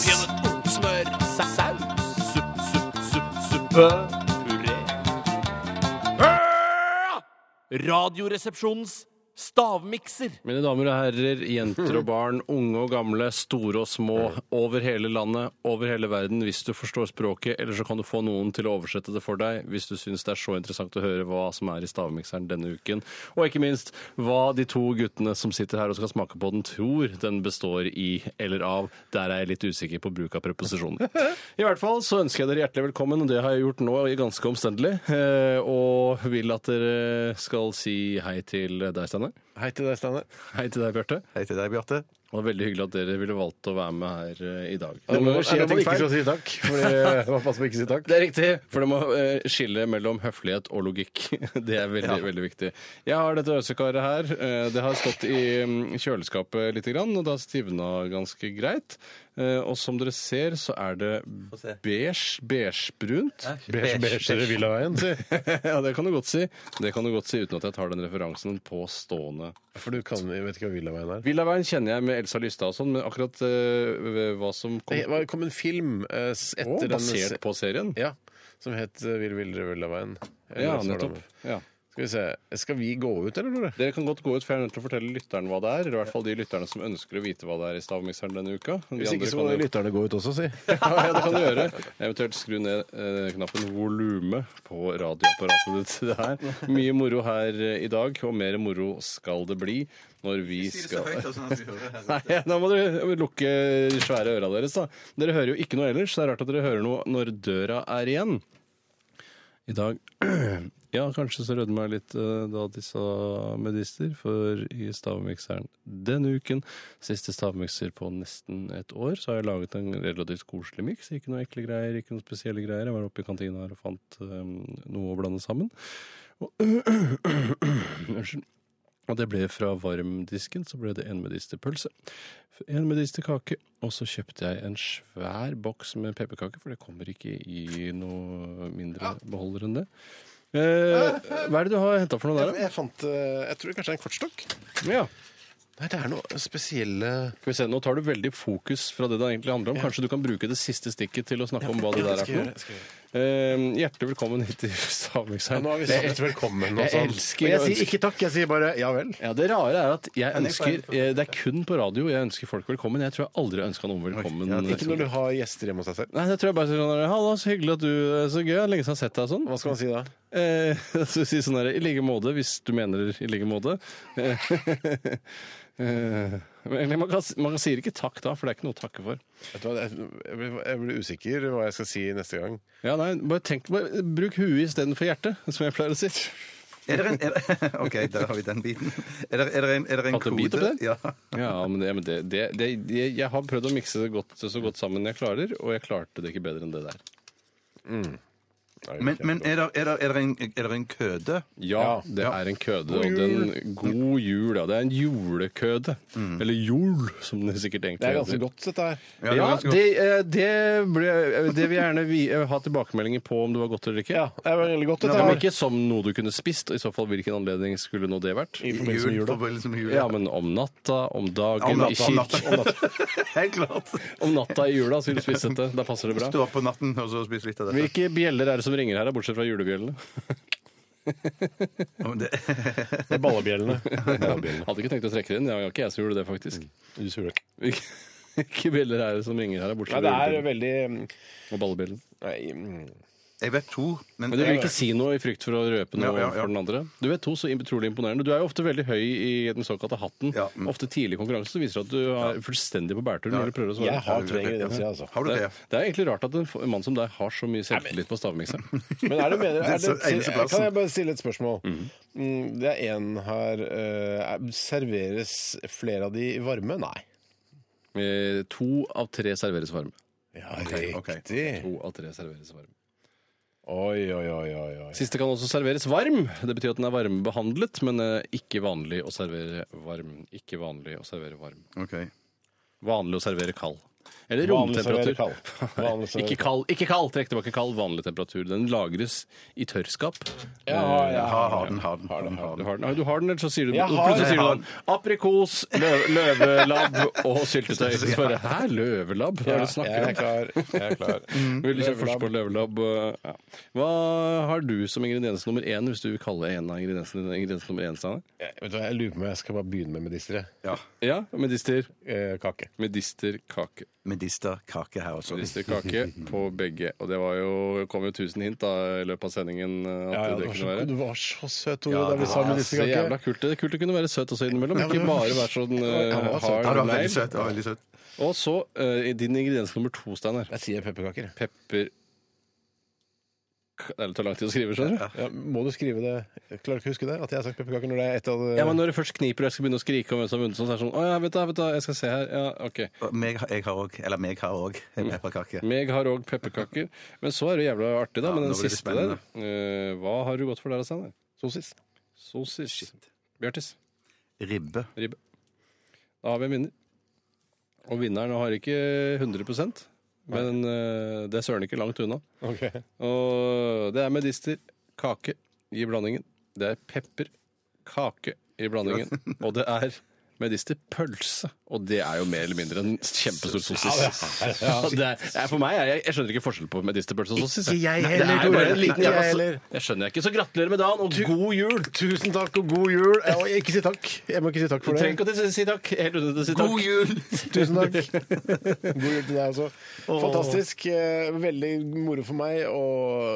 K: Smør. Saus. Supp, supp, supp, suppe. Puré. Radioresepsjonens stavmikser.
G: Mine damer og herrer, jenter og barn, unge og gamle, store og små, over hele landet, over hele verden, hvis du forstår språket, eller så kan du få noen til å oversette det for deg, hvis du syns det er så interessant å høre hva som er i stavmikseren denne uken, og ikke minst hva de to guttene som sitter her og skal smake på den, tror den består i eller av. Der er jeg litt usikker på bruk av preposisjoner. I hvert fall så ønsker jeg dere hjertelig velkommen, og det har jeg gjort nå i ganske omstendelig, eh, og vil at dere skal si hei til deg, Steinar.
E: Hei til deg, Steinar.
G: Hei til deg, Bjarte.
F: Hei til deg, Bjarte.
G: Og veldig hyggelig at dere ville valgt å være med her eh, i dag.
E: Det
G: Det må
E: er
G: skille
E: det
G: ting
E: man ikke
G: feil.
E: skal si takk. Fordi det var pass på å ikke si takk.
G: Det er riktig! For det må eh, skille mellom høflighet og logikk. Det er veldig veldig viktig. Jeg har dette øsekaret her. Eh, Det har stått i mm, kjøleskapet lite grann, og det har stivna ganske greit. Eh, Og som dere ser, så er det
F: se.
G: beige, beigebrunt.
E: Beige, beige, beige. villaveien, si.
G: ja, det kan du godt si. Det kan du godt si uten at jeg tar den referansen på stående
E: For du kan, jeg vet ikke hva villaveien er.
G: Villaveien kjenner jeg med Elsa Lystad og sånn, men akkurat eh, hva som kom
E: Det var- kom en film eh, s- etter
G: Å,
E: den
G: basert på serien?
E: Ja, som het eh, Vill Villre Villaveien. Eller
G: Ja,
E: så var det
G: nettopp.
E: med.
G: Ja.
E: Skal vi se. Skal vi gå ut, eller, Tore?
G: Dere kan godt gå ut, for jeg er nødt til å fortelle lytteren hva det er. Eller i hvert fall de lytterne som ønsker å vite hva det er i stavmikseren denne uka. De
E: Hvis ikke
G: andre
E: så
G: kan
E: må
G: jo-
E: lytterne gå ut også, si.
G: ja, ja, det kan du gjøre. Eventuelt skru ned eh, knappen volume på radioapparatet ditt. Det er mye moro her eh, i dag, og mer moro skal det bli når vi skal Nei, da må dere lukke de svære øra deres, da. Dere hører jo ikke noe ellers. så Det er rart at dere hører noe når døra er igjen. I dag Ja, kanskje så rødmer jeg litt eh, da disse medister, for i stavmikseren denne uken, siste stavmikser på nesten et år, så har jeg laget en relativt koselig miks. Ikke noe ekle greier, ikke noe spesielle greier. Jeg var oppe i kantina her og fant eh, noe å blande sammen. Og, unnskyld. Og det ble fra varmdisken, så ble det en medisterpølse. En medisterkake. Og så kjøpte jeg en svær boks med pepperkaker, for det kommer ikke i noe mindre beholder enn det. Eh, hva er det du har henta for noe der,
E: Jeg fant eh, Jeg tror kanskje det er en kortstokk.
G: da? Ja.
E: Nei, det er noe spesielle
G: Skal vi se, Nå tar du veldig fokus fra det det egentlig handler om. Kanskje du kan bruke det siste stikket til å snakke om hva det der er for noe? Eh, hjertelig velkommen hit til
E: ja,
G: Stavmikseren.
E: Nå har vi sagt velkommen.
G: jeg
E: og sånn.
G: elsker-
E: Men jeg sier ikke takk, jeg sier bare ja vel.
G: Ja, Det rare er at jeg ønsker eh, Det er kun på radio jeg ønsker folk velkommen. Jeg tror jeg aldri har ønska noen velkommen.
E: Ikke når du har gjester hjemme hos deg selv.
G: Nei, det tror jeg bare sier sånn der, Halla, så hyggelig at du er så gøy. det er Lenge siden jeg har sett deg og sånn.
E: Hva skal man si da?
G: Eh, så si sånn der, I like måte, hvis du mener i like måte. Eh, eh, men man, kan, man sier ikke takk da, for det er ikke noe å takke for.
E: Vet du hva, jeg- Jeg blir, jeg blir usikker hva jeg skal si neste gang.
G: Ja, nei, bare tenk, bare Bruk huet istedenfor hjertet, som jeg pleier å si.
F: Er det en, er det, ok, der har vi den biten. Er det, er det en, er det en
G: Tatt en bit
F: kode?
G: opp der?
F: Ja.
G: Ja, men det, men det, det, det jeg, jeg har prøvd å mikse det godt, så godt sammen jeg klarer, og jeg klarte det ikke bedre enn det der.
F: Men, men er, det, er, det, er, det en, er det en køde?
G: Ja, det er en køde, og den God jul, ja. Det er en julekøde. Eller jol, som det sikkert egentlig
E: Det er ganske godt, dette her.
F: Mm. Ja, det
G: Ja,
F: var ganske
G: det, eh, det, ble, eh, det vil jeg gjerne vi, eh, ha tilbakemeldinger på om det var godt eller ikke. Eh,
E: Ja, det er veldig godt, dette
G: Men
E: her.
G: ikke som noe du kunne spist, og i så fall hvilken anledning skulle nå det vært?
E: I
F: godt.
E: forbindelse med jula.
F: forbindelse med jula.
G: Ja, men om natta, om dagen,
F: Om
G: i
F: natta, om natta.
G: kirken.
F: Helt klart.
G: Om natta i jula så vil du spise dette. Da passer det bra.
F: Stå opp på natten og så spise litt av dette.
G: Hvilke bjeller er det som ringer her, da, bortsett fra julebjellene?
F: Ja, men det-
E: Det er ballebjellene.
G: Hadde ikke tenkt å trekke det inn. Det var ikke jeg som gjorde det, faktisk.
E: Du sur.
G: Hvilke hvilke bjeller er det som ringer her, da, bortsett
E: Nei, det
G: fra
E: er
G: julebjellene
E: veldig
G: og ballebjellen?
E: Nei, mm,
F: Jeg vet to, men
G: Men du vil ikke si noe i frykt for å røpe noe
F: Ja, ja, ja.
G: for den andre? Du vet to, så utrolig imponerende. Du er jo ofte veldig høy i den såkalte hatten.
F: Ja, mm.
G: Ofte tidlig i konkurranse så viser det at du er fullstendig på bærtur når du prøver å svare.
E: Jeg har tre ingredienser, jeg, altså.
F: Har du
G: det,
F: det?
G: det er egentlig rart at en f- en mann som deg har så mye selvtillit på stavmikseren.
E: Men er det bedre er
F: Det er
E: det,
F: eneste plassen.
E: Kan jeg bare stille et spørsmål? Mm, Det er en her eh, er- Serveres flere av de i varme? Nei.
G: Eh, To av tre serveres varme.
E: Ja,
F: ok.
E: riktig.
G: To av tre serveres varm.
E: Oi, oi, oi, oi. oi.
G: Siste kan også serveres varm. Det betyr at den er varmebehandlet, men eh, ikke vanlig å servere varm. Ikke vanlig å servere varm.
F: Ok.
G: Vanlig å servere kald. Eller
E: Vanlig å servere
G: romtemperatur.
E: kald. Vanlig å servere
G: ikke kald, ikke kald! Trekk tilbake kald. Vanlig temperatur. Den lagres i tørrskap.
E: Ja, ja, ja.
F: Ha, har den, har den. Har den,
G: Du har den, du har den eller så sier du,
E: Jeg har
G: plutselig sier du
F: den.
G: den. Aprikos, løv, løvelabb og syltetøy. Så bare, Hæ, løvelabb? Hva er det du
E: jeg
G: snakker
E: er
G: om?
E: klar. Jeg er klar.
G: Vil ikke først på løvelabb. og- Ja. Hva har du som ingrediens nummer én, hvis du vil kalle en av ingrediensene dine ingrediens nummer én? Steinar?
E: Jeg, vet du hva, jeg lurer på om jeg skal bare begynne med medisteret.
F: Ja.
G: Ja, medister.
E: Eh, kake.
G: Medisterkake.
F: Medister kake her også.
G: Medisterkake på begge. Og det var jo, kom jo tusen hint da, i løpet av sendingen. At
E: Ja, ja,
G: det
E: det var
G: kunne
E: så,
G: være.
E: du var så søt, Tore,
G: Ja,
E: da vi
G: det var
E: sa
G: så jævla
E: medisterkake.
G: kult. Det er kult å kunne være søt også innimellom.
E: men
G: Ikke
E: det var-
G: bare være sånn eh,
E: Ja, det var søt.
F: Ja,
G: hard
F: det var veldig
G: negl.
F: søt. Det var veldig søt.
G: Og så eh, din ingrediens nummer to, Steinar.
E: Jeg sier pepperkaker. jeg.
G: Pepper K- Det tar lang tid å skrive, skjønner du.
E: Ja, må du skrive det? Jeg klarer ikke å huske det? At jeg har sagt pepperkaker når det er et av
G: Ja, men Når det først kniper og jeg skal begynne å skrike om hvem som har vunnet, sånn, så er det sånn Å ja, vet du, vet du, jeg skal se her. Ja, OK.
F: Og Meg, jeg har òg, eller meg har òg, pepperkake.
G: Meg har òg pepperkaker. Men så er det jævla artig, da,
F: Ja,
G: med
F: nå
G: den
F: blir det
G: siste der. Eh, hva har du gått for der, Steinar?
E: Sosis.
G: Sosis. Bjartis.
F: Ribbe.
G: Ribbe. Da har vi en vinner. Og vinneren har ikke 100 men eh, det er søren ikke langt unna.
E: Ok.
G: Og det er medister, kake i blandingen. Det er pepper, kake i blandingen. Og det er medisterpølse. Og det er jo mer eller mindre en kjempestor sosis. Og det er, det er for meg, jeg, jeg skjønner ikke forskjell på medisterpølse og sosis.
F: Ikke jeg
G: Nei,
F: heller,
G: Det er
F: Tore.
G: bare en liten
F: Ikke jeg
G: jævla so-
E: heller.
G: Jeg skjønner ikke. Så gratulerer med dagen, og god jul!
E: Tusen takk og god jul. Jeg, og ikke si takk. Jeg må ikke si
G: Du
E: takk for
G: trenger
E: det.
G: ikke å si takk. Helt unødvendig å si takk.
F: God jul!
E: Tusen takk. God jul til deg også. Fantastisk. eh, Veldig moro for meg å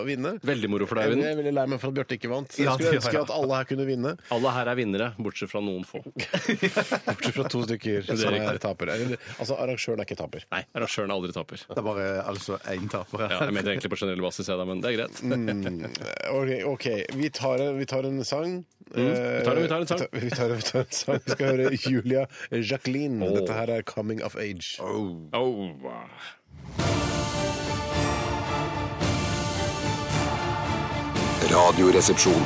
E: vinne.
G: Veldig moro for deg,
E: Jeg
G: Vinn.
E: er veldig lei meg for at Bjarte ikke vant. Jeg
F: Ja,
E: skulle
F: det var
E: ønske
F: jeg.
E: at alle her kunne vinne,
G: Alle her er vinnere, bortsett fra noen få.
E: bortsett fra to stykker som er tapere. Eller, Altså, arrangøren er ikke taper.
G: Nei, arrangørene aldri taper.
F: Det er bare altså én taper
G: Ja,
F: her.
G: jeg mener egentlig på generell basis, jeg, da, men det er greit.
F: Mm.
E: OK, ok. Vi, tar en, vi tar en sang.
G: vi tar en- vi tar en sang.
E: Eh, Mm, Vi tar, vi tar en sang. Vi skal høre Julia Jacqueline. Dette her er 'Coming of Age'.
G: Oh, wow.
A: Radioresepsjon.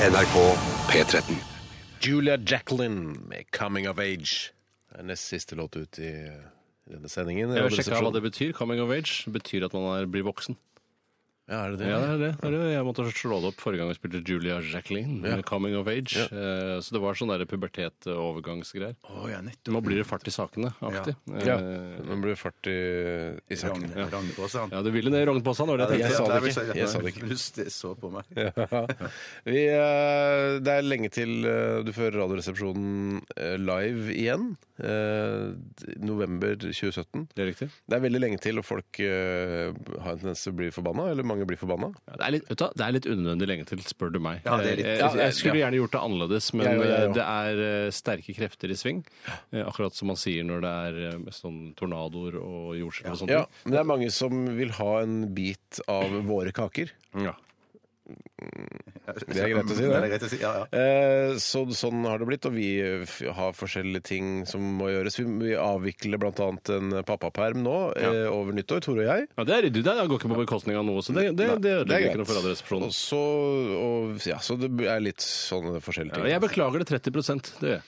A: NRK P13.
E: Julia Jacqueline med 'Coming of Age'. Det er nest siste låt ut i denne sendingen.
G: Jeg vil sjekke hva det sånn. betyr. Coming of age betyr at man er, blir voksen.
E: Ja, er det det?
G: Ja, det er det. det er det. Jeg måtte slå det opp forrige gang vi spilte Julia Jacqueline med Coming of age. Eh, Så det var sånn der pubertet-overgangsgreier.
F: Å, ja, nettopp.
G: Nå blir det fart i sakene, aktig.
E: Ja.
G: Eh,
E: Nå blir det fart i, i saken.
F: Ragne- Ragnepåsen.
G: Ja, du ville ned i rognposen, var det jeg tenkte.
E: Ja, sa det
F: Nei,
E: ikke. Jeg sa det ikke.
F: Du st- så på meg.
E: Vi, eh, det er lenge til eh, du fører Radioresepsjonen eh, live igjen. Eh, d- November 2017.
G: Det er riktig.
E: Det er veldig lenge til, og folk eh, har en tendens til å bli forbanna. Eller mange blir forbanna.
G: Ja, Det er, litt, vet du, hva, det er litt unødvendig lenge til, spør du meg. Eh,
F: Ja, det er litt-
G: jeg, jeg, jeg skulle gjerne gjort det annerledes, men
E: Jeg òg, jeg
G: eh,
E: òg.
G: det er eh, sterke krefter i sving. Eh, Akkurat som man sier når det er eh, sånn tornadoer og jordskjelv og sånt.
E: Ja, men det er mange som vil ha en bit av våre kaker.
G: Ja.
E: Det er greit å si, det.
F: Ja, det er greit å si. Ja, ja.
E: Eh, Så, sånn har det blitt, og vi eh, f- har forskjellige ting som må gjøres. Vi, vi avvikler bl.a. en pappaperm nå eh, over nyttår, Tore og jeg.
G: Ja, det er ryddig. Det går ikke på bekostning av noe, så det, det, det
E: Det
G: ødelegger
E: er
G: ikke noe for
E: Og
G: Radioresepsjonen.
E: så, og, ja, så det er litt sånne forskjellige
G: Ja,
E: ting.
G: jeg beklager det 30 det gjør jeg.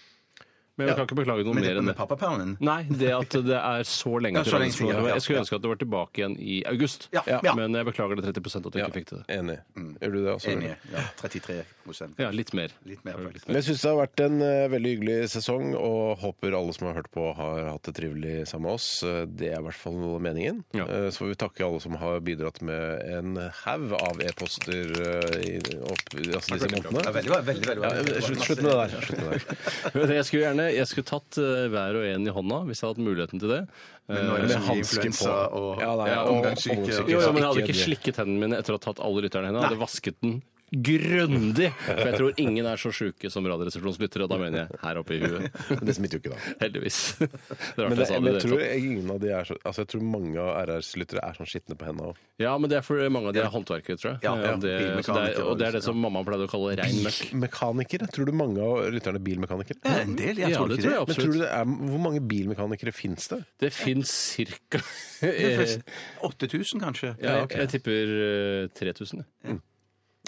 G: Men jeg kan ikke beklage noe
F: Men
G: mer
F: dette
G: enn
F: med
G: det.
F: pappapermen
G: Nei, det at det er så lenge
F: Ja,
G: til
F: så lenge til,
G: Radioresepsjonen.
F: ja, ja.
G: Jeg skulle ønske at det var tilbake igjen i august,
F: Ja, ja.
G: men jeg beklager det 30 at du
E: Ja,
G: ikke fikk til det.
E: Enig. Gjør du det altså? også?
F: Mm. Enig. Ja, 33 prosent.
G: Ja, litt mer.
F: Litt mer, faktisk.
E: Men jeg syns det har vært en eh, veldig hyggelig sesong, og håper alle som har hørt på, har hatt det trivelig sammen med oss. Eh, Det er i hvert fall meningen.
G: Ja.
E: Eh, Så får vi takke alle som har bidratt med en haug av e-poster eh, i- opp altså disse månedene.
F: Ja, veldig bra. Veldig, veldig,
E: Ja,
F: bra.
E: slutt, slutt med det der. Slutt med det der.
G: Men Jeg skulle gjerne eh, jeg skulle tatt eh, hver og en i hånda hvis jeg hadde hatt muligheten til det.
F: Men nå
G: Eh,
F: er det
G: med
F: så mye
G: hansker
F: influensa og-
G: ja, nei,
F: Ja,
G: og,
F: omgangssyke og-
G: omgangssyke. Jo, jo, men jeg hadde
F: Ikke
G: ikke
F: det.
G: slikket hendene mine etter å ha tatt alle lytterne henne. Jeg hadde vasket den grundig. For jeg tror ingen er så sjuke som Radioresepsjonslyttere, og da mener jeg her oppe i huet.
E: Det smitter jo ikke, da.
G: Heldigvis. Det er rart
E: Men, det,
G: jeg sa
E: men
G: det. i
E: jeg,
G: det
E: tror
G: hele tatt.
E: ingen av de er så, altså jeg tror mange av RRs lyttere er sånn skitne på hendene òg.
G: Ja, men det er for mange av de er håndverkere, tror jeg.
F: Ja, ja,
G: Og det, så det er,
F: bilmekanikere
G: og det er det som mamma pleide å kalle rein møkk.
E: Mekanikere? Tror du mange av lytterne er bilmekanikere?
F: Det er en del, jeg
G: Ja,
F: tror
G: det
F: ikke
G: tror jeg
E: Men
G: absolutt.
E: tror du det er, Hvor mange bilmekanikere fins det?
G: Det fins cirka
F: det. 8000, kanskje?
G: Eh, Ja, Jeg tipper eh, 3000. jeg.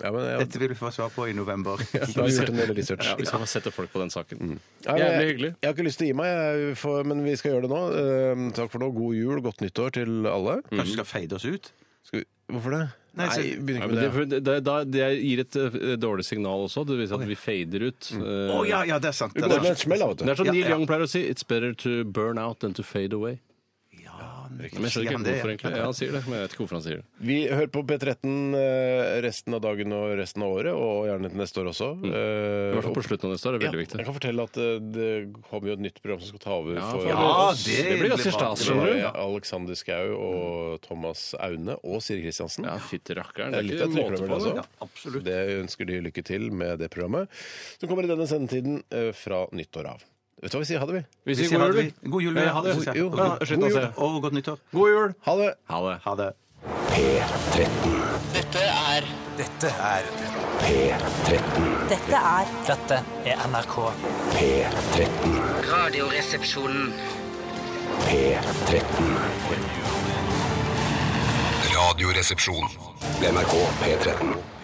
E: Ja, men jeg,
F: Dette vil vi få svar på i november.
E: da har vi gjort en del research.
G: Ja, vi skal sette folk på den saken.
E: Ja, men
G: Jævlig
E: jeg-
G: hyggelig.
E: Jeg har ikke lyst til å gi meg, jeg får, men vi skal gjøre det nå. Eh, takk for nå. God jul, godt nyttår til
G: Mm.
E: alle.
F: Kanskje vi skal feide oss ut?
E: Skal vi, hvorfor det?
F: Nei, så-
E: begynner
G: Ja,
E: ikke
G: men
E: med
G: det,
E: det.
G: for det, da, det gir et eh, dårlig signal også. Det viser at vi fader ut.
F: Å
G: Eh,
F: ja, ja, det er sant.
E: Du
F: Ja,
E: går med en smell, da, vet
G: Det
E: du.
G: er som
F: Ja,
G: Neil
F: ja.
G: Young pleier å si It's better to burn out than to fade away. Men jeg skjønner
F: Sier
G: ikke
F: han
G: helt
F: det,
G: hvorfor,
F: ja?
G: egentlig. Ja, han sier det, men jeg vet ikke hvorfor han sier det.
E: Vi hører på P13 eh, resten av dagen og resten av året, og gjerne til neste år også.
G: Mm.
E: Eh,
G: I hvert fall på slutten av neste år er det veldig
E: Ja, jeg
G: viktig.
E: kan fortelle at eh, det kommer jo et nytt program som skal ta over
G: Ja,
E: for
G: for-
F: Ja,
G: det,
F: det
G: blir
F: blir
G: ganske
F: bra.
G: stas,
E: Det var
G: skjønner du.
E: jo Alexander Schou og Thomas Aune og Siri Kristiansen.
G: Ja, fytti rakkeren.
E: Det er litt av et
G: måte
E: trykkeprøver,
G: på det.
E: altså. Det ønsker de lykke til med det programmet som kommer i denne sendetiden eh, fra nyttår av. Vet du hva vi sier? Ha det, vi.
G: Vi
F: Vi
G: sier
F: sier
G: god
F: hadde
G: jul.
F: vi. God jul.
G: Ja,
F: ja, hadde vi,
G: god-
F: synes
G: jo,
F: jeg.
G: ja, slutt å
F: God
G: se.
F: jul og godt nyttår.
E: God jul! Ha det!
G: Ha det.
F: Ha det.
C: Dette er
L: Dette er
C: Dette er NRK.
L: Radioresepsjonen.
A: Radioresepsjon. NRK P13.